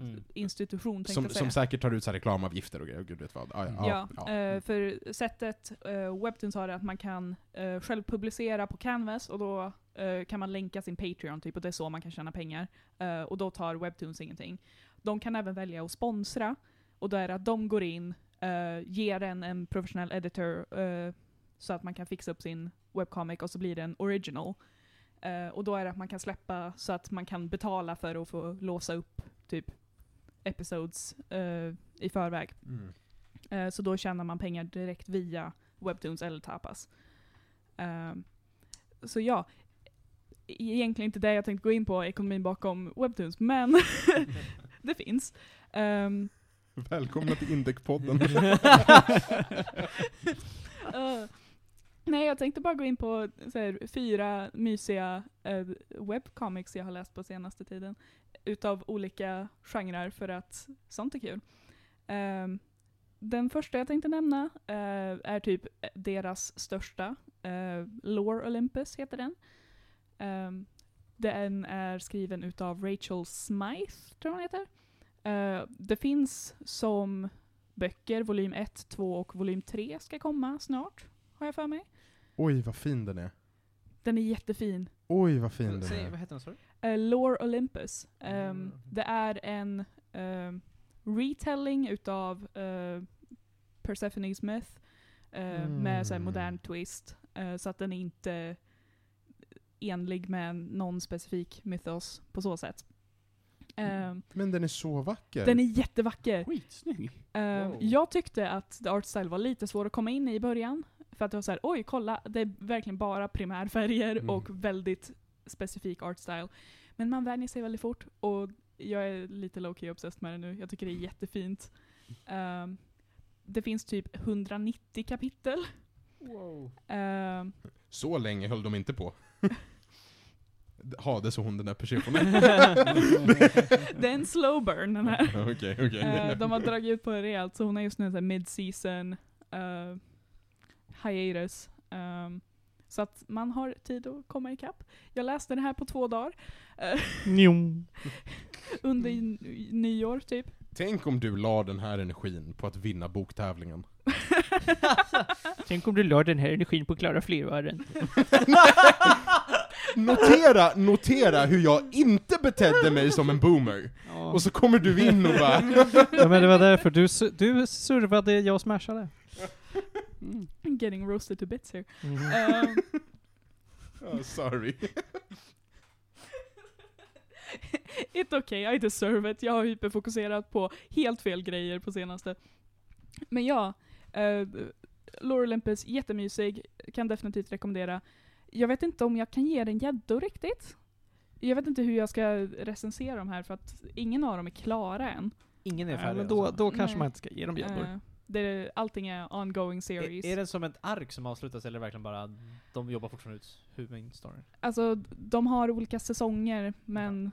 I: Mm.
B: institution. tänkte
A: Som,
B: jag säga.
A: som säkert tar ut så här reklamavgifter och grejer, och gud vet vad. Ah, ja,
B: Ja,
A: ja, ja.
B: eh, för sättet uh, Webtoons har är att man kan eh, själv publicera på Canvas och då eh, kan man länka sin Patreon typ och det är så man kan tjäna pengar. Eh, och då tar Webtoons ingenting. De kan även välja att sponsra och då är det att de går in, eh, ger en en professionell editor eh, så att man kan fixa upp sin webcomic och så blir det en original. Eh, och då är det att man kan släppa så att man kan betala för att få låsa upp typ episodes eh, i förväg.
A: Mm.
B: Eh, Så då tjänar man pengar direkt via Webtoons eller Tapas. Ehm, Så ja, E- egentligen inte det jag tänkte gå in på, ekonomin bakom Webtoons, men det finns. Ehm,
A: Välkomna till Indec-podden.
B: eh, nej, jag tänkte bara gå in på så här, fyra mysiga eh, webcomics jag har läst på senaste tiden. Utav olika genrer, för att sånt är kul. Ehm, den första jag tänkte nämna eh, är typ deras största. Eh, Lore Olympus heter den. Eh, den är skriven utav Rachel Smythe, tror jag hon heter. Eh, det finns som böcker, volym 1, 2 och volym 3 ska komma snart, har jag för mig.
A: Oj, vad fin den är.
B: Den är jättefin.
A: Oj, Mm, vad fin den
I: Säg,
A: är.
I: vad heter den sa du?
B: Eh, Lore Olympus. Ehm,
I: Mm.
B: Det är en ehm, retelling utav eh, Persephone's myth eh, med så här,
A: Mm.
B: modern twist. eh, så att den är inte enlig med någon specifik mythos på så sätt. Ehm,
A: Men den är så vacker.
B: den är jättevacker.
E: Skitsnygg.
B: Ehm,
I: Wow.
B: Jag tyckte att The Art Style var lite svår att komma in i i början. För att det var så här, oj kolla, det är verkligen bara primärfärger
A: Mm.
B: och väldigt specifik art style. Men man vänjer sig väldigt fort och jag är lite low-key obsessed med det nu. Jag tycker det är jättefint. Ehm, det finns typ 190 kapitel. Ehm,
A: Så länge höll de inte på. Hade så hon den där Persefone.
B: det är en slow burn den här.
A: Okej, okej.
B: Eh, de har dragit ut på det rejält, så hon är just nu så här mid-season eh, hiatus. Ehm, så att man har tid att komma ikapp. Jag läste det här på två dagar. eh,
F: Njom.
B: under n- nyår typ.
A: Tänk om du la den här energin på att vinna boktävlingen.
F: Tänk om du la den här energin på att klara flervarven.
A: Notera, notera hur jag inte betedde mig som en boomer.
F: Ja.
A: Och så kommer du in och bara...
F: ja, men det var därför du, su- du servade, jag smashade.
E: Mm.
B: Getting roasted to bits here.
F: Mm.
B: Ehm,
A: Oh, sorry.
B: It's okay, I deserve it. Jag har hyperfokuserat på helt fel grejer på senaste. Men ja, uh, Laura Olympus, jättemysig. Kan definitivt rekommendera. Jag vet inte om jag kan ge den gäddor riktigt. Jag vet inte hur jag ska recensera de här för att ingen av dem är klara än.
I: Ingen är
F: Ja,
I: färdig.
F: men då,
I: alltså.
F: då kanske
B: Mm. Nej.
F: man inte ska ge dem gäddor.
B: Eh, det är, allting är ongoing series.
I: Är, är det som ett ark som avslutas eller är det verkligen bara de jobbar fortfarande ut huvudstoryn?
B: Alltså, de har olika säsonger, men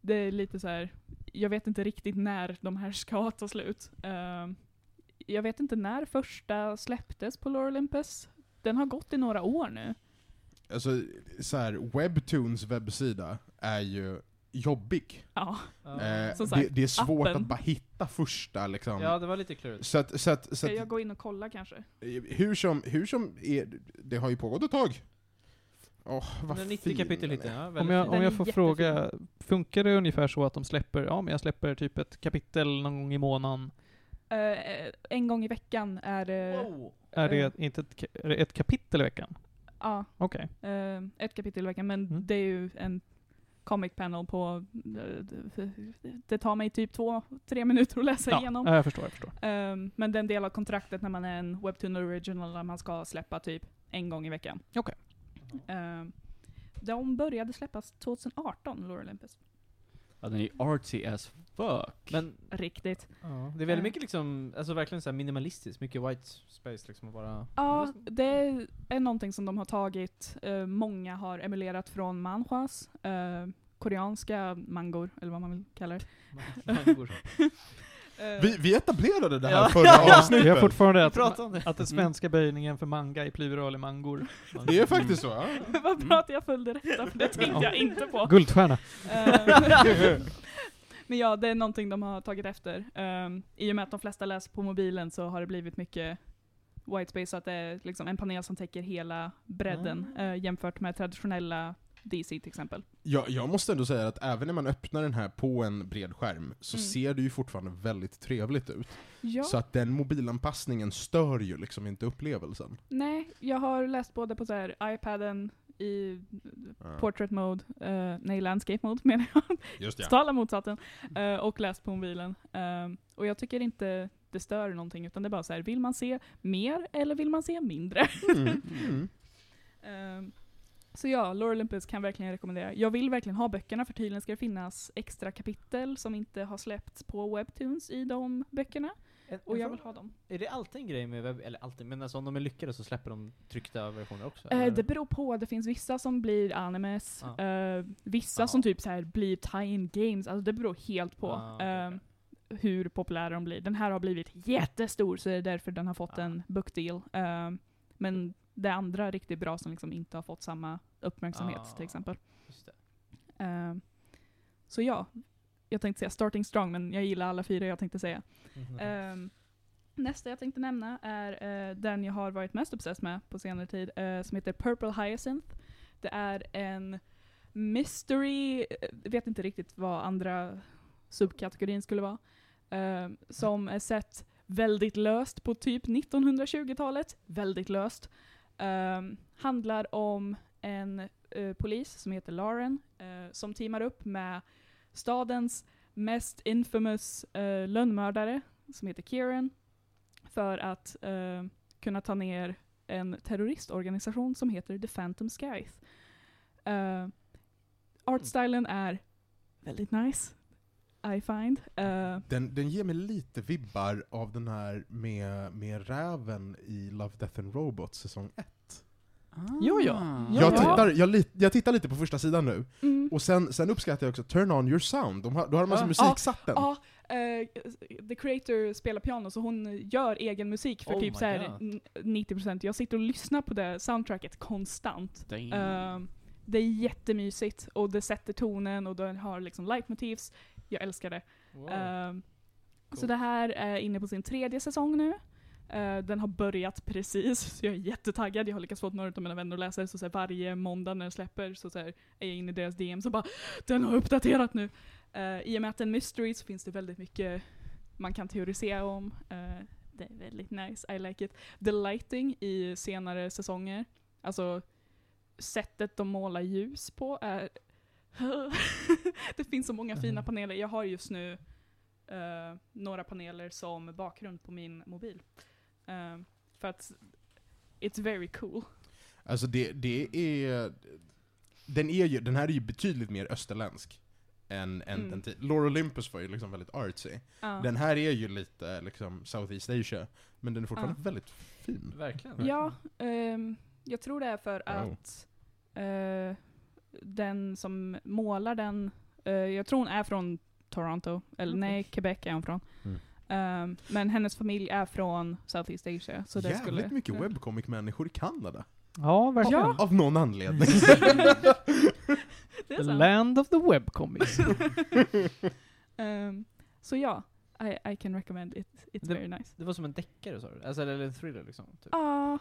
B: det är lite så här. jag vet inte riktigt när de här ska ta slut. Ehm, jag vet inte när första släpptes på Lore Olympus. Den har gått i några år nu.
A: Alltså, så här, Webtoons webbsida är ju jobbig.
B: Ja.
A: Eh,
B: Som
A: det,
B: sagt,
A: det är svårt
B: appen.
A: att bara hitta första liksom.
I: Ja, det var lite klurigt.
A: Så att, så att, så
B: Ska
A: att
B: jag gå in och kolla kanske?
A: Hur som, hur som är, det har ju pågått ett tag. Åh, vad fin
I: 90 kapitel
A: den
I: lite.
A: är.
I: Ja,
F: Om
I: väldigt
F: jag,
I: fint.
B: Den
F: om
B: är
F: jag får
B: jättefin.
F: fråga, funkar det ungefär så att de släpper, ja men jag släpper typ ett kapitel någon gång i månaden.
B: Eh, en gång i veckan är det,
I: Wow.
F: Är
B: Eh.
F: det inte ett, ka- är det ett kapitel i veckan?
B: ja,
F: Okej.
B: eh, ett kapitel i veckan, men
F: Mm.
B: det är ju en comic panel på, eh, det tar mig typ två, tre minuter att läsa
F: Ja,
B: igenom.
F: ja, jag förstår, jag förstår.
B: Ehm, men det är en del av kontraktet när man är en Webtoon Original där man ska släppa typ en gång i veckan.
F: Okej.
B: Ehm, de började släppas 2018, Lore Olympus.
E: Ja, den är ju artsy as fuck.
I: Men
B: Riktigt.
I: det är
B: Eh.
I: väldigt mycket liksom, alltså verkligen så här minimalistiskt, mycket white space liksom och bara...
B: Ja, det är någonting som de har tagit. eh, många har emulerat från manhwas, eh, koreanska mangor, eller vad man vill kalla det.
I: Mangor.
B: Eh,
A: Vi, vi etablerade det här
I: Ja.
A: förra
F: Vi har
A: avsnittet.
F: fortfarande att,
I: Prata om det.
F: att den svenska böjningen för manga i plural är mangor.
A: Det är faktiskt så. Ja.
B: Ehm, vad bra att jag följde rätta, för det tänkte jag inte på.
F: Guldstjärna.
B: Ehm, Men ja, det är någonting de har tagit efter. Ehm, I och med att de flesta läser på mobilen så har det blivit mycket white space, så att det är liksom en panel som täcker hela bredden eh, jämfört med traditionella DC till exempel.
A: Jag, jag måste ändå säga att även när man öppnar den här på en bred skärm så
B: Mm.
A: ser det ju fortfarande väldigt trevligt ut.
B: Ja,
A: Så att den mobilanpassningen stör ju liksom inte upplevelsen.
B: nej, jag har läst både på så här iPaden i
A: Ja,
B: portrait mode, eh, nej landscape mode menar jag,
A: Just ja.
B: totala motsatsen, eh, och läst på mobilen. Ehm, och jag tycker inte det stör någonting, utan det är bara så här, vill man se mer eller vill man se mindre?
A: Mm. Mm.
B: Ehm, Så ja, Lore Olympus kan verkligen rekommendera. Jag vill verkligen ha böckerna för tydligen ska det finnas extra kapitel som inte har släppts på Webtoons i de böckerna.
I: En-
B: Och
I: en fråga.
B: jag vill ha dem.
I: Är det alltid en grej med webb, eller alltid, men alltså om de är lyckade så släpper de tryckta versioner också?
B: Eh,
I: eller?
B: det beror på, det finns vissa som blir animes,
I: Ja.
B: eh, vissa
I: Ja.
B: som typ så här blir tie-in games, alltså det beror helt på.
I: Ah, okej,
B: Ehm,
I: okej.
B: hur populära de blir. Den här har blivit jättestor, så det är därför den har fått
I: Ah.
B: en book deal. Eh, men det andra riktigt bra som liksom inte har fått samma uppmärksamhet
I: Ah.
B: till exempel.
I: Just det.
B: Eh, så ja, jag tänkte säga Starting Strong, men jag gillar alla fyra jag tänkte säga.
C: Mm,
I: Mm-hmm.
B: Ehm, nästa jag tänkte nämna är eh, den jag har varit mest obsessed med på senare tid, eh, som heter Purple Hyacinth. Det är en mystery, eh, jag vet inte riktigt vad andra subkategorin skulle vara, ehm, som är sett väldigt löst på typ 1920-talet. Väldigt löst. Ehm, handlar om en eh, polis som heter Lauren eh, som teamar upp med stadens mest infamous eh, lönnmördare som heter Kieran för att eh, kunna ta ner en terroristorganisation som heter The Phantom Skies. Eh,
I: Mm.
B: artstylen är väldigt nice, I find. Eh,
A: Den, den ger mig lite vibbar av den här med, med räven i Love, Death and Robots säsong 1.
F: Ja, ja. Ja,
A: jag,
F: ja.
A: tittar, jag, li, jag tittar lite på första sidan nu,
I: Oh,
B: mm.
A: och sen, sen uppskattar jag också Turn on your sound, De har, då har de alltså
B: Ja.
A: musiksatten.
B: Ja, eh, The Creator spelar piano så hon gör egen musik för
I: Oh
B: typ
I: my
B: så här
I: God.
B: n- 90%. Jag sitter och lyssnar på det soundtracket konstant.
I: Mm.
B: Ehm, det är jättemysigt och det sätter tonen och den har liksom leitmotivs. Jag älskar det.
I: Wow.
B: Ehm, Så
I: Coolt.
B: det här är inne på sin tredje säsong nu. Eh, den har börjat precis, så jag är jättetaggad. Jag har lyckats få några av mina vänner att läsa det, så, så här, varje måndag när den släpper så, så här, är jag inne i deras DM så bara "Ah, ”Den har uppdaterat nu!” Eh, I och med att det är en mystery så finns det väldigt mycket man kan teorisera om. Eh, det är väldigt nice, I like it. The lighting i senare säsonger, alltså sättet de målar ljus på är... det finns så många
A: Mm.
B: fina paneler. Jag har just nu eh, några paneler som bakgrund på min mobil. Eh, för att it's very cool.
A: Alltså det, det är... Den, är ju, den här är ju betydligt mer österländsk än, än
B: Mm.
A: den tid. Laura Olympus var ju liksom väldigt artsy.
B: Ja.
A: Den här är ju lite liksom Southeast Asia, men den är fortfarande väldigt fin.
I: Verkligen.
B: Ja, ehm, jag tror det är för
A: Wow.
B: att eh, den som målar den, eh, jag tror hon är från Toronto, eller nej, Quebec är hon från.
A: Mm.
B: Ehm, men hennes familj är från Southeast Asia. Så det
A: Jävligt
B: skulle, Mm.
A: mycket webcomic-människor i Kanada.
F: Ja, verkligen.
B: Ja.
A: Av någon anledning.
B: Det är
F: The
B: sant.
F: land of the webcomics.
B: Ehm, så ja, I, I can recommend it. It's
I: Det-
B: very nice.
I: Det var som en deckare sa du? Alltså, eller en thriller liksom? Typ.
B: Ja,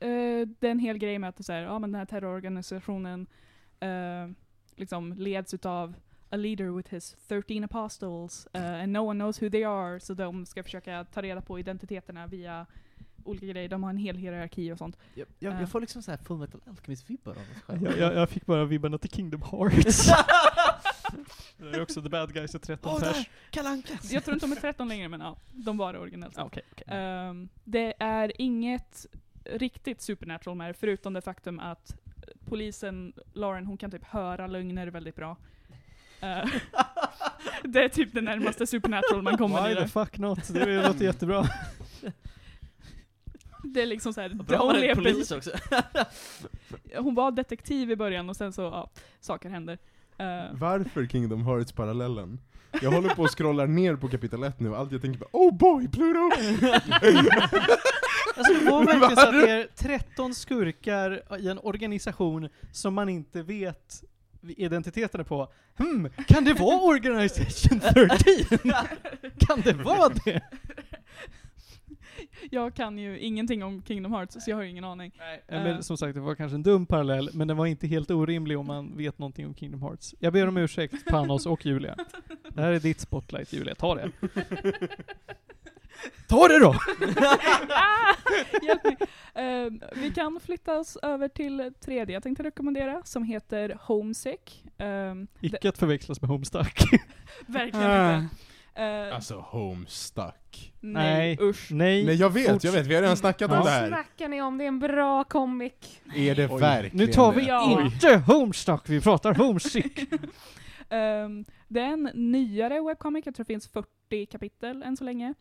B: eh, det är en hel grej med att det är så här, ja, men den här terrororganisationen eh, liksom leds utav a leader with his 13 apostles eh, and no one knows who they are. Så de ska försöka ta reda på identiteterna via olika grejer. De har en hel hierarki och sånt.
I: Jag, jag,
B: Ja.
I: jag får liksom såhär Fullmetal Alchemist-vibbar av det själv.
F: jag, jag, jag fick bara vibbarna till Kingdom Hearts. det är också the bad guys är 13
I: Åh,
F: pers.
I: där! Kalle Ankas!
B: Jag tror inte de är 13 längre men ja, de var det originellt.
F: Ja, Okej, okej.
B: Ehm, det är inget riktigt supernatural med det, förutom det faktum att polisen, Lauren, hon kan typ höra lögner väldigt bra. Eh, det är typ det närmaste supernatural man kommer
F: Why
B: i
F: the
B: det.
F: fuck not? Det låter jättebra.
B: Det är liksom såhär,
I: Bra var det
B: dåliga
I: en polis också.
B: pers- hon var detektiv i början och sen så, ja, saker händer. Eh,
A: Varför Kingdom Hearts-parallellen? Jag håller på och scrollar ner på kapitel 1 nu, allt jag tänker på Oh boy, Pluto!
F: Alltså det var verkligen så att det är 13 skurkar i en organisation som man inte vet identiteterna på. Hmm, kan det vara Organization 13? Kan det vara det?
B: jag kan ju ingenting om Kingdom Hearts, så jag har ju ingen aning.
F: Eller
B: Eh.
F: som sagt, det var kanske en dum parallell, men den var inte helt orimlig om man vet någonting om Kingdom Hearts. Jag ber om ursäkt, Panos och Julia. Det här är ditt spotlight, Julia. Ta det. Ta det då!
B: Ah! Hjälp mig. Ehm, vi kan flytta oss över till tredje jag tänkte rekommendera, som heter Homesick. Ehm,
F: Icke att förväxlas med Homestuck.
B: verkligen
E: Ah.
B: inte. Ehm,
A: Alltså, Homestuck.
B: nej, usch.
F: Nej.
A: Nej jag vet, jag vet, vi har redan snackat om
F: Ja.
A: det
G: Vad
A: här.
G: snackar ni om? Det är en bra comic.
A: Är det
F: Oj.
A: verkligen
F: Nu tar
A: det?
F: vi
B: Ja.
F: inte Homestuck, vi pratar Homesick.
B: Ehm, det är en nyare webcomic, jag tror det finns 40 kapitel än så länge.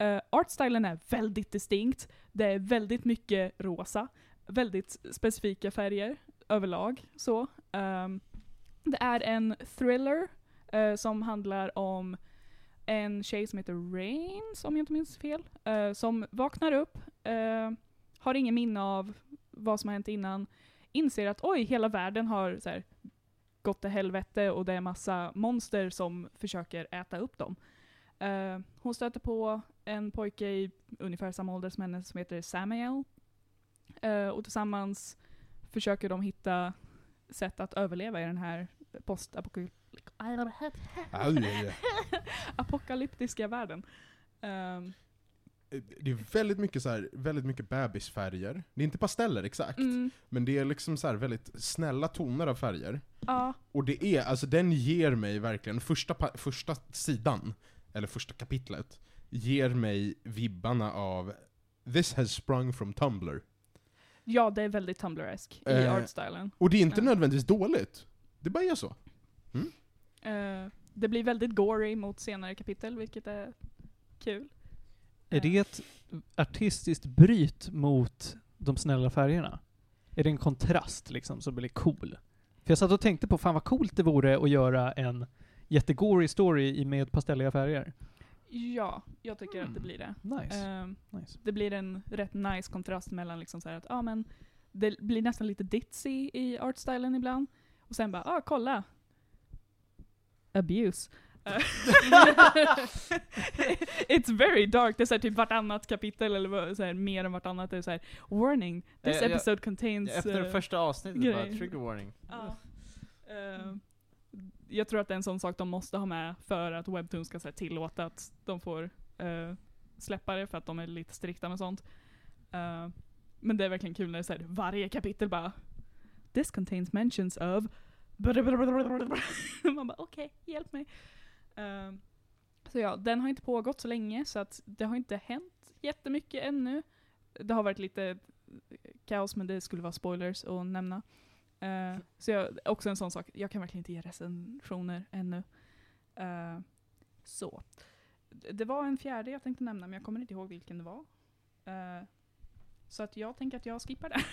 B: Eh, artstylen är väldigt distinkt. Det är väldigt mycket rosa. Väldigt specifika färger överlag. Så. Ehm, det är en thriller eh, som handlar om en tjej som heter Rains, om jag inte minns fel, eh, som vaknar upp, eh, har ingen minne av vad som har hänt innan, inser att oj, hela världen har så här, gått till helvete och det är massa monster som försöker äta upp dem. Eh, hon stöter på en pojke i ungefär samma ålder som henne som heter Samuel. Eh, och tillsammans försöker de hitta sätt att överleva i den här postapokalyptiska apokalyptiska världen. Ehm,
A: Det är väldigt mycket, så här, väldigt mycket bebisfärger. Det är inte pasteller exakt,
B: mm,
A: men det är liksom så här väldigt snälla toner av färger.
B: ja,
A: Och det är, alltså den ger mig verkligen, första, pa- första sidan, eller första kapitlet, ger mig vibbarna av This has sprung from Tumblr.
B: ja, det är väldigt Tumblr-esk i
A: Eh,
B: artstylen.
A: Och det är inte
B: Ja.
A: nödvändigtvis dåligt. Det bara är så.
B: Eh, det blir väldigt gory mot senare kapitel, vilket är kul.
F: Är det ett artistiskt bryt mot de snälla färgerna? Är det en kontrast liksom som blir cool? För jag satt och tänkte på, fan vad coolt det vore att göra en jättegory story i- med pastelliga färger.
B: Ja, jag tycker att det
F: Mm.
B: blir det.
F: Nice.
B: Ehm,
F: nice.
B: det blir en rätt nice kontrast mellan liksom så här att, ja men, det blir nästan lite ditzy i artstylen ibland. Och sen bara, ah kolla! Abuse. Eh, It's very dark, det är så här typ vartannat kapitel eller vad- så här, mer än vartannat. Det är så här, warning, this
C: Eh, jag-
B: episode contains...
C: Efter
B: eh,
C: första avsnittet bara,
B: grej.
C: trigger warning.
B: ja. Eh, jag tror att det är en sån sak de måste ha med för att Webtoon ska så här, tillåta att de får eh, släppa det för att de är lite strikta med sånt. Eh, men det är verkligen kul när det är så här, varje kapitel bara This contains mentions of Man bara okej, hjälp mig. Eh, så ja, den har inte pågått så länge så att det har inte hänt jättemycket ännu. Det har varit lite kaos men det skulle vara spoilers att nämna. Eh, så jag, också en sån sak, jag kan verkligen inte ge recensioner ännu. Eh, så. D- Det var en fjärde jag tänkte nämna, men jag kommer inte ihåg vilken det var. Eh, så att jag tänker att jag skippar det.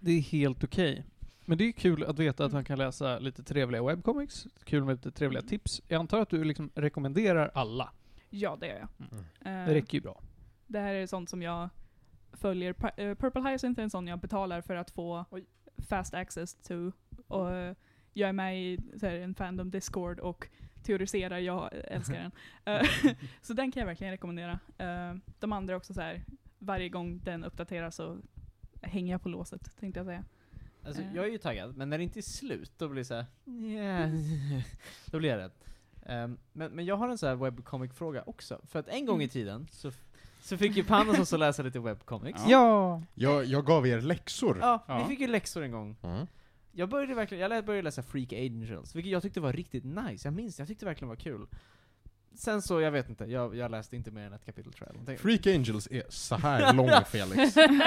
F: Det är helt okej. Men det är ju kul att veta att man kan läsa lite trevliga webcomics, kul med lite trevliga
B: Mm.
F: tips. Jag antar att du liksom rekommenderar alla.
B: ja, det gör jag. Eh,
F: Det räcker ju bra.
B: det här är sånt som jag följer. Pu- eh, Purple Hyacinth är en sån jag betalar för att få fast access to. Och eh, jag är med i så här, en Fandom Discord och teoriserar, jag älskar den. Eh, så den kan jag verkligen rekommendera. Eh, De andra är också så här, varje gång den uppdateras så hänger jag på låset, tänkte jag säga.
C: Alltså,
B: Eh.
C: jag är ju taggad, men när det inte är slut, då blir det såhär... Yeah. då blir jag rädd. Ehm, men, men jag har en sån här webcomic-fråga också. För att en gång i tiden så, så fick ju Pandas oss att läsa lite webcomics.
E: Ja.
F: Ja!
A: Jag, jag gav er läxor.
C: Ja,
E: Ja.
C: vi fick ju läxor en gång.
A: Mm.
C: Jag började verkligen, jag lä- började läsa Freak Angels, vilket jag tyckte var riktigt nice. Jag minns det, jag tyckte det verkligen var kul. Sen så, jag vet inte, jag, jag läste inte mer än ett kapitel tror jag. Någonting.
A: Freak Angels är så här lång Felix.
C: Men,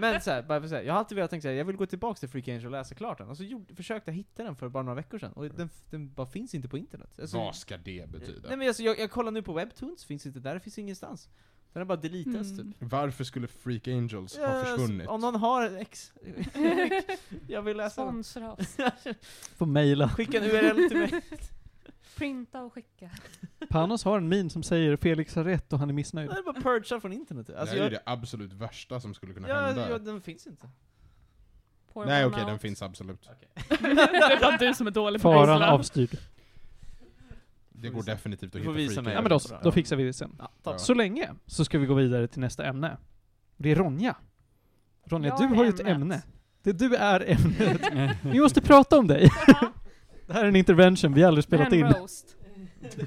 C: men så här, bara för att säga, jag har alltid velat tänka så här, jag vill gå tillbaka till Freak Angel och läsa klart den. Och så gjorde, försökte jag hitta den för bara några veckor sedan, och den, den bara finns inte på internet. Alltså,
A: Mm. Vad ska det betyda?
C: Nej men alltså, jag, jag kollar nu på Webtoons, finns inte där, finns ingenstans. Den har bara deletats
B: Mm.
C: typ.
A: Varför skulle Freak Angels
C: Ja,
A: ha
C: alltså,
A: försvunnit?
C: Om någon har ett ex. jag vill läsa den.
G: Sponsra oss.
F: Får mejla.
C: Skicka en URL till mig.
G: Printa och skicka.
F: Panos har en min som säger Felix har rätt och han är missnöjd.
C: Den är bara purgad från internet. Alltså,
A: det är
C: jag,
A: ju det absolut värsta som skulle kunna
C: Ja, alltså,
A: hända.
C: ja, den finns inte.
G: Pour
A: Nej
G: one
A: okej, den
G: out.
A: finns absolut.
B: det är bara du som är dålig på
F: Faran
B: Island.
F: avstyrd.
A: Det går definitivt att
C: Du
A: hitta
C: får visa
A: Freak
C: mig.
F: Ja men då,
A: Angels.
F: då fixar vi det sen.
C: Ja, ta
F: Så länge så ska vi gå vidare till nästa ämne. Det är Ronja. Ronja,
G: Jag
F: du
G: är
F: har ju ett
G: ämnet.
F: ämne. Det du är ämnet. Vi måste prata om dig. Det här är en intervention vi aldrig spelat
G: Men
F: in.
G: roast.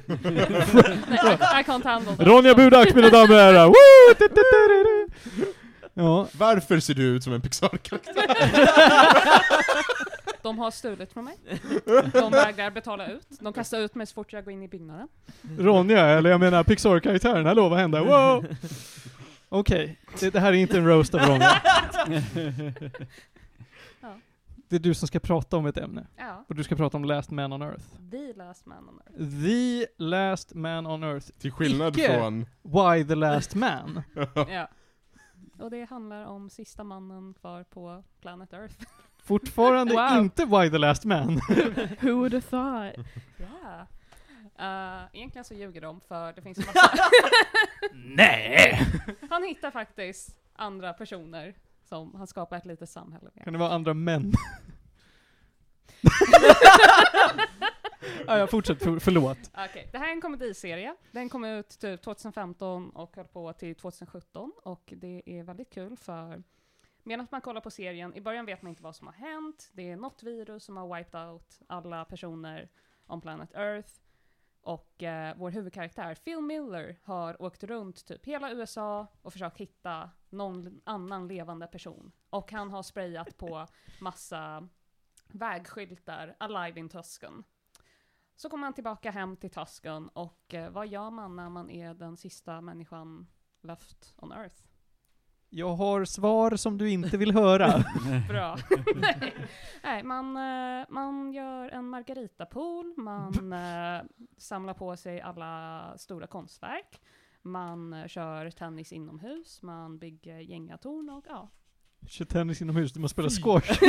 G: Nej, I, I can't handle that.
F: Ronja Budak, mina damer och herrar! Woo! Tu, tu, tu, tu, tu. Ja,
A: Varför ser du ut som en Pixar-karaktär?
G: De har stulit från mig. De vägrar betala ut. De kastar ut mig så fort jag går in i byggnaden.
F: Ronja, eller jag menar Pixar-karaktären, hallå vad hände? Wow! Okej, det, det här är inte en roast av Ronja.
G: Ja.
F: Det är du som ska prata om ett ämne.
G: Ja.
F: Och du ska prata om Last Man on Earth.
G: The last man on earth.
F: The Last Man on Earth.
A: Till skillnad
F: Icke.
A: från...
F: Why the Last Man?
G: Ja. Och det handlar om sista mannen kvar på planet Earth.
F: Fortfarande
B: Wow.
F: inte Why the Last Man.
B: Who would have thought?
G: Ja. Eh, egentligen så ljuger de för det finns en massa...
F: Nej!
G: han hittar faktiskt andra personer som han skapar ett litet samhälle med.
F: Kan det vara andra män? ja, jag fortsätter, för, förlåt.
G: Okej, det här är en komediserie. Den kom ut typ 2015 och höll på till 2017 och det är väldigt kul för medan man kollar på serien, i början vet man inte vad som har hänt. Det är något virus som har wiped out alla personer om planet Earth. Och eh, vår huvudkaraktär Phil Miller har åkt runt typ hela USA och försökt hitta någon annan levande person. Och han har sprayat på massa vägskyltar, Alive in Tusken. Så kommer han tillbaka hem till Tusken och eh, vad gör man när man är den sista människan left on earth?
F: Jag har svar som du inte vill höra.
G: Bra. Nej, Nej man, eh, man gör en margaritapool, man eh, samlar på sig alla stora konstverk, man eh, kör tennis inomhus, man bygger gängatorn och ja.
F: Kör tennis inomhus, du måste spela squash.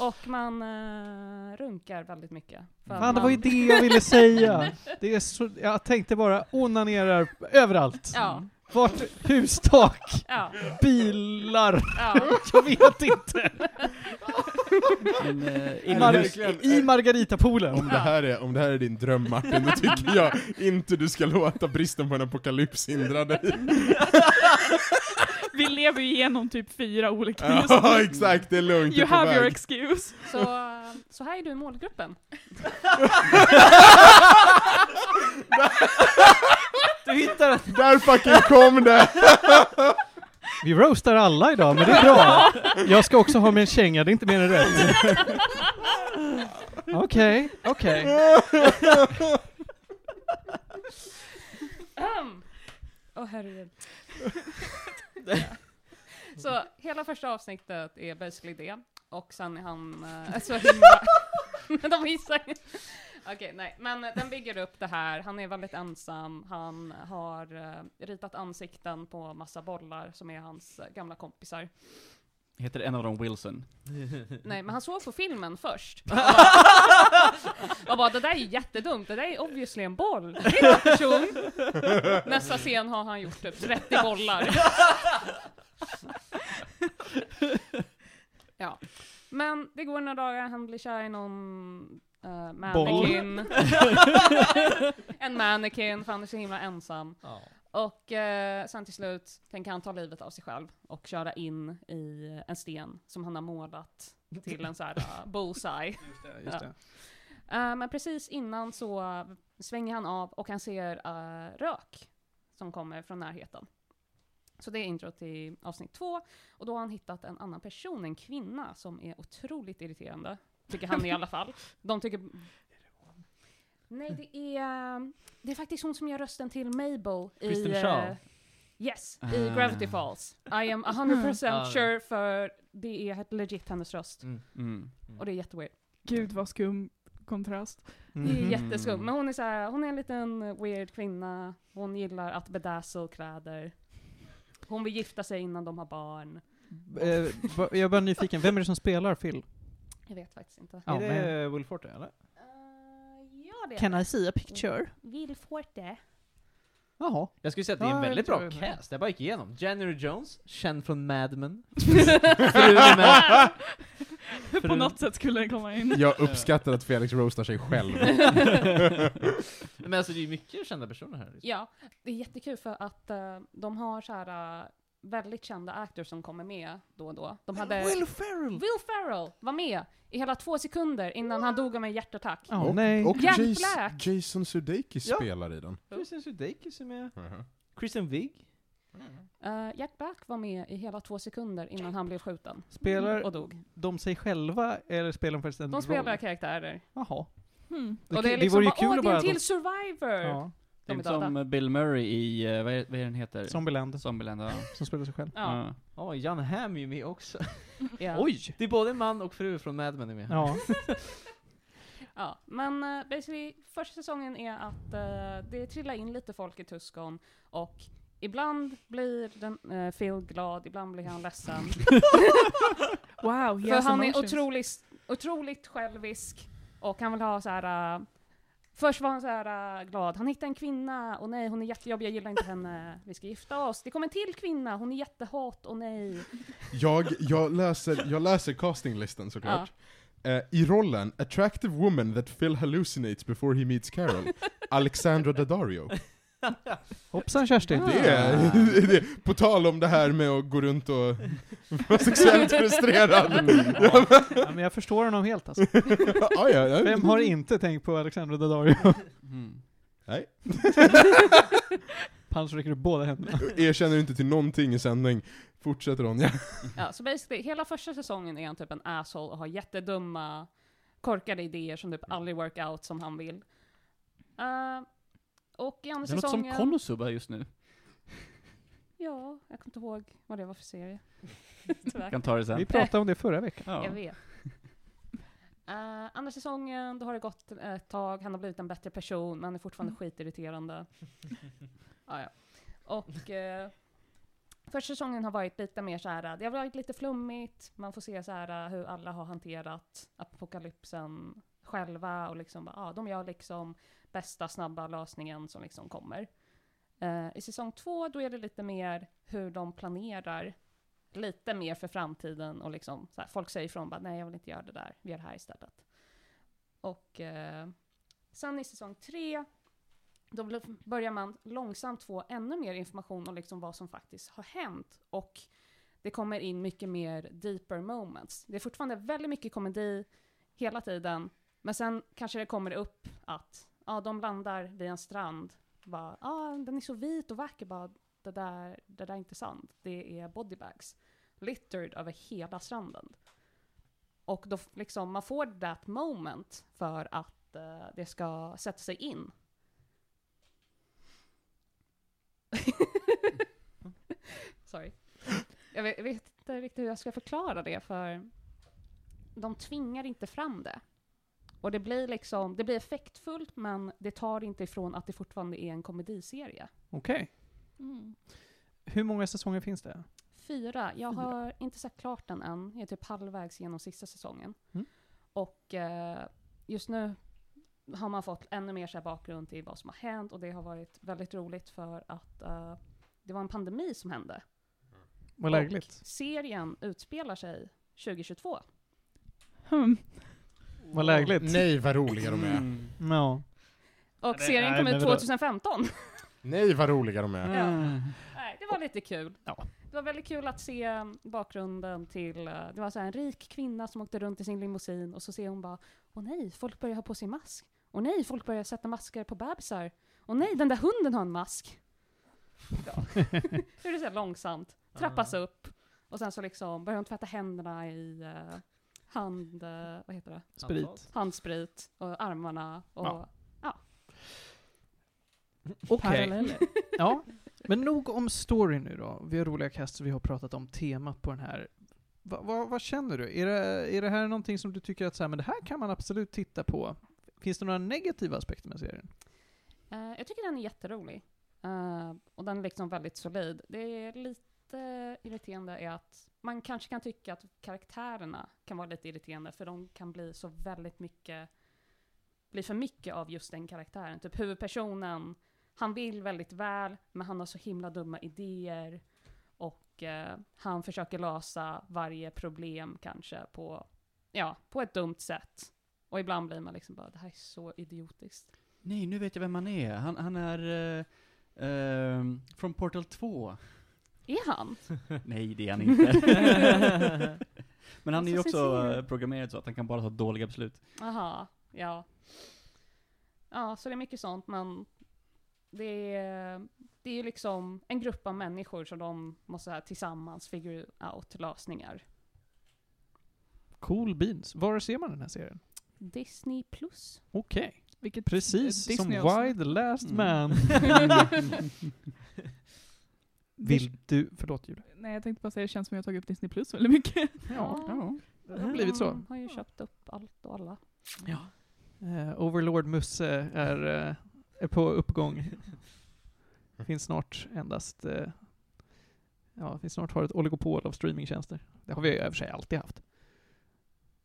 G: och man eh, runkar väldigt mycket. för att
F: Fan, det var ju
G: man-
F: det jag ville säga. Det är så, jag tänkte bara onanerar överallt.
G: Ja,
F: Vart, hustak,
G: ja,
F: bilar,
G: ja.
F: jag vet inte.
E: Men, eh,
F: I,
E: inomhus,
F: mar- i Margaritapoolen.
A: Om det, här är, om det här är din dröm Martin, då tycker jag inte du ska låta bristen på en apokalyps hindra dig.
B: Vi lever ju igenom typ fyra olika just nu.
A: Ja, exakt, det är lugnt, du
B: You
A: är på
B: have your
A: väg.
B: excuse.
G: Så, eh, så här är du i målgruppen.
F: Du hittar ett-
A: Där fucking kom det!
F: Vi roastar alla idag, men det är bra. Jag ska också ha med en känga, det är inte mer än rätt. Okej, okej.
G: Åh herregud. så hela första avsnittet är basically det. Och sen är han eh, så himla... Men de missar ju. Okej, nej. Men eh, den bygger upp det här. Han är väldigt ensam. Han har eh, ritat ansikten på massa bollar som är hans eh, gamla kompisar.
E: heter en av dem Wilson?
G: Nej, men han såg på filmen först. Och bara, och bara, det där är ju jättedumt. Det där är obviously en boll. Det är en person. Nästa scen har han gjort typ 30 bollar. Ja. Men det går några dagar, han blir kär i någon uh, mannequin. en mannequin, för han är så himla ensam. Och eh, sen till slut tänker han ta livet av sig själv och köra in i en sten som han har målat till en så här eh, bullseye.
I: Just
G: Ja.
I: det.
G: Eh, men precis innan så eh, svänger han av och han ser eh, rök som kommer från närheten. Så det är intro till avsnitt två. Och då har han hittat en annan person, en kvinna, som är otroligt irriterande. Tycker han i alla fall. De tycker... Nej, det är... Det är faktiskt hon som gör rösten till Mabel i...
I: Kristen
G: eh,
I: Shaw.
G: Yes, i
E: Ah.
G: Gravity Falls. I am 100%
I: Ah.
G: sure för det är legit hennes röst.
E: Mm.
G: Och det är jätteweird.
B: Gud vad skum kontrast.
G: Det är
F: Mhm.
G: jätteskum. Men hon är, så här, hon är en liten weird kvinna. Hon gillar att bedazzle kläder. Hon vill gifta sig innan de har barn.
F: Eh, va- jag är bara nyfiken, vem är det som spelar Phil?
G: Jag vet faktiskt inte.
F: Ja,
I: är det
F: men-
I: men... Will Forte eller?
G: Eh, ja, det
F: I see a picture?
H: Vill Forte.
F: Jaha.
I: Jag skulle säga att det är en
F: Ja, jag
I: väldigt
F: tror
I: bra
F: det.
I: cast, jag bara gick igenom. January Jones, känd från Mad Men. Frun är med.
B: På något sätt skulle den komma in.
A: Jag uppskattar att Felix roastar sig själv.
I: Men alltså det är ju mycket kända personer här. liksom.
G: Ja, det är jättekul för att eh, de har så här eh, väldigt kända actors som kommer med då och då. De hade... Will Ferrell! Will Ferrell var med i hela två sekunder innan han dog av en hjärtattack.
F: Ja, nej.
A: och
G: Jack
A: Jas-
G: Black.
A: Jason Sudeikis
I: Ja.
A: spelar i den.
I: Kristen Sudeikis är med.
A: Uh-huh.
I: Kristen Wiig.
G: Eh, Jack Black var med i hela två sekunder innan han blev skjuten
F: Spelar
G: och dog.
F: de sig själva, eller spelar de faktiskt en
G: De spelar
F: roll?
G: karaktärer.
F: Jaha.
B: Hmm.
F: Det,
G: och det,
F: det
G: är liksom
F: vore ju
G: bara,
F: kul
G: åh,
F: att
G: det är
F: bara...
G: en till survivor! Ja.
F: ja,
G: De är
E: Typ
G: döda.
E: som eh, Bill Murray i, eh, vad är, vad är den heter?
F: Zombieland,
E: Zombieland, ja.
F: som spelar sig själv.
G: Ja.
E: Ja.
I: Ja, Jan Hamm är ju med också.
G: Ja.
F: Oj!
I: Det är både man och fru från Mad Men är med.
F: Ja.
G: Men eh, basically, första säsongen är att eh, det trillar in lite folk i Tuskon och ibland blir den, eh, Phil glad, ibland blir han ledsen.
B: Wow,
G: För han är otroligt, otroligt självisk och han vill ha så här. eh, Först var han så här äh, glad, han hittade en kvinna, och nej hon är jättejobbig, jag gillar inte henne, vi ska gifta oss. Det kom en till kvinna, hon är jättehat, och nej.
A: Jag, jag, läser, jag läser castinglistan såklart. Eh, I rollen “Attractive woman that Phil hallucinates before he meets Carol” Alexandra Daddario.
F: Hoppsan Kerstin!
A: Det är, det är, på tal om det här med att gå runt och vara sexuellt frustrerad.
F: Ja, men jag förstår honom helt alltså.
A: ja, ja, ja.
F: Vem har inte tänkt på Alexandra Daddario?
E: Mm.
F: Pans räcker upp båda händerna.
A: Erkänner inte till någonting i sändning. Fortsätter hon. Ja.
G: Ja, så basically, hela första säsongen är han typ en asshole och har jättedumma, korkade idéer som typ aldrig work out som han vill. Eh, och i andra
E: Det låter som
G: säsongen...
E: Konosuba just nu.
G: ja, jag kommer inte ihåg vad det var för serie.
E: Jag
G: Tyvärr.
E: kan ta det
F: Vi
E: sen.
F: pratade om det förra veckan.
E: Ja.
G: Jag vet. Eh, andra säsongen, då har det gått ett tag, han har blivit en bättre person, men han är fortfarande skitirriterande. ah, ja. Och eh, första säsongen har varit lite mer så här, eh, det har varit lite flummigt, man får se så här eh, hur alla har hanterat apokalypsen själva och liksom, bara, ah, de gör liksom bästa snabba lösningen som liksom kommer. Eh, I säsong två, då är det lite mer hur de planerar lite mer för framtiden och liksom så här, folk säger ifrån bara nej jag vill inte göra det där, vi gör det här istället. Och eh, sen i säsong tre, då bl- börjar man långsamt få ännu mer information om liksom vad som faktiskt har hänt och det kommer in mycket mer deeper moments. Det är fortfarande väldigt mycket komedi hela tiden, men sen kanske det kommer upp att ja, de landar vid en strand, bara ja, den är så vit och vacker, bara det där, det där är inte sant, det är bodybags littered över hela stranden. Och då f- liksom, man får that moment för att eh, det ska sätta sig in. Sorry. Jag vet, jag vet inte riktigt hur jag ska förklara det, för de tvingar inte fram det. Och det blir liksom, det blir effektfullt, men det tar inte ifrån att det fortfarande är en komediserie.
F: Okej. Hur många säsonger finns det?
G: Fyra. Jag
F: Fyra.
G: har inte sett klart den än. Jag är typ halvvägs genom sista säsongen.
F: Mm.
G: Och eh, just nu har man fått ännu mer så här bakgrund till vad som har hänt och det har varit väldigt roligt för att eh, det var en pandemi som hände.
F: Vad lägligt.
G: Och serien utspelar sig 2022.
B: Hmm.
F: Vad lägligt.
A: Nej vad roliga de är.
E: Mm.
F: Ja.
G: Och
F: det-
G: serien
F: nej,
G: kom
F: men
G: ut
F: vadå?
G: 2015.
A: Nej vad roliga de
F: Mm.
A: är.
G: Ja. Nej, det var lite kul.
F: Ja.
G: Det var väldigt kul att se eh, bakgrunden till, eh, det var så här en rik kvinna som åkte runt i sin limousin och så ser hon bara, åh nej, folk börjar ha på sig mask. Åh nej, folk börjar sätta masker på bebisar. Åh nej, den där hunden har en mask. Ja. Hur det så här långsamt, trappas upp. Och sen så liksom börjar hon tvätta händerna i eh, hand, eh, vad heter det?
F: Sprit.
G: handsprit och armarna. Och,
F: Ja.
G: Paralleller.
F: Ja. Men nog om story nu då. Vi har roliga kast och vi har pratat om temat på den här. Va, va, vad känner du? Är det, är det här någonting som du tycker att så här, men det här kan man absolut titta på? Finns det några negativa aspekter med serien?
G: Eh, jag tycker den är jätterolig. Eh, och den är liksom väldigt solid. Det är lite irriterande är att man kanske kan tycka att karaktärerna kan vara lite irriterande för de kan bli så väldigt mycket, bli för mycket av just den karaktären. Typ huvudpersonen, han vill väldigt väl men han har så himla dumma idéer och eh, han försöker lösa varje problem kanske på, ja, på ett dumt sätt. Och ibland blir man liksom bara, det här är så idiotiskt.
E: Nej, nu vet jag vem han är. Han, han är... eh, eh, från Portal 2.
G: Är han?
E: Nej, det är han inte. Men han är ju
G: Alltså,
E: också
G: Cecilia.
E: eh, programmerad så att han kan bara ta dåliga beslut.
G: Aha, ja. Ja, så det är mycket sånt, men det är, det är ju liksom en grupp av människor som de måste så här, tillsammans figure out lösningar.
F: Cool beans. Var ser man den här serien?
G: Disney plus.
F: Okej.
B: Vilket
F: Precis
B: eh,
F: som
B: Disney också.
F: Why the Last
E: Mm.
F: Man. Vill du... Förlåt Julia.
B: Nej, jag tänkte bara säga det känns som jag har tagit upp Disney Plus väldigt mycket.
F: Mm.
G: Ja,
F: Det har blivit så.
G: De har ju köpt upp allt och alla.
F: Eh, Overlord Musse är, eh, är på uppgång. finns snart endast... eh, ja, finns snart har ett oligopol av streamingtjänster. Det har vi i och för sig alltid haft.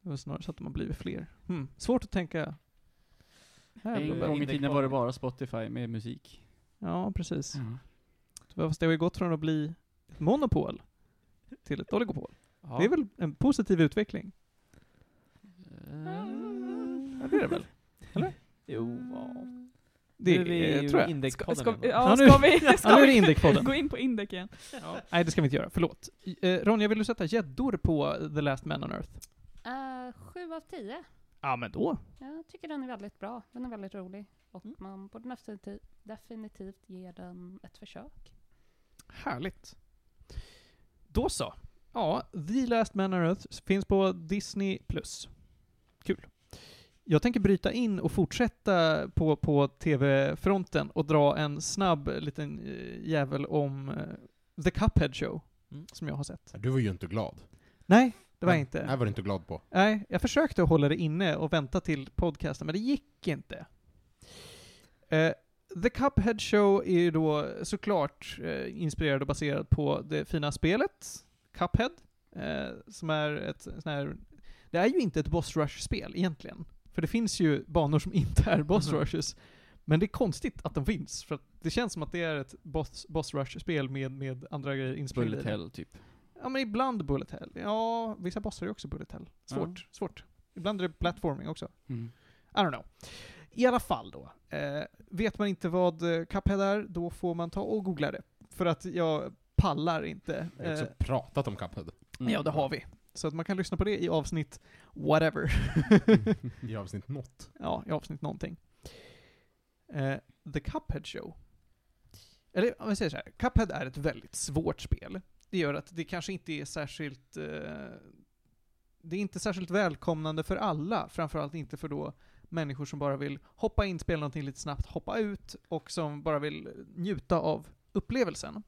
F: Det var snarare så att de har blivit fler. Hmm. Svårt att tänka
E: En
F: Jävla-
E: gång i
C: Index
E: tiden var det
C: kvar.
E: bara Spotify med musik.
F: Ja, precis.
I: Mm.
F: Tyvärr, Fast det har ju gått från att bli ett monopol till ett oligopol.
E: Ja.
F: Det är väl en positiv utveckling? Ja, det är det väl?
I: Eh,
A: Oh,
I: Jo, ja.
F: Det
I: Nu är vi
F: är,
I: ju
F: tror jag.
I: Indexpodden
B: Ska,
I: ändå.
B: ja,
F: Ja, nu-
B: ska vi,
F: Ja, nu
B: ska
F: är det
B: vi
F: Indicpodden.
B: gå in på Indec igen?
F: Nej, det ska vi inte göra. Förlåt. Eh, Ronja, vill du sätta gäddor på The Last Man on Earth?
G: Eh, Sju av tio.
F: Ja, men då.
G: Jag tycker den är väldigt bra. Den är väldigt rolig. Och man borde definitivt, definitivt ge den ett försök.
F: Härligt. Då så. Ja, The Last Man on Earth finns på Disney+. Kul. Jag tänker bryta in och fortsätta på, på TV-fronten och dra en snabb liten eh, jävel om eh, The Cuphead Show,
I: Mm.
F: som jag har sett.
A: Du var ju inte glad.
F: Nej, det var jag
A: Nej,
F: inte.
A: Det här var du inte glad på.
F: Nej, jag försökte att hålla det inne och vänta till podcasten, men det gick inte. Eh, The Cuphead Show är ju då såklart eh, inspirerad och baserad på det fina spelet Cuphead, eh, som är ett sånt här... Det är ju inte ett Boss Rush-spel egentligen, för det finns ju banor som inte är Boss
I: Mhm.
F: Rushes, men det är konstigt att de finns, för att det känns som att det är ett Boss, boss Rush-spel med, med andra grejer inspelade. i
E: Bullet
F: det.
E: Hell, typ.
F: Ja, men ibland bullet hell. Ja, vissa bossar är också bullet hell. Svårt, svårt. Ibland är det platforming också. I don't know. I alla fall då. Eh, vet man inte vad eh, Cuphead är, då får man ta och googla det. För att jag pallar inte.
A: Vi har
F: Eh,
A: också pratat om Cuphead
F: Ja, det har vi. Så att man kan lyssna på det i avsnitt whatever.
A: i avsnitt något.
F: ja, i avsnitt någonting. Eh, The Cuphead Show. Eller om jag säger så här, Cuphead är ett väldigt svårt spel. Det gör att det kanske inte är särskilt... Eh, det är inte särskilt välkomnande för alla, framförallt inte för då människor som bara vill hoppa in, spela någonting lite snabbt, hoppa ut och som bara vill njuta av upplevelsen.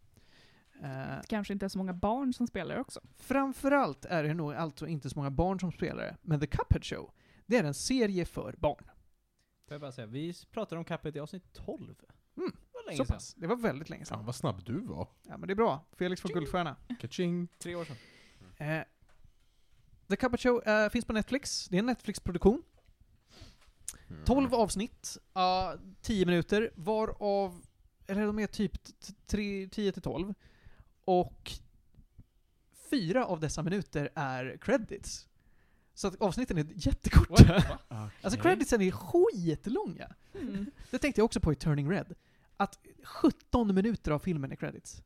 F: Eh,
B: Kanske inte så många barn som spelar också.
F: Framförallt är det nog alltså inte så många barn som spelar det, men The Cuphead Show, det är en serie för barn.
I: Får jag bara säga, vi pratade om Cuphead i avsnitt 12.
F: Mm,
I: Det var länge
F: Så
I: sedan.
F: pass. Det var väldigt länge
A: Fan
F: sedan.
A: vad snabb du var.
F: Ja, men det är bra. Felix får guldstjärna.
A: Kaching.
I: Tre år sedan.
F: Eh, The Cuphead Show eh, finns på Netflix. Det är en Netflix-produktion.
E: Mm.
F: 12 avsnitt, ah, 10 minuter, varav, eller de är typ t- t- tre- 10 till 12. Och fyra av dessa minuter är credits. Så att avsnitten är jättekorta. Alltså creditsen är skitlånga.
B: Mm.
F: Det tänkte jag också på i Turning Red. Att 17 minuter av filmen är credits.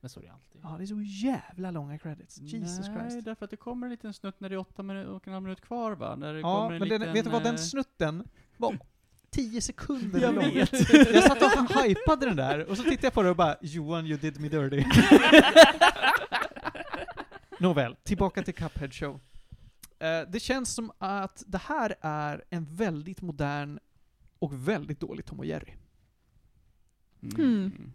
I: Men så är det alltid.
F: Ja, det är så jävla långa credits. Jesus
E: Nej,
F: Christ.
E: därför att det kommer en liten snutt när det är åtta minu- och en halv minut kvar va? När det
F: Ja,
E: kommer
F: men
E: en
F: den,
E: liten,
F: vet du vad den
E: eh,
F: snutten var? 10 sekunder
E: Jag
F: lång.
E: vet.
F: Jag satt och hypade den där och så tittade jag på det och bara Johan, you did me dirty. Nåväl, tillbaka till Cuphead Show. Eh, det känns som att det här är en väldigt modern och väldigt dålig Tom och Jerry. Mm.
B: Hmm.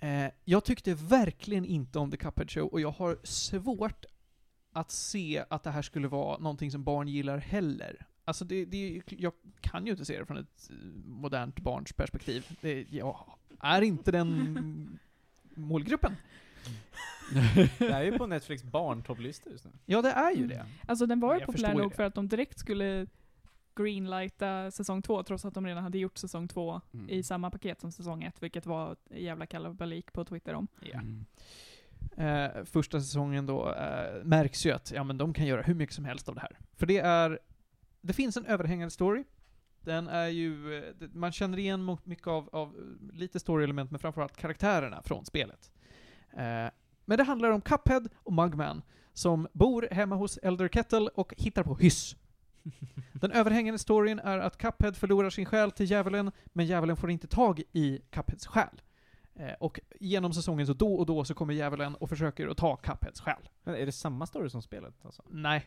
F: Eh, jag tyckte verkligen inte om The Cuphead Show och jag har svårt att se att det här skulle vara någonting som barn gillar heller. Alltså det, det, är ju- jag kan ju inte se det från ett eh, modernt barns perspektiv. Det, jag är inte den målgruppen.
I: Det här är ju på Netflix barntopplista just nu.
F: Ja, det är ju det.
B: Alltså den var ju
F: Jag
B: populär
F: förstår ju
B: nog
F: det.
B: för att de direkt skulle greenlighta säsong två trots att de redan hade gjort säsong två
E: Mm.
B: i samma paket som säsong ett, vilket var ett jävla kalabalik på Twitter om.
E: Mm.
F: Eh, första säsongen då eh, märks ju att ja, men de kan göra hur mycket som helst av det här. För det är... Det finns en överhängande story. Den är ju... eh, det- Man känner igen mo- mycket av, av eh, lite story-element, men framförallt karaktärerna från spelet. Eh, men det handlar om Cuphead och Mugman som bor hemma hos Elder Kettle och hittar på hyss. Den överhängande storyn är att Cuphead förlorar sin själ till djävulen, men djävulen får inte tag i Cupheads själ. Eh, Och genom säsongen så då och då så kommer djävulen och försöker att ta Cupheads själ.
I: Men är det samma story som spelet alltså?
F: Nej.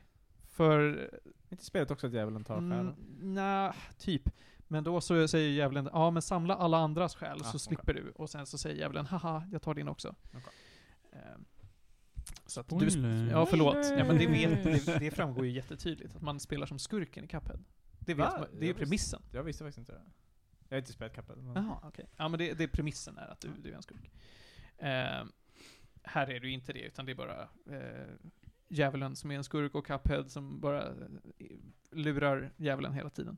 F: För...
I: Är inte spelet också att djävulen tar
F: Mm,
I: själen?
F: nja, typ. Men då så säger djävulen ja men samla alla andras själ
I: Ah,
F: så
I: okej.
F: slipper du. Och sen så säger djävulen haha, jag tar din också.
I: Okej.
F: Eh, Så att du, ja förlåt. Ja men det, vet, det,
I: Mm.
F: det framgår ju jättetydligt att man spelar som skurken i Cuphead. Det vet
I: Va?
F: man, det är ju
I: Jag visste-
F: premissen.
I: Jag visste faktiskt inte det. Jag har inte spelat Cuphead. Men...
F: Jaha, okej. Ja, men det, det är premissen är att du, du är en skurk. Eh, här är du inte det, utan det är bara eh, djävulen som är en skurk och Cuphead som bara eh, lurar djävulen hela tiden.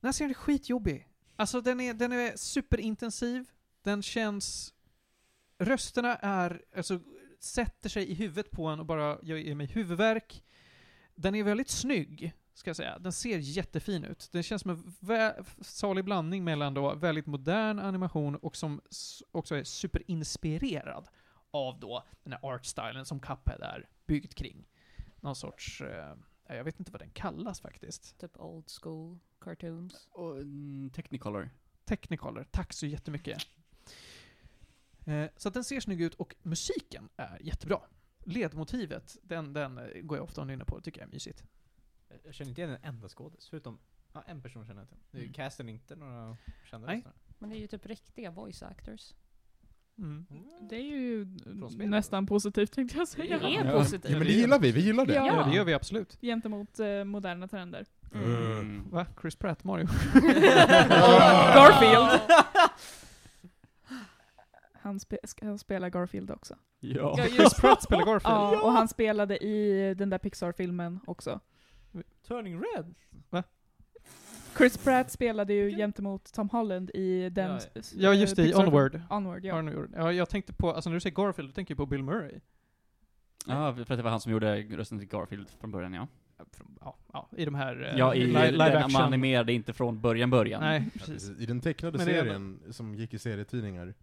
F: Den här serien är skitjobbig. Alltså den är, den är superintensiv, den känns... Rösterna är, alltså sätter sig i huvudet på en och bara ger mig huvudvärk. Den är väldigt snygg, ska jag säga. Den ser jättefin ut. Den känns som en vä- salig blandning mellan då väldigt modern animation och som s- också är superinspirerad av då den här artstylen som Cuphead är byggd kring. Någon sorts, eh, jag vet inte vad den kallas faktiskt.
G: Typ old school cartoons.
E: Och, mm, Technicolor.
F: Technicolor. Tack så jättemycket. Eh, så att den ser snygg ut och musiken är jättebra. Ledmotivet, den, den eh, går jag ofta och nynnar på. Det tycker jag är mysigt.
I: Jag känner inte igen en enda skådis, förutom ja, en person känner jag till. Det är ju
F: Mm.
I: casten inte några kända
F: Nej.
I: röster.
G: Men det är ju typ riktiga voice actors.
F: Mm.
B: Det är ju
I: spel,
B: nästan positivt tänkte jag
G: Det
B: säga.
G: är
E: Ja.
G: positivt.
A: Ja, men det gillar vi, vi gillar det.
B: Ja.
F: Ja, det gör vi absolut.
B: Gentemot eh, moderna trender.
E: Mm.
F: Va? Chris Pratt, Mario?
G: Garfield!
B: Han, spe ska- han spelar Garfield också.
E: Ja.
G: Ja,
F: Chris
G: just
F: Pratt spelar Garfield.
B: Ja, och han spelade i den där Pixar-filmen också.
I: Turning Red?
B: Chris Pratt spelade ju gentemot Tom Holland i den...
I: Ja,
B: s- s-
F: Ja, just det. I
B: Pixar-
F: Onward.
B: Onward, ja.
F: Arne gjorde- Eh, Ja, jag tänkte på, alltså när du säger Garfield, då tänker jag på Bill Murray.
E: Ja, för att det var han som gjorde rösten till Garfield från början ja.
F: Från- Ja, ja i de här... eh,
E: Ja, i
F: li-
E: den man animerade inte från början början.
F: Nej,
A: Ja, precis.
F: precis.
A: I den tecknade
F: Men det är-
A: serien som gick i serietidningar,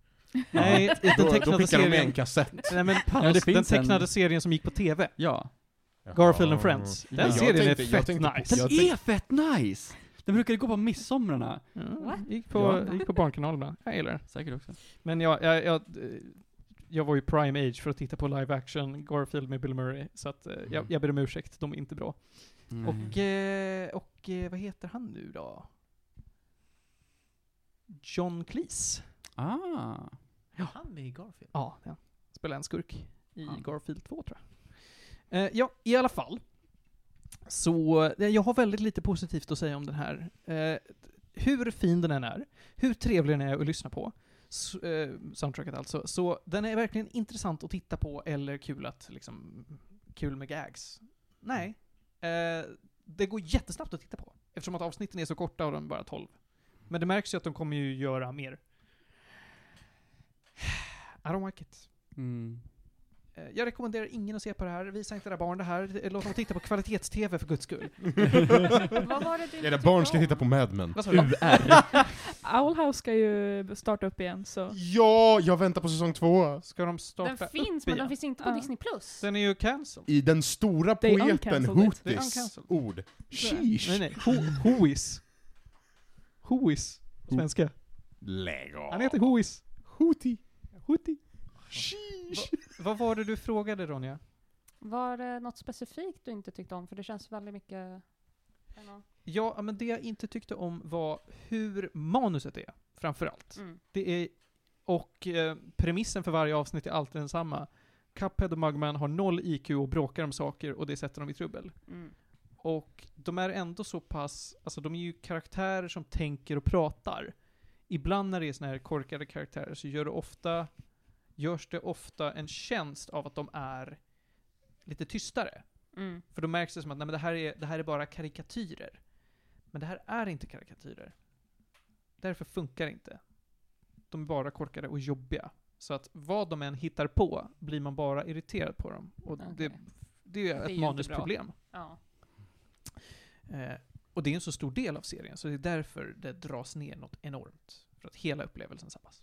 F: Nej, i
A: då,
F: den
A: då skickade
F: tecknade
A: de med
F: serien...
A: en kassett.
F: Nej men
E: Ja,
F: paus,
E: det
F: den
E: finns en-
F: tecknade serien som gick på TV.
E: Ja.
F: Garfield and Friends.
A: Ja.
F: Den
A: Jag
F: serien
A: tänkte-
F: är
A: jag
F: fett
A: tänkte på-
F: nice.
E: Den
A: Jag
E: är fett nice! Den brukade gå på midsomrarna.
F: Ja,
G: What?
F: gick på,
E: Ja.
F: gick på barnkanalen ibland. Jag gillar den.
E: Säkert också.
F: Men jag, jag, jag, eh, jag var ju prime age för att titta på live action Garfield med Bill Murray, så att eh,
A: Mm.
F: jag, jag ber om ursäkt, de är inte bra.
E: Mm.
F: Och, eh, och eh, vad heter han nu då? John Cleese.
E: ah.
I: Han med i Garfield?
F: Ja, ja. spelar en skurk i
E: Ja.
F: Garfield 2 tror jag. Eh, ja, i alla fall. Så eh, jag har väldigt lite positivt att säga om den här. Eh, hur fin den än är, hur trevlig den är att lyssna på, s- eh, soundtracket alltså, så den är verkligen intressant att titta på eller kul att liksom, kul med gags. Nej. Eh, det går jättesnabbt att titta på, eftersom att avsnitten är så korta och de är bara 12. Men det märks ju att de kommer ju göra mer. I don't like it.
E: Mm.
F: Eh, Jag rekommenderar ingen att se på det här. Visa inte era barn det här. Eh, Låt dem titta på kvalitets-TV för guds skull.
G: Vad var det du
A: Era
G: tyckte
A: barn ska
G: om?
A: titta på Mad Men.
F: Vad sa du?
B: Owl House ska ju starta upp igen, så...
A: Ja, jag väntar på säsong två!
F: Ska de starta
G: Den finns,
F: upp
G: men
F: igen?
G: den finns inte på
B: Ja.
G: Disney+. Plus.
F: Den är ju cancelled.
A: I den stora
B: They
A: poeten
B: uncancelled it.
F: They
A: Hootis
F: uncancelled.
A: ord. Sheesh!
F: Nej, nej. Ho- Hois. Hois. Svenska.
A: Lägg av!
F: Han heter Hois.
A: Hootie.
F: Huti.
A: Sheesh!
F: Vad var det du frågade Ronja?
G: Var det något specifikt du inte tyckte om? För det känns väldigt mycket...
F: Ja, men det jag inte tyckte om var hur manuset är, framförallt.
G: Mm.
F: Det är, och eh, premissen för varje avsnitt är alltid densamma. Cuphead och Mugman har noll IQ och bråkar om saker och det sätter dem i trubbel.
G: Mm.
F: Och de är ändå så pass, alltså de är ju karaktärer som tänker och pratar. Ibland när det är såna här korkade karaktärer så gör det ofta, görs det ofta en tjänst av att de är lite tystare.
G: Mm.
F: För då märks det som att nej, men det, här är, det här är bara karikatyrer. Men det här är inte karikatyrer. Därför funkar det inte. De är bara korkade och jobbiga. Så att vad de än hittar på blir man bara irriterad på dem. Och det,
G: Okej.
F: det är
G: är
F: ett
G: ju inte bra.
F: manusproblem.
G: Ja.
F: Eh, och det är en så stor del av serien, så det är därför det dras ner något enormt. För att hela upplevelsen sabpas.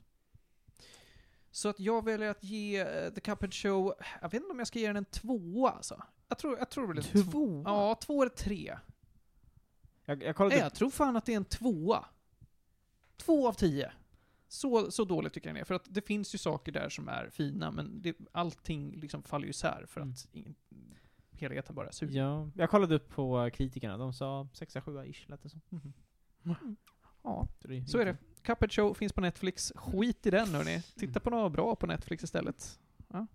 F: Så att jag väljer att ge eh, The Cuphead Show, jag vet inte om jag ska ge den en tvåa alltså. Jag tror, jag tror det blir en tvåa. Ja, två eller tre.
I: Jag, jag
F: Nej,
I: kollade
F: jag tror fan att det är en tvåa. Två av tio. Så, så dåligt tycker jag den är. För att det finns ju saker där som är fina, men det, allting liksom faller ju isär för
I: Mm.
F: att ingen, helheten bara suger.
I: Ja, jag kollade upp på kritikerna, de sa 6-7 ish lät det som.
F: Ja.
I: Så det,
F: Så är det. Cuphead Show finns på Netflix. Skit i den
E: Mm.
F: hörni. Titta på något bra på Netflix istället. Ja.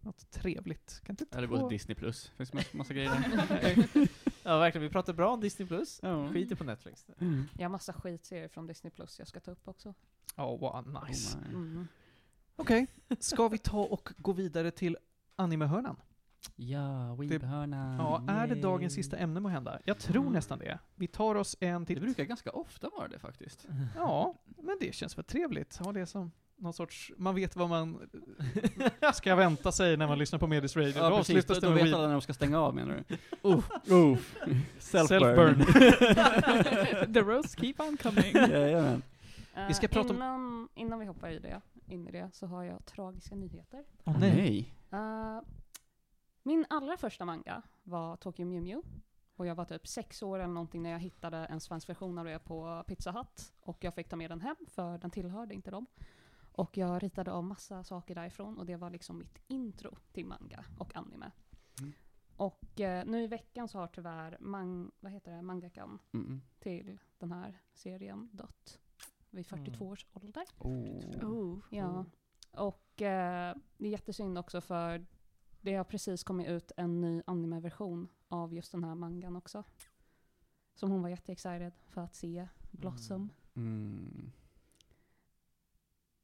F: Något trevligt. Kan titta
E: Eller gå
F: på...
E: till Disney+. Plus. Finns massa, massa grejer där.
I: Ja verkligen, vi pratar bra om Disney+. Plus.
E: Ja.
I: Skiter på Netflix.
G: Jag har massa skitserier från Disney+, Plus jag ska ta upp också.
F: Ja, vad nice.
E: Oh my.
G: Mm.
F: Okej, ska vi ta och gå vidare till animehörnan?
E: Ja, weebhörnan.
F: Ja, är det dagens
E: Mm. Yay. Mm.
F: sista ämne må hända? Jag tror nästan det. Vi tar oss en
E: Det
F: till.
E: brukar ganska ofta vara det faktiskt.
F: Ja, men det känns väl trevligt. Ha det som någon sorts... Man vet vad man ska vänta sig när man lyssnar på Medis Radio.
E: Ja,
F: Då
E: precis.
F: avslutas det
E: Då
F: med
E: vet alla
F: weeb-
E: när de ska stänga av menar du?
F: self-burn.
B: The roasts keep on coming.
E: Jajamän.
G: Eh,
F: Vi ska prata om-
G: innan, innan vi hoppar i det, in i det så har jag tragiska nyheter.
F: Åh
E: nej.
G: Eh, min allra första manga var Tokyo Mew Mew. Och jag var typ sex år eller någonting när jag hittade en svensk version av det på Pizza Hut. Och jag fick ta med den hem för den tillhörde inte dem. Och jag ritade av massa saker därifrån och det var liksom mitt intro till manga och anime.
E: Mm.
G: Och eh, nu i veckan så har tyvärr mang- vad heter det? mangakan
E: Mm.
G: till den här serien dött vid 42 års ålder.
B: Oh.
G: Ja. Och eh, det är jättesynd också för det har precis kommit ut en ny animeversion av just den här mangan också. Som hon var jätteexcited för att se, Blossom.
E: Mm.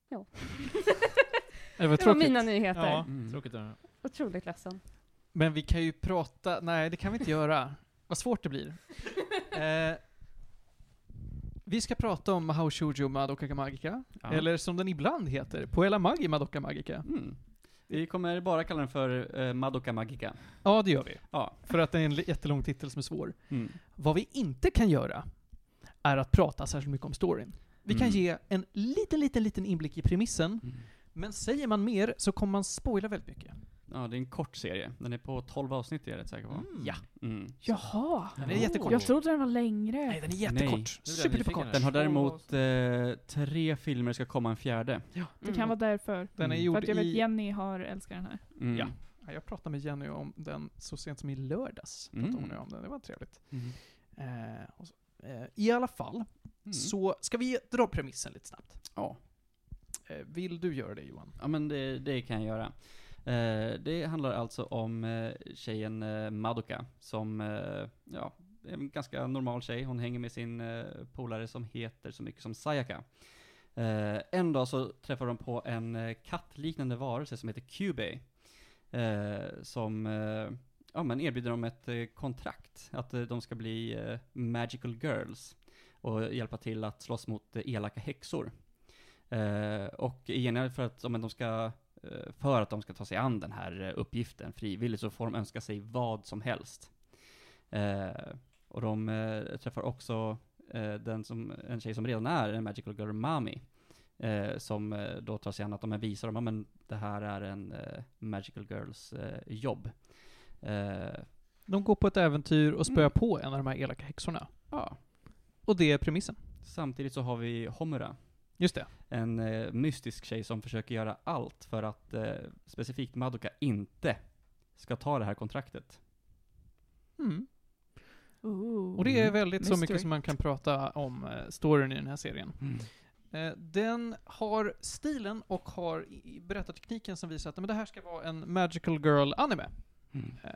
F: Det var
G: Det var
F: tråkigt.
G: mina nyheter.
F: Ja.
E: Mm.
I: Tråkigt att höra.
G: Otroligt ledsen.
F: Men vi kan ju prata... Nej, det kan vi inte göra. Vad svårt det blir. Eh, vi ska prata om How Shoujo Madoka Magica.
E: Ja.
F: Eller som den ibland heter, Puella Magi Madoka Magica.
E: Mm. Vi kommer bara kalla den för eh, Madoka Magica.
F: Ja, det gör vi.
E: Ja.
F: För att det är en li- jättelång titel som är svår.
E: Mm.
F: Vad vi inte kan göra är att prata särskilt mycket om storyn. Vi kan
E: Mm.
F: ge en liten, liten, liten inblick i premissen, men säger man mer så kommer man spoila väldigt mycket.
E: Ja, det är en kort serie. Den är på 12 avsnitt är jag rätt säker på.
F: Ja.
E: Mm.
B: Jaha.
F: Den är jättekort.
B: Jag trodde den var längre.
F: Nej, den är jättekort.
I: jag
F: Superduperkort.
I: nyfiken
E: Den har
I: Tolv
E: däremot eh, tre filmer, det ska komma en fjärde.
B: det kan vara därför.
F: Den är
E: Mm.
F: gjord
B: För att jag vet
F: i...
B: Jenny har älskat den här.
E: Mm.
F: Ja. Ja, Jag pratade med Jenny om den så sent som i lördags. Pratade hon
E: Mm.
F: om den. Det var trevligt.
E: Mm.
F: Eh, och så, eh, I alla fall,
E: Mm.
F: så ska vi dra premissen lite snabbt.
E: Ja.
F: Eh, vill du göra det Johan?
E: Ja men det, det kan jag göra. Eh, det handlar alltså om eh, tjejen eh, Madoka som, eh, ja, är en ganska normal tjej. Hon hänger med sin eh, polare som heter så mycket som Sayaka. Eh, en dag så träffar de på en eh, kattliknande varelse som heter Cubey. Eh, som eh, ja, men erbjuder dem ett eh, kontrakt, att eh, de ska bli eh, magical girls och hjälpa till att slåss mot eh, elaka häxor. Eh, och i gengäld för att, ja, men de ska, eh, för att de ska ta sig an den här eh, uppgiften frivilligt så får de önska sig vad som helst. Eh, och de eh, träffar också eh, den som, en tjej som redan är en Magical Girl Mami. Eh, som eh, då tar sig an att de här visar dem, ja men det här är en eh, Magical Girls eh, jobb. Eh,
F: De går på ett äventyr och spöar
E: Mm.
F: på en av de här elaka häxorna.
E: ja.
F: Och det är premissen.
E: Samtidigt så har vi Homura.
F: Just det.
E: en eh, mystisk tjej som försöker göra allt för att eh, specifikt Madoka inte ska ta det här kontraktet.
F: Mm.
B: Ooh.
F: Och det är väldigt så
B: Mystery.
F: mycket som man kan prata om eh, storyn i den här serien. Eh, Den har stilen och har i- i berättartekniken som visar att men det här ska vara en Magical Girl anime.
E: Mm.
F: Eh,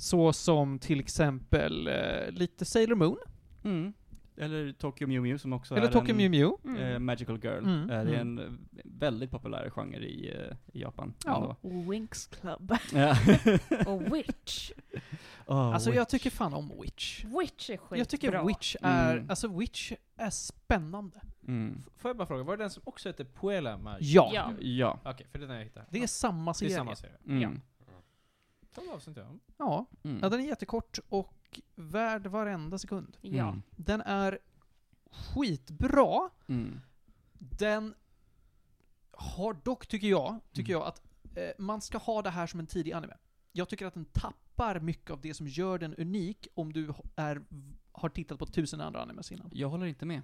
F: Så som till exempel eh, lite Sailor Moon,
E: Mm. Eller Tokyo Mew Mew som också
F: eller
E: är
F: Tokyo
E: en
F: Mew Mew.
G: Mm.
E: eh, magical girl.
F: Mm,
E: Eh, det är en eh, väldigt populär genre i, eh, i Japan.
F: Ja.
E: ändå.
B: Winx Club.
E: Ja.
G: Och Witch.
E: oh,
F: Alltså jag tycker fan om Witch.
G: Witch är skitbra.
F: Jag tycker Witch är,
E: Mm.
F: alltså Witch är spännande.
E: Mm.
I: F- Får jag bara fråga, var det den som också hette Puella Magi?
F: Ja.
G: Ja.
E: Ja.
I: Okej, för det är den jag hittade.
F: Det är samma
I: Det
F: serie.
I: är samma serie.
E: Mm.
G: Ja.
I: Tolv avsnitt ja.
F: Ja.
E: Mm.
F: ja, den är jättekort och värd varenda sekund.
G: Ja.
E: Mm.
F: Den är skitbra.
E: Mm.
F: Den har dock, tycker jag, tycker jag att eh, man ska ha det här som en tidig anime. Jag tycker att den tappar mycket av det som gör den unik om du är, har tittat på tusen andra animes innan.
E: Jag håller inte med.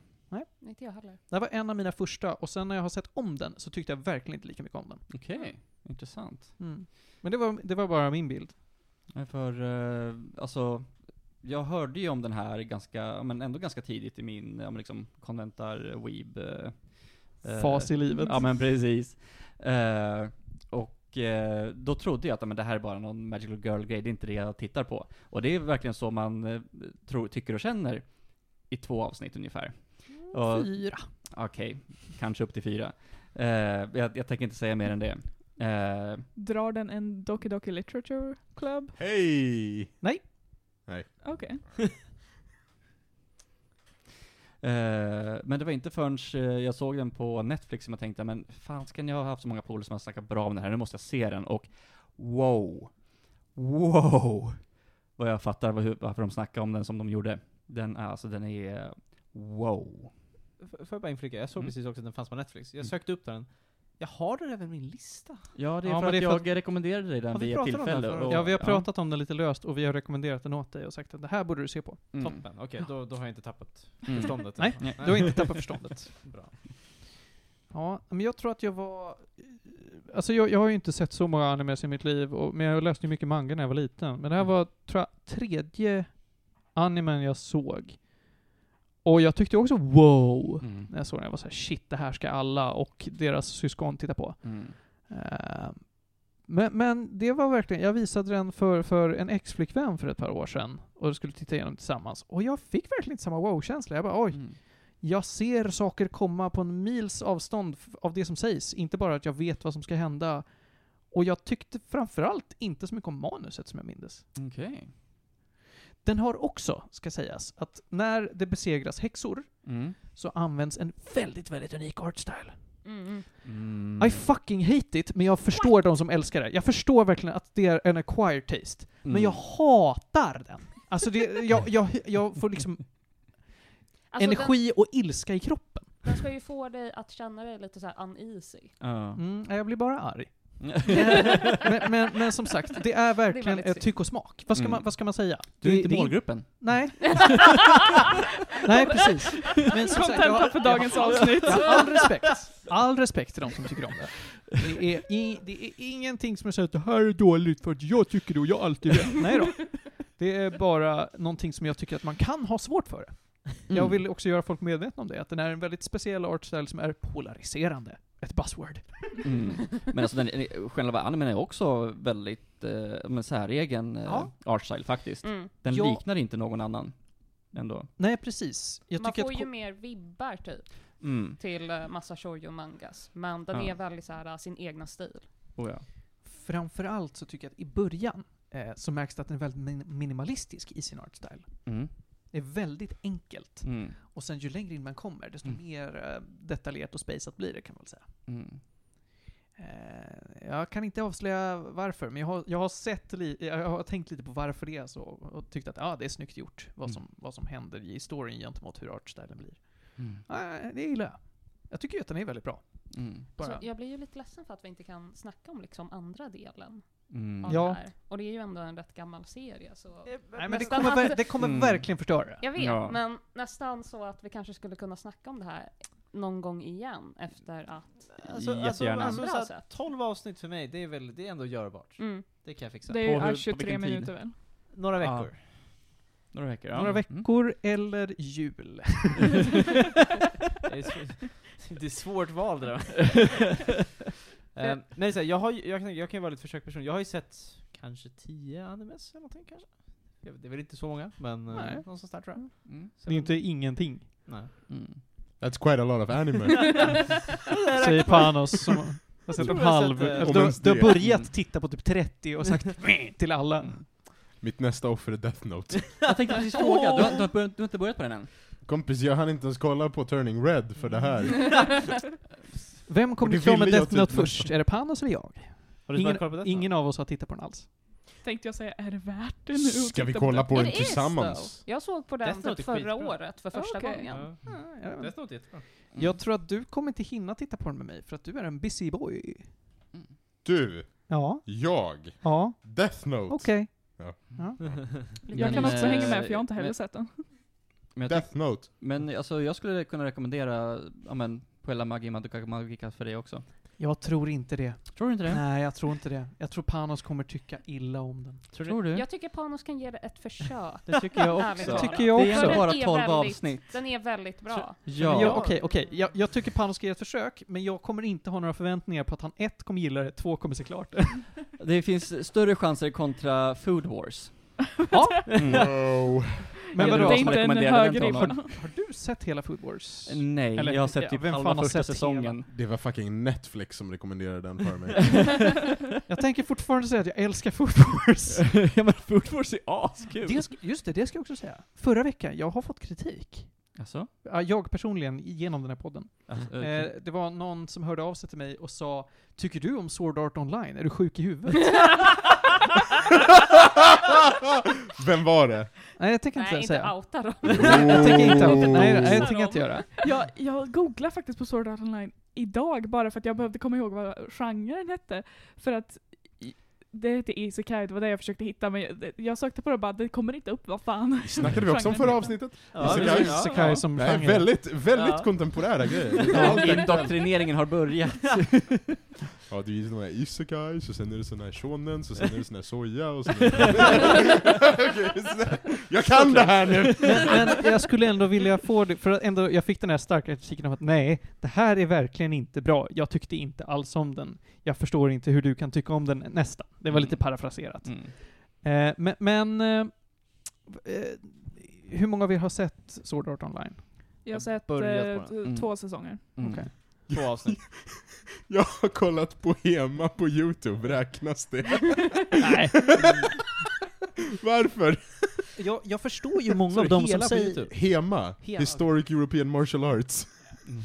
G: Inte jag heller.
F: Det här var en av mina första och sen när jag har sett om den så tyckte jag verkligen inte lika mycket om den.
E: Okej, intressant.
F: Mm. Men det var, det var bara min bild.
E: Nej, För, eh, alltså, jag hörde ju om den här ganska, ja, men ändå ganska tidigt i min, ja, men liksom, konventar weeb eh, eh,
F: Fas i livet.
E: Ja men precis. Eh, och eh, då trodde jag att men, det här är bara någon Magical Girl-grej, det är inte det jag tittar på. Och det är verkligen så man eh, tror, tycker och känner i två avsnitt ungefär. Och-
F: Fyra.
E: Okej, kanske upp till fyra. Eh, jag, jag tänker inte säga mer än det. Eh,
B: Drar den en Doki Doki Literature Club?
A: Hej!
B: Okej.
E: Eh, men det var inte förrän eh, jag såg den på Netflix som jag tänkte, men fan ska jag ha haft så många polare som har snackat bra om den här, nu måste jag se den. Och wow, wow, vad jag fattar vad, hur- varför de snackar om den som de gjorde. Den är, alltså den är, wow.
I: F- Får jag bara inflika? Jag såg
E: Mm.
I: precis också att den fanns på Netflix. Jag
E: Mm.
I: sökte upp den. Jag har den även i min lista.
E: Ja, det är
F: Ja,
E: för
F: men
E: att
F: det är för
E: jag rekommenderade dig
I: Ja,
E: den
I: vi
E: vid ett
I: pratade om den
E: tillfälle.
I: förra
F: Ja, vi har pratat om den lite löst och vi har rekommenderat den åt dig och sagt att det här borde du se på.
E: Mm.
I: Toppen. Okej, då, då har jag inte tappat
E: Mm.
I: förståndet.
F: Nej,
E: Nej.
F: Du har inte tappat förståndet.
I: Bra.
F: Ja, men jag tror att jag var... Alltså jag, jag har ju inte sett så många animes i mitt liv, och, men jag läste ju mycket manga när jag var liten. Men det här var, tror jag, tredje animen jag såg. Och jag tyckte också wow,
E: Mm.
F: när jag såg den. Jag var så här, shit, det här ska alla och deras syskon titta på.
E: Mm.
F: Eh, Men, men det var verkligen, jag visade den för, för en ex-flickvän för ett par år sedan och skulle titta igenom tillsammans. Och jag fick verkligen inte samma wow-känsla. Jag bara oj,
E: Mm.
F: jag ser saker komma på en mils avstånd f- av det som sägs, inte bara att jag vet vad som ska hända. Och jag tyckte framförallt inte så mycket om manuset som jag mindes.
E: Okej.
F: Den har också, ska sägas, att när det besegras häxor
E: Mm.
F: så används en väldigt, väldigt unik artstyle.
G: Mm.
E: Mm.
F: I fucking hate it, men jag förstår de som älskar det. Jag förstår verkligen att det är en acquired taste.
E: Mm.
F: Men jag hatar den. Alltså det, jag, jag, jag får liksom
G: Alltså den,
F: energi och ilska i kroppen.
G: den ska ju få dig att känna dig lite så här uneasy.
E: Ja.
F: Mm, jag blir bara arg. men, men, men som sagt, det är verkligen
G: väldigt
F: ett
G: synd.
F: tyck och smak. Vad ska,
E: Mm.
F: man, vad ska man säga?
E: Du är
F: Det-
E: inte
F: det-
E: målgruppen.
F: Nej. Nej, precis. Men som sagt,
B: Kontenta för dagens avsnitt.
F: jag har all respekt. All respekt till de som tycker om det. Det är, i, det är ingenting som är så att det här är dåligt för att jag tycker det och jag har alltid rätt. Nej då. Det är bara någonting som jag tycker att man kan ha svårt för.
E: Mm.
F: Jag vill också göra folk medvetna om det, att den är en väldigt speciell artstyle som är polariserande. Ett buzzword.
E: Mm. Men alltså den, själva animen är också väldigt, eh, men säregen eh,
F: Ja.
E: artstyle faktiskt.
G: Mm.
E: Den
F: Ja.
E: liknar inte någon annan ändå.
F: Nej, precis. Jag
G: Man
F: tycker
G: får
F: att...
G: ju
F: ko-
G: mer vibbar typ
E: Mm.
G: till eh, massa shoujo mangas. Men den
E: Ja.
G: är väldigt så här eh, sin egna stil.
E: Oh, ja.
F: Framförallt så tycker jag att i början eh, så märks det att den är väldigt min- minimalistisk i sin artstyle.
E: mm.
F: Det är väldigt enkelt.
E: Mm.
F: Och sen ju längre in man kommer, desto
E: Mm.
F: mer eh, detaljerat och spejsat blir det kan man väl säga.
E: Mm.
F: Eh, jag kan inte avslöja varför, men jag har, jag har sett li- jag har tänkt lite på varför det är så och tyckt att ah, det är snyggt gjort, vad som, vad som händer i storyn gentemot hur artstylen blir.
E: Mm.
F: Ah, det gillar jag. Jag tycker ju att den är väldigt bra.
E: Mm.
F: Bara.
G: Så jag blir ju lite ledsen för att vi inte kan snacka om liksom andra delen
E: Mm.
G: av
F: Ja.
G: det här. Och det är ju ändå en rätt gammal serie så...
F: Nej, men det
G: nästan
F: kommer,
G: hade-
F: ver- det kommer
E: Mm.
F: verkligen förstöra.
G: Jag vet,
E: Ja.
G: men nästan så att vi kanske skulle kunna snacka om det här någon gång igen efter att... Andra
E: Jättegärna.
I: Alltså, så här,
G: sätt.
I: 12 avsnitt för mig, det är, väl, det är ändå görbart.
G: Mm.
I: Det kan jag fixa.
B: Det är
E: På hur-
B: ju
E: på
B: 23
E: vilken tid?
B: minuter väl?
I: Några
E: Ja.
I: veckor.
E: Några veckor. ja.
F: Några
E: Mm.
F: veckor eller jul.
I: Det är sv- det är svårt val det där. Ehm, Men det är så här, jag, har, ju- jag, kan, jag kan ju vara lite försöksperson. Jag har ju sett kanske 10 animes eller någonting kanske. Jag vet- Det är väl inte så många, men eh,
F: Nej.
I: någonstans där tror jag.
E: Mm.
I: Så jag-
F: ingenting,
I: Nej.
E: Mm.
A: That's quite a lot of anime.
F: säger Panos som har sett
I: tror
F: en
I: jag har
F: halv.
I: sett, eh,
F: Du,
A: om
F: du
A: ens
F: har
A: det.
F: börjat titta på typ 30 och
A: Mm.
F: sagt till alla.
A: Mitt nästa offer är Death Note.
E: Jag tänkte precis fråga, du har, du, har börjat, du har inte börjat på den än?
A: Kompis, jag hann inte ens kolla på Turning Red för det här.
F: Vem
A: Och det
F: kommer klara med
A: ville jag
F: Death
A: typ
F: Note
A: nästan.
F: först? Är det Panos eller jag?
I: Har du
F: Ingen,
I: svarat kvar på det?
F: ingen av oss har tittat på den alls.
B: Tänkte jag säga, är det värt det nu? att
A: Ska vi
B: titta på
A: kolla
B: det?
A: på den
G: It is,
A: tillsammans?
G: though. Jag såg på den
I: Death Note
G: typ
I: är
G: förra
I: skitbra.
G: året för första
B: Okej.
G: gången.
I: Ja.
F: Ah,
I: Death Note är jättebra.
F: Jag tror att du kommer inte hinna titta på den med mig, för att du är en busy boy.
A: Du,
F: Ja.
A: jag,
F: Ja.
A: Death Note.
F: Okej.
B: Jag kan
E: Men,
B: också hänga med
E: eh,
B: för jag har inte heller
E: men-
B: sett den.
E: Men, jag tyck,
A: Death Note.
E: men alltså, jag skulle kunna rekommendera, ja men, Puella Magi Madoka Magica för dig också.
F: Jag tror inte det.
E: Tror du inte det?
F: Nej, jag tror inte det. Jag tror Panos kommer tycka illa om den.
E: Tror,
F: mm.
E: du?
G: Jag tycker Panos kan ge det ett försök.
E: Det tycker jag
G: Ärligt
E: också.
G: talat.
F: Tycker jag
E: Det är
F: också.
E: ändå bara
G: Den är
E: 12
G: väldigt-
E: avsnitt.
G: Den är väldigt bra.
F: Men
E: Ja.
F: jag- Okej, okej. Jag, jag tycker Panos ska ge ett försök, men jag kommer inte ha några förväntningar på att han ett kommer gilla det, två kommer se klart det.
E: Det finns större chanser kontra Food Wars.
A: Wow.
F: Men vadå?
B: det är
F: som
B: inte en
E: rekommenderade den till
B: högerribba.
E: honom?
F: Har du sett hela Food Wars?
E: Nej,
F: Eller-
E: jag har sett
F: ja,
E: typ
F: vem
E: halva
F: fan har
E: första
F: sett
E: säsongen.
A: Det var fucking Netflix som rekommenderade den för mig.
F: Jag tänker fortfarande säga att jag älskar Food Wars.
E: ja men Food Wars är askul!
F: det ska, just det, det ska jag också säga. Förra veckan, jag har fått kritik.
E: Alltså?
F: Ja, Jag personligen, genom den här podden.
E: alltså
F: Eh, det var någon som hörde av sig till mig och sa Tycker du om Sword Art Online? Är du sjuk i huvudet?
A: Vem var det?
F: Nej, jag tänker inte
G: Nej, inte
F: säga.
G: outa dem.
F: Jag tänker inte outa. Nej,
A: Oh.
F: nej, jag tänker inte göra.
B: Jag, jag googlade faktiskt på Sword Art Online idag bara för att jag behövde komma ihåg vad genren hette. För att i- det hette Isekai, det var det jag försökte hitta men jag, jag sökte på det och bara det kommer inte upp, vad fan.
A: Snackade vi också om
B: Genren
A: förra
B: heter.
A: avsnittet?
C: Ja,
A: Isekai.
C: precis. Ja,
F: Isekai som
A: Nej,
F: genre.
A: väldigt, väldigt
C: Ja.
A: kontemporära grejer.
E: Indoktrineringen har börjat.
A: Ja, det är ju såna här isekais, och sen är det sån här shonen, så sen är det sån här soja, och sen är det... Okej, snälla. Jag kan det här nu!
F: Men, men jag skulle ändå vilja få det, för att ändå, jag fick den här starka kritiken om att nej, det här är verkligen inte bra. Jag tyckte inte alls om den. Jag förstår inte hur du kan tycka om den nästan. Det var lite
E: Mm.
F: parafraserat.
E: Mm.
F: Eh, men men eh, eh, hur många av er har sett Sword Art Online?
B: Jag
C: Jag
B: har sett
C: började
B: eh,
C: på den.
B: t-
E: Mm.
B: två säsonger.
E: Mm.
F: Okej.
C: Två avsnitt.
A: Jag har kollat på Hema på youtube, räknas det?
F: Nej.
A: Varför?
F: Jag, jag förstår ju många
C: Så
F: av
C: det är
F: dem som
C: hela på
F: säger...
C: YouTube?
A: Hema,
C: Hema.
A: Historic European Martial Arts. Mm.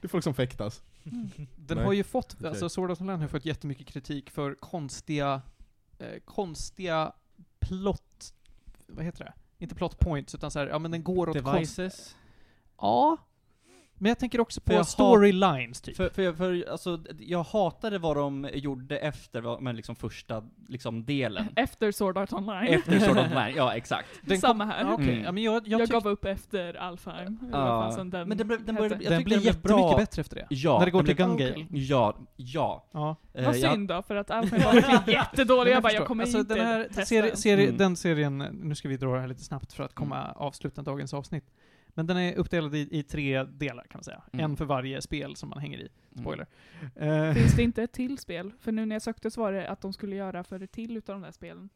A: Det är folk som fäktas.
F: Den
A: Nej.
F: har ju fått,
A: Okej.
F: alltså Sword Art Online har fått jättemycket kritik för konstiga, eh, konstiga plott, vad heter det? Inte plot points, utan så här, ja men den går åt konst...
E: Devices.
F: Ja. Men jag tänker också
E: För jag
F: på
E: har-
F: storylines typ.
E: För, för, jag- för alltså, d- jag hatade vad de gjorde efter vad, men liksom första liksom, delen.
B: Efter Sword Art Online.
E: efter Sword of Man, ja exakt.
F: Den
B: Samma här.
F: Ja, okej.
E: Mm.
F: Ja, men jag, jag,
B: Jag,
F: tyck,
B: gav upp efter Alfheim. eller vad
E: Ja.
B: fan sen den
E: Men den, blev- den, började,
B: hette.
E: jag
F: den
E: tyckte
F: blir
E: blev
F: jättemycket bättre efter det.
E: Ja,
F: När det går
E: den
F: till
E: blev-
F: Gun
B: Okej.
F: Gale.
E: Ja, ja.
F: Ja.
E: Eh,
B: Vad
E: jag-
B: synd då, för att Alfheim var verkligen jättedålig. Jag bara, jag kommer
F: alltså,
B: inte
F: den här
B: testa
F: seri-
B: den.
F: seri-
E: Mm.
F: Den serien, nu ska vi dra det här lite snabbt för att komma avsluta dagens avsnitt. Men den är uppdelad i, i tre delar kan man säga.
E: Mm.
F: En för varje spel som man hänger i. Spoiler. Eh,
B: Finns det inte ett till spel? För nu när jag sökte så var det att de skulle göra för ett till utav de där spelen.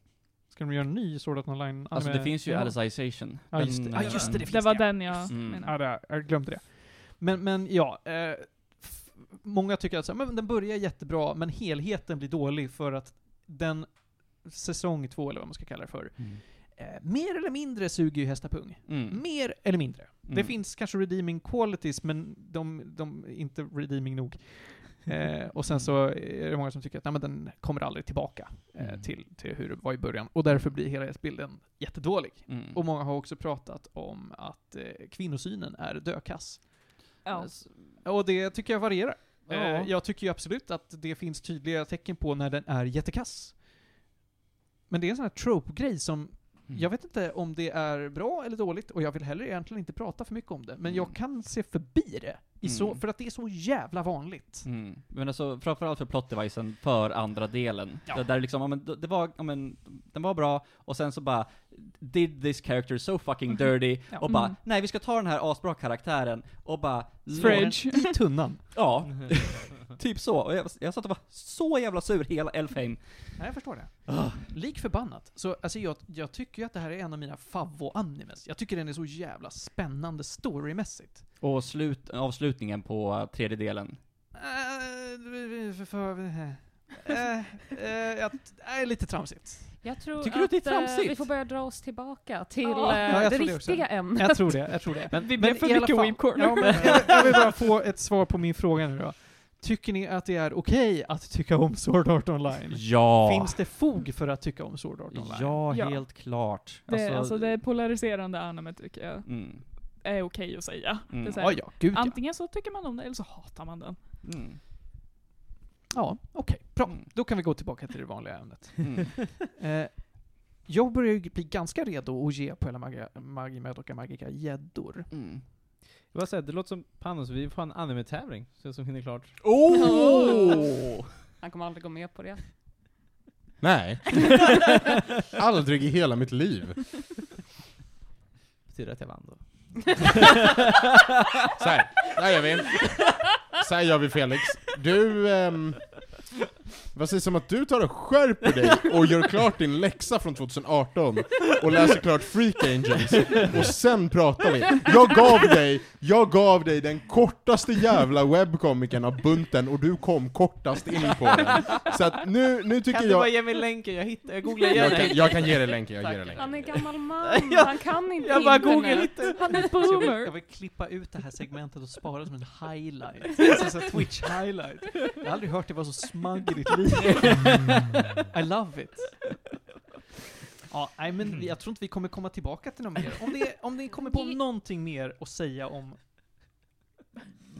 F: ska de göra en ny Sword Art Online?
E: Alltså det
F: anime?
E: finns ju
F: Ja.
E: Alicization.
F: Ja, just det.
E: Den,
F: Ja, just det. Det,
E: eh,
F: finns
B: Det var
F: det.
B: den jag
E: Mm.
B: menade.
F: Ja, det, jag glömde det. Men, men ja. Eh, f- många tycker att så här, men den börjar jättebra, men helheten blir dålig för att den säsong två, eller vad man ska kalla det för,
E: Mm.
F: eh, mer eller mindre suger ju hästapung.
E: Mm.
F: Mer eller mindre. Det
E: Mm.
F: finns kanske redeeming qualities, men de, de är inte redeeming nog. Eh, och sen så är det många som tycker att nej, men den kommer aldrig tillbaka eh,
E: Mm.
F: till, till hur det var i början. Och därför blir hela bilden jättedålig.
E: Mm.
F: Och många har också pratat om att eh, kvinnosynen är dökass.
B: Ja.
F: Och det tycker jag varierar.
E: Ja.
F: Eh, jag tycker ju absolut att det finns tydliga tecken på när den är jättekass. Men det är en sån här trope-grej som
E: Mm.
F: jag vet inte om det är bra eller dåligt och jag vill heller egentligen inte prata för mycket om det, men
E: Mm.
F: jag kan se förbi det. I så,
E: Mm.
F: för att det är så jävla vanligt.
E: Mm. Men alltså framförallt för plotdevicen för andra delen.
F: Ja.
E: Det där liksom, ja, men, d- det var, ja, men, den var bra, och sen så bara Did this character so fucking dirty?
F: Ja.
E: Och bara,
B: Mm.
E: nej vi ska ta den här asbra karaktären och bara låt-
B: Fridge.
F: I tunnan.
E: Ja, typ så. Och jag, jag satt och var så jävla sur hela Elfheim.
F: Nej, jag förstår det. Lik förbannat. Så alltså, jag, jag tycker ju att det här är en av mina favvo-animes. Jag tycker den är så jävla spännande storymässigt.
E: Och slut, avslutningen på eh, tredje delen.
F: Eh, för- för- eh, eh, eh, jag- eh, lite tramsigt.
G: Jag tror
E: Tycker du att det är
G: eh,
E: tramsigt?
G: vi får börja dra oss tillbaka till
B: Ja.
G: eh,
F: Ja, jag
G: det
F: tror det också.
G: riktiga ämnet.
F: Jag tror det, jag tror det.
E: Men
B: Vi
F: Men
B: blev för
F: i alla
B: mycket
F: fall-
B: weep corner.
F: Ja, men jag, jag vill bara få ett svar på min fråga nu då. Tycker ni att det är okej att tycka om Sword Art Online?
E: Ja!
F: Finns det fog för att tycka om Sword Art Online?
E: Ja,
B: Ja.
E: helt klart.
B: Det, alltså, det polariserande anime tycker jag
E: Mm.
B: är okej att säga.
E: Mm.
B: Det är så
F: ja,
B: här,
F: ja gud ja.
B: antingen så tycker man om det eller så hatar man den.
E: Mm.
F: Ja, okej. Bra.
E: Mm.
F: Då kan vi gå tillbaka till det vanliga ämnet.
E: Mm.
F: Eh, jag börjar ju bli ganska redo att ge på hela Magi- Magi Madoka Magica gäddor.
E: Mm.
I: Jag bara säger, det låter som Panos, vi får ha en anime-tävling. Så jag som hinner klart.
G: Oh! Han kommer aldrig gå med på det.
A: Nej. Aldrig i hela mitt liv.
I: Betyder att jag vann då.
A: Så här, där gör vi. Så här gör vi Felix. Du, ehm, Vad sägs om att du tar och skärper dig och gör klart din läxa från 2018 och läser klart Freak Angels och sen pratar vi. Jag gav dig, jag gav dig den kortaste jävla webbkomikern av bunten och du kom kortast in på den. Så att nu, nu tycker
F: Kan du bara
A: jag...
F: ge mig länken? Jag hittar, jag googlar
A: Jag
F: igen.
A: kan, jag kan ge dig länken, jag ger dig
G: Han är
A: länken.
G: gammal man,
F: Jag-
G: han kan inte
F: jag bara
G: internet.
F: googlar lite.
G: Han är
B: Så jag
G: boomer.
B: vill-
F: Jag vill klippa ut det här segmentet och spara som en highlight. Alltså en Twitch highlight. Jag har aldrig hört det vara så smug i ditt liv.
G: Mm.
F: I love it. Ja, nej, men vi- jag tror inte vi kommer komma tillbaka till något mer. Om ni, om ni kommer på
B: Vi-
F: någonting mer att säga om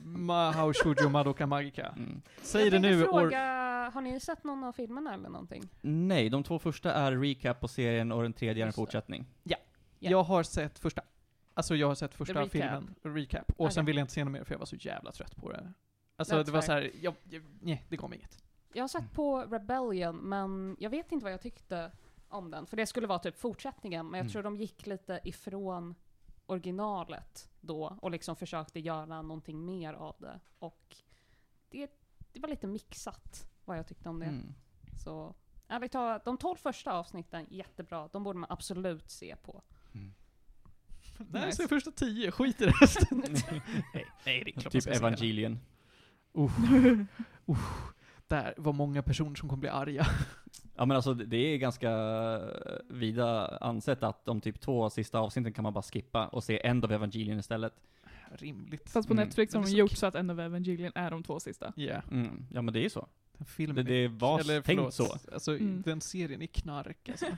F: Mahao Shoujo Madoka Magica.
E: Mm.
F: Säg
G: jag
F: det
G: tänkte
F: nu.
G: fråga,
F: Or...
G: har ni sett någon av filmerna eller någonting?
E: Nej, de två första är recap på serien och den tredje är en
G: Just det.
E: fortsättning.
F: Jag har sett första. Alltså jag har sett första
G: recap.
F: filmen, recap. Och sen
G: Okej.
F: ville jag inte se något mer för jag var så jävla trött på det. Alltså
G: That's
F: det var
G: fair.
F: så här, jag, jag, nej, det kom inget.
G: Jag har
E: Mm.
G: sett på Rebellion, men jag vet inte vad jag tyckte om den. För det skulle vara typ fortsättningen, men jag
A: Mm.
G: tror de gick lite ifrån originalet då och liksom försökte göra någonting mer av det. Och det, det var lite mixat vad jag tyckte om det.
E: Mm.
G: Så ja, vi tar de tolv första avsnitten, jättebra. De borde man absolut se på.
F: Nej,
G: Nice.
F: så första tio, skit i resten. nej, nej, det är klart man
E: Typ
F: ska se den.
E: Evangelion.
F: Där var många personer som kommer bli arga.
E: Ja men alltså det- det är ganska vida ansett att de typ två sista avsnitten kan man bara skippa och se End of Evangelion istället.
F: Rimligt.
B: Fast på
E: Mm.
B: Netflix har
F: Men
B: de
F: det är så
B: gjort så att End of Evangelion är de två sista.
F: Ja,
E: Mm. Ja men det är ju så.
F: den filmen.
E: Det, det var
F: eller
E: tänkt
F: förlåt,
E: så.
F: Alltså,
B: Mm.
F: den serien är knark alltså.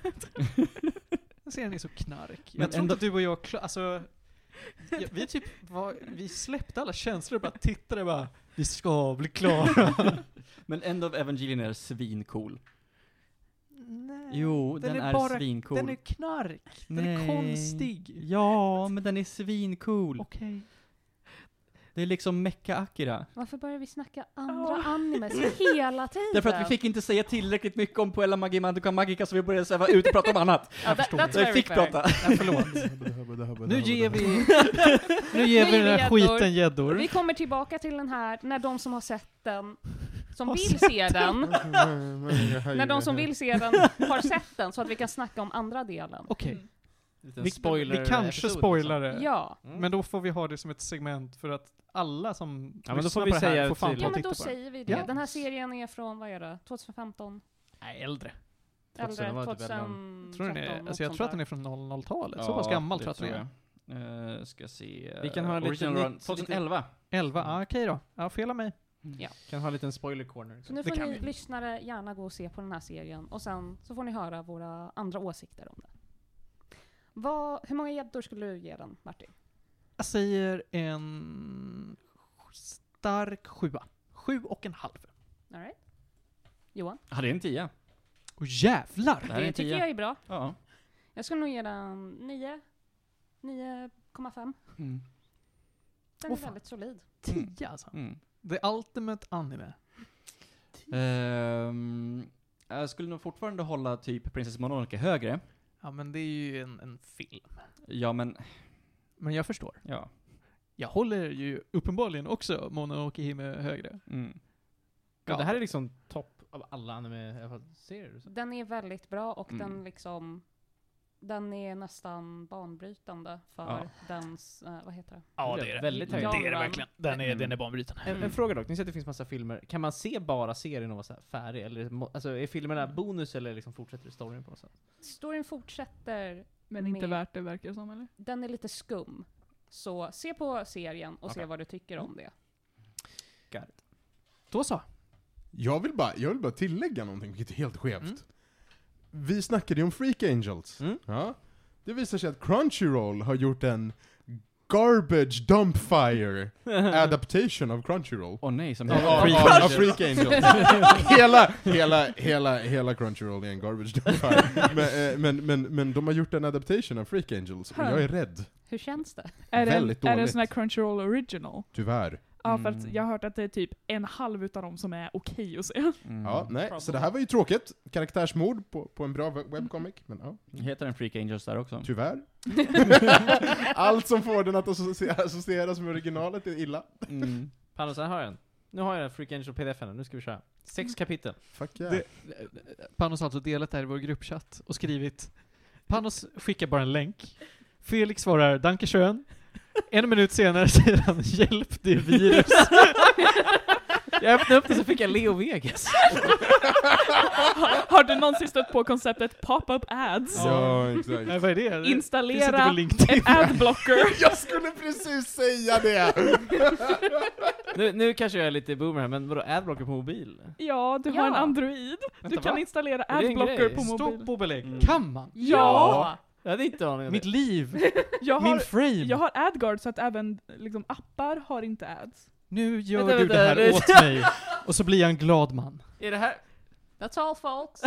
F: den serien är så knark. Jag
E: Men
F: tror
E: ändå-
F: inte du och jag, kla- alltså, ja, vi typ var, vi släppte alla känslor och bara tittade och bara Vi ska bli klara.
E: Men End of Evangelion är svincool.
F: Nej.
E: Jo, den,
F: den är
E: är,
F: bara-
E: svincool.
F: Den är knark. Den är
E: Nej.
F: konstig.
E: Ja, men den är svincool.
F: Okej.
E: Det är liksom Mecca Akira.
G: Varför börjar vi snacka andra
B: Ja.
G: animes hela tiden?
E: Därför att vi fick inte säga tillräckligt mycket om Puella Magi Madoka Magica så vi började sväva ut och prata om annat.
G: Ja, that, that's
E: Så vi
G: very
E: fick
G: fair.
E: prata.
F: Nej, förlåt. Nu ger vi, nu ger vi
G: Nu
F: den här
G: ger vi gäddor.
F: skiten gäddor.
G: Vi kommer tillbaka till den här när de som har sett den, som vill se den, när de som vill se den har sett den så att vi kan snacka om andra delen.
F: Okej,
B: Mm.
F: vi, vi kanske spoilar det.
G: Ja.
F: Men då får vi ha det som ett segment för att alla som
C: Ja, men då
F: lyssnar
C: får vi
F: på det här
C: säga
F: får fan
C: till-
F: ta
G: Ja
F: och
G: men
F: titta
G: då
F: på det.
G: säger vi det.
F: Ja.
G: Den här serien är från, vad är det, 2015?
F: Nej, äldre.
C: den var
G: Eller
C: typ
F: Tror
G: 2013?
F: den är,
G: något
F: alltså jag
G: sånt
F: tror att
G: där.
F: den är från 00-talet. så pass gammal tror jag att den är.
E: Uh, ska se.
C: Vi kan ha en liten
E: original run.
C: nytt-
E: 2011.
F: 11, ah, okej då. Ja, fel av mig.
C: Kan ha en liten spoiler corner.
G: Så nu
F: Det
G: får
F: kan
G: ni
F: vi.
G: lyssnare gärna gå och se på den här serien och sen så får ni höra våra andra åsikter om den. Vad, hur många gäddor skulle du ge den, Martin?
F: Jag säger en stark sjua. Sju och en halv.
G: All right? Johan?
E: Ja, det är en tia.
F: Och jävlar!
E: Det här är en
G: tycker
E: tia.
G: jag är bra.
E: Ja.
G: Jag skulle nog ge den 9. 9,5.
E: Mm.
G: Den
F: Åh,
G: är
F: fan.
G: väldigt solid.
F: Tio alltså.
E: Mm.
F: The Ultimate Anime.
E: Ehm, jag skulle nog fortfarande hålla typ Princess Mononoke högre.
F: Ja men det är ju en, en film.
E: Ja, men
F: Men jag förstår.
E: ja.
F: Jag håller ju uppenbarligen också Mononoke Hime högre.
E: Mm.
C: Ja, det här är liksom topp av alla anime i alla fall, serier. och så.
G: Den är väldigt bra och
E: Mm.
G: den liksom den är nästan banbrytande för
E: Ja.
G: dens, eh, vad heter det?
F: Ja
C: Det är
F: det är det.
C: väldigt
F: det
C: högt.
F: är det
G: Ja,
F: verkligen. Den är,
E: Mm.
F: den är banbrytande.
C: En, en fråga dock, ni säger att det finns massa filmer. Kan man se bara serien och vara så här färdig? Eller, må- alltså, är filmerna
G: Mm.
C: bonus eller liksom fortsätter storyn på något sätt?
G: Storyn fortsätter,
B: Men inte
G: Med-
B: värt det verkar det som eller?
G: den är lite skum. Så se på serien och se
C: Okej.
G: vad du tycker om det.
F: Då så.
A: Jag vill, bara, jag vill bara tillägga någonting, vilket är helt skevt. Vi snackade ju om Freak Angels.
C: Mm.
A: Ja. Det visar sig att Crunchyroll har gjort en Garbage Dump Fire adaptation av Crunchyroll.
E: Åh nej, som
A: Av,
E: heter
A: av,
E: Freak
A: av, av
E: Angels.
A: Freak Angels. hela, hela, hela, hela Crunchyroll är en Garbage Dump Fire. Men, eh, men, men, men de har gjort en adaptation av Freak Angels, och jag är rädd.
G: Hur känns det?
B: Är det, en,
A: Väldigt
B: är det en
A: dåligt.
B: sån här Crunchyroll original?
A: Tyvärr.
B: Ja för att
E: Mm.
B: jag har hört att det är typ en halv utav dem som är okej att se.
E: Mm.
A: Ja, nej. Så det här var ju tråkigt. Karaktärsmord på, på en bra web- webcomic. Men, ja.
E: Heter den Freak Angels där också?
A: Tyvärr. Allt som får den att associe- associeras med originalet är illa.
E: Mm.
C: Panos, här har jag en. Nu har jag Freak Angel pdf nu ska vi köra.
G: Mm.
I: Sex kapitel.
A: Fuck yeah.
F: Det- Panos har alltså delat det här i vår gruppchatt och skrivit Panos skickar bara en länk. Felix svarar Danke schön. En minut senare säger han Hjälp, det är virus.
I: Jag öppnade upp det så fick jag Leo Vegas.
B: Har- Har du någonsin stött på konceptet pop-up ads?
A: Ja,
F: Nej,
A: exakt.
F: vad är det? Finns inte
B: Installera
F: på LinkedIn.
B: en adblocker.
A: Jag skulle precis säga det!
I: Nu, nu kanske jag är lite boomer här, men vadå adblocker på mobil?
B: Ja, du har
G: Ja.
B: en Android. Du
I: Vänta,
B: kan
I: va?
B: installera
I: Är det en
B: adblocker
I: grej?
B: på
F: Stopp
B: mobil.
F: och belägg.
E: Mm.
F: Kan man?
B: Ja!
I: Jag hade inte aning om
F: Mitt
I: det.
F: liv,
B: Jag
F: min
B: har,
F: frame.
B: jag har AdGuard så att även liksom, appar har inte ads.
F: Nu gör
I: Vänta,
F: du
I: vänta,
F: det här
I: det-
F: åt mig. Och så blir jag en glad man.
I: Är det här...
G: That's all folks.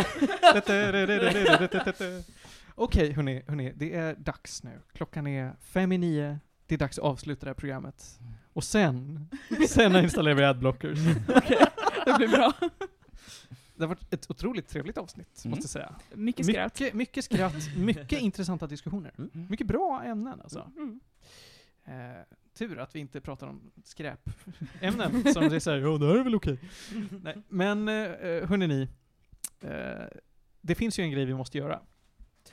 F: Okej, hörni, hörni, det är dags nu. Klockan är fem i nio. Det är dags att avsluta det här programmet. Och sen, sen installerar vi adblockers.
B: Det blir bra.
F: Det har varit ett otroligt trevligt avsnitt,
E: Mm.
F: måste jag säga.
B: Mycket skratt.
F: Mycket, mycket skratt, mycket intressanta diskussioner. Mycket bra ämnen alltså.
G: Mm.
F: Eh, tur att vi inte pratar om skräpämnen som det är såhär, ja det här är väl okej. Nej, men eh, hörni ni, eh, det finns ju en grej vi måste göra.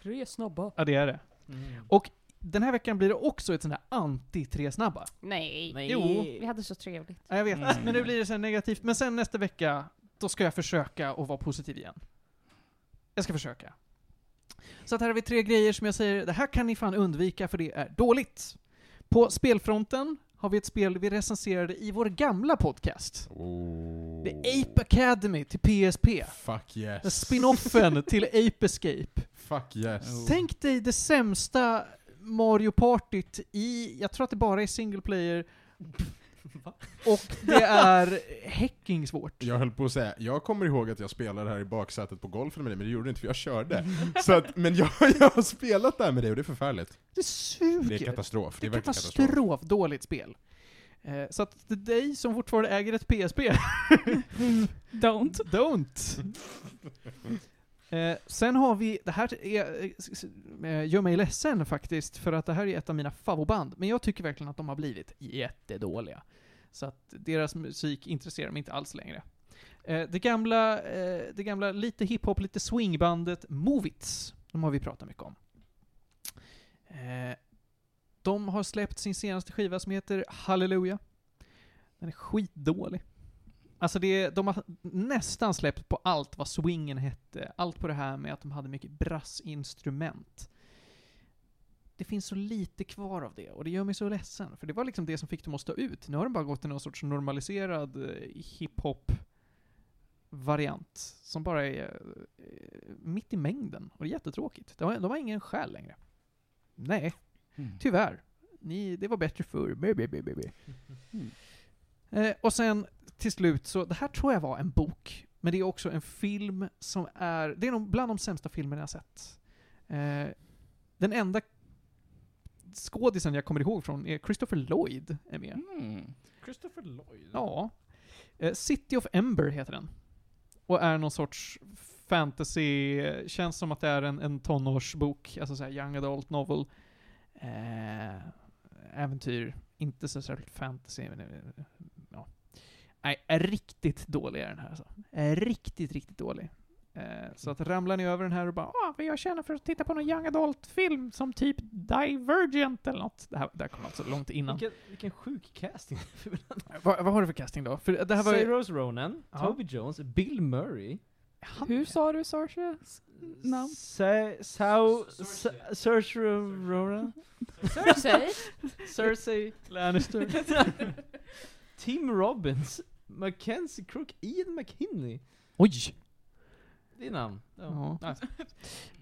G: Tre snabba.
F: Ja det är det.
G: Mm.
F: Och den här veckan blir det också ett sånt här anti-tre snabba.
G: Nej.
I: Nej.
F: Jo.
G: Vi hade så trevligt.
F: Ja, jag vet,
E: Mm.
F: men nu blir det så här negativt. Men sen nästa vecka, då ska jag försöka att vara positiv igen. Jag ska försöka. Så att här har vi tre grejer som jag säger, det här kan ni fan undvika för det är dåligt. På spelfronten har vi ett spel vi recenserade i vår gamla podcast. Det är Ape Academy till PSP.
A: Oh. Fuck yes.
F: Spinoffen till Ape Escape.
A: Fuck yes.
F: Tänk dig det sämsta Mario Partyt i, jag tror att det bara är single player. Och det är hacking svårt.
A: Jag höll på att säga, jag kommer ihåg att jag spelade här i baksätet på golfen med dig, men det gjorde du inte för jag körde. Så att, men jag, jag har spelat där med dig och det är förfärligt.
F: Det suger.
A: Det är katastrof. Det
F: Det är
A: är verkligen katastrof.
F: katastrofdåligt spel. Eh, Så att till dig som fortfarande äger ett PSP,
B: Don't.
F: don't! Eh, Sen har vi, det här är, eh, s- s- eh, gör mig ledsen faktiskt, för att det här är ett av mina favoritband, men jag tycker verkligen att de har blivit jättedåliga. Så att deras musik intresserar mig inte alls längre. Eh, Det gamla, eh, det gamla lite hiphop, lite swingbandet Movits, de har vi pratat mycket om. Eh, De har släppt sin senaste skiva som heter Hallelujah. Den är skitdålig. Alltså det, de har nästan släppt på allt vad swingen hette. Allt på det här med att de hade mycket brassinstrument. Det finns så lite kvar av det och det gör mig så ledsen. För det var liksom det som fick dem att stå ut. Nu har de bara gått till någon sorts normaliserad eh, hiphop-variant. Som bara är eh, mitt i mängden. Och det är jättetråkigt. De har, de har ingen själ längre. Nej,
E: Mm.
F: tyvärr. Ni, det var bättre förr. Bä, bä, bä, bä, bä. Mm. Eh, och sen till slut så, det här tror jag var en bok, men det är också en film som är, det är nog bland de sämsta filmerna jag sett. Eh, den enda skådisen jag kommer ihåg från är Christopher Lloyd är med.
E: Mm.
I: Christopher Lloyd?
F: Ja. Eh, City of Ember heter den. Och är någon sorts fantasy, eh, känns som att det är en, en tonårsbok, alltså såhär young adult novel. Eh, äventyr, inte så särskilt fantasy, men eh, ja. Nej, är riktigt dålig är den här alltså. Är riktigt, riktigt dålig. Eh, så att ramlar ni över den här och bara ah, vad jag känner för att titta på någon young adult-film som typ Divergent eller något. Det här, det här kom alltså långt innan.
I: Vilken, vilken sjuk casting.
F: Vad, vad har du för casting då? För det här var ju-
I: Saoirse Ronan,
F: Ja.
I: Toby Jones, Bill Murray.
B: Hur sa du Saoirse? namn?
I: Sa- Sao... Sa- Saoirse Ronan?
G: Cersei.
I: Cersei Lannister. Tim Robbins. Mackenzie Crook. Ian McKinney.
F: Oj!
I: Det är namn. Ja.
F: Ja, nej,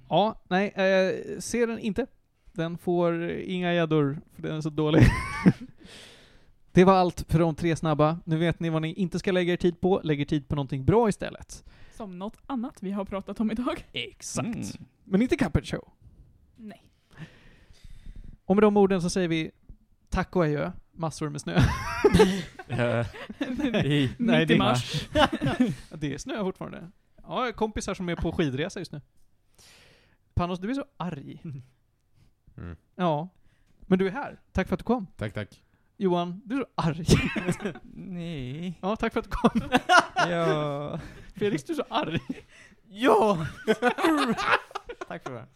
F: ja, nej eh, se den inte. Den får inga gäddor, för den är så dålig. det var allt för de tre snabba. Nu vet ni vad ni inte ska lägga er tid på. Lägg er tid på någonting bra istället.
B: Som något annat vi har pratat om idag.
F: Exakt. Men inte Cuphead Show.
B: Nej.
F: Och med de orden så säger vi tack och adjö, massor med snö.
E: Eh,
F: Nej,
B: Mitt
F: det
B: i
F: är-
B: mars.
F: det är snö fortfarande. Ja, jag har kompisar som är på skidresa just nu. Panos, du är så arg.
A: Mm.
F: Mm. Ja. Men du är här. Tack för att du kom.
A: Tack, tack.
F: Johan, du är så arg.
I: Nej.
F: Ja, tack för att du kom.
I: Ja.
F: Felix, du är så arg.
I: Ja! Tack för det.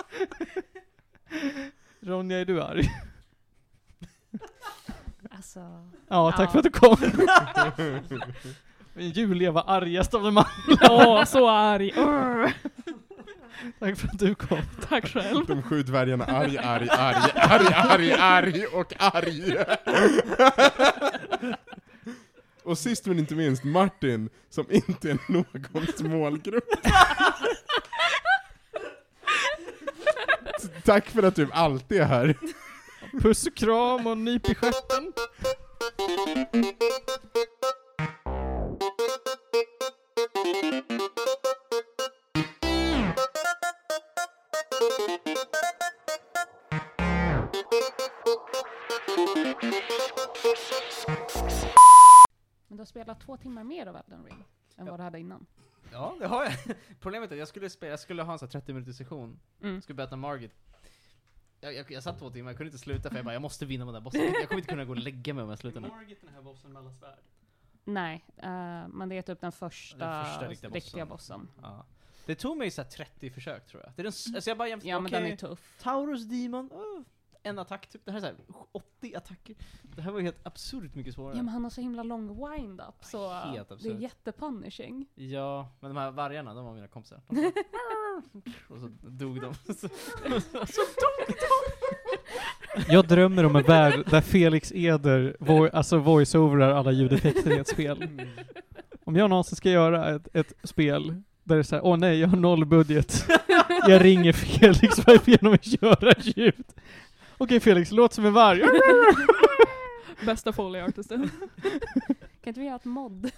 F: Ronja, är du arg?
G: Alltså,
F: Ja, tack
G: Ja.
F: för att du kom. Men Julia var argast av dem alla.
B: Åh, så arg. Urr.
F: Tack för att du kom.
B: Tack själv.
A: De sju dvärgarna arg, arg, arg, arg, arg, arg och arg. Och sist men inte minst Martin, som inte är någons målgrupp. Tack för att du alltid är här.
F: Puss och kram och nyp i stjärten.
G: men du har spelat två timmar mer av Elden Ring än vad du hade innan.
C: Ja, det har jag. Problemet är att jag skulle, spela, jag skulle ha en sån här 30 minuters session.
G: Mm.
C: Jag skulle berätta Margit. Jag, jag, jag satt två timmar, jag kunde inte sluta för jag bara, jag måste vinna med den där bossen. Jag kommer inte kunna gå och lägga mig om jag slutar nu.
D: Margit den här bossen med alla svärd.
G: Nej, eh, men det är typ den första,
C: Den första riktiga
G: riktiga, bossen.
C: Ja. Det tog mig så här 30 försök tror jag. Det är den, s- alltså jag bara jämför,
G: Ja, men den
C: okej,
G: är tuff.
C: Taurus Demon, oh, en attack typ. Det här är så här 80 attacker. Det här var ju helt absurt mycket svårare.
G: Ja, men han har så himla lång wind-up, så
C: Helt
G: det är
C: absurt.
G: jättepunishing.
C: Ja, men de här vargarna, de var mina kompisar. De och så dog de. Så,
F: Jag drömmer om en värld där Felix Eder vo- alltså voice-overar alla ljudeffekter i ett spel. Om jag någonsin ska göra ett, ett spel där det är såhär, åh nej, jag har noll budget. Jag ringer Felix, vad är fel om jag gör ett ljud? Okej Felix, låt som en varg.
B: Bästa foley-artisten.
G: Kan inte vi göra ett mod?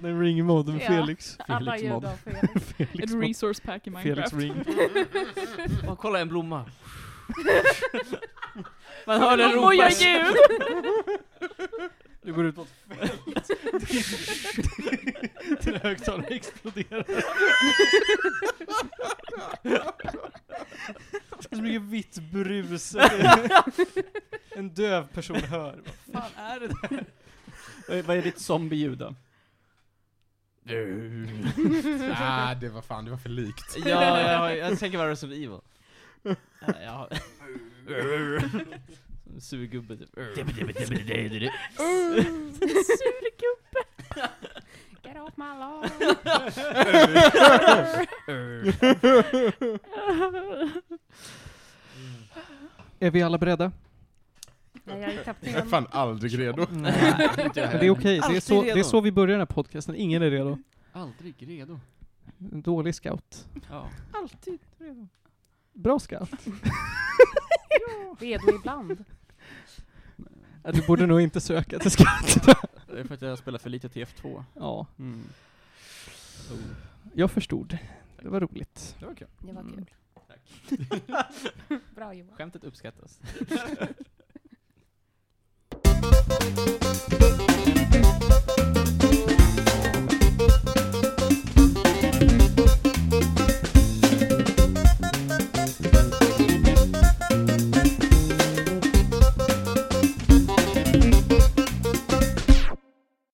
F: Den ringmodden
G: Ja.
F: Felix.
G: Alla
E: Felix mod.
G: ljud av Felix.
F: Felix,
B: Ett
F: mod.
B: resource pack i
F: Felix
B: Minecraft.
F: ring.
C: och kolla en blomma. Man hör den
B: Blommor gör
C: ropa.
B: ljud!
F: Du går ut på ett fält. Din högtalare exploderar. Det är så mycket vitt brus. En döv person hör. Vad fan är det där?
E: Vad är- Vad är ditt zombie-ljud då?
A: ah, det var fan, det var för likt.
C: Ja, jag, jag tänker vara Resident Evil. Ja, jag har- Som en Surgubbe typ.
B: Surgubbe.
G: Get off my lawn!
F: Är vi alla beredda?
G: Nej, jag är
A: Jag är
G: kapten.
A: fan aldrig redo.
F: Nej. Men det är okej, det, är så- det är så vi börjar den här podcasten. Ingen är redo.
E: Aldrig redo.
F: En dålig scout.
E: Ja.
F: Alltid redo. Bra scout.
G: Redo ibland.
F: Ja, Du borde nog inte söka till scout.
E: Det är för att jag spelar för lite TF2.
F: Ja,
E: Mm.
F: jag förstod. Det var roligt.
C: Det var kul.
G: Det var
F: Mm.
G: kul. Bra Johan.
C: Skämtet uppskattas.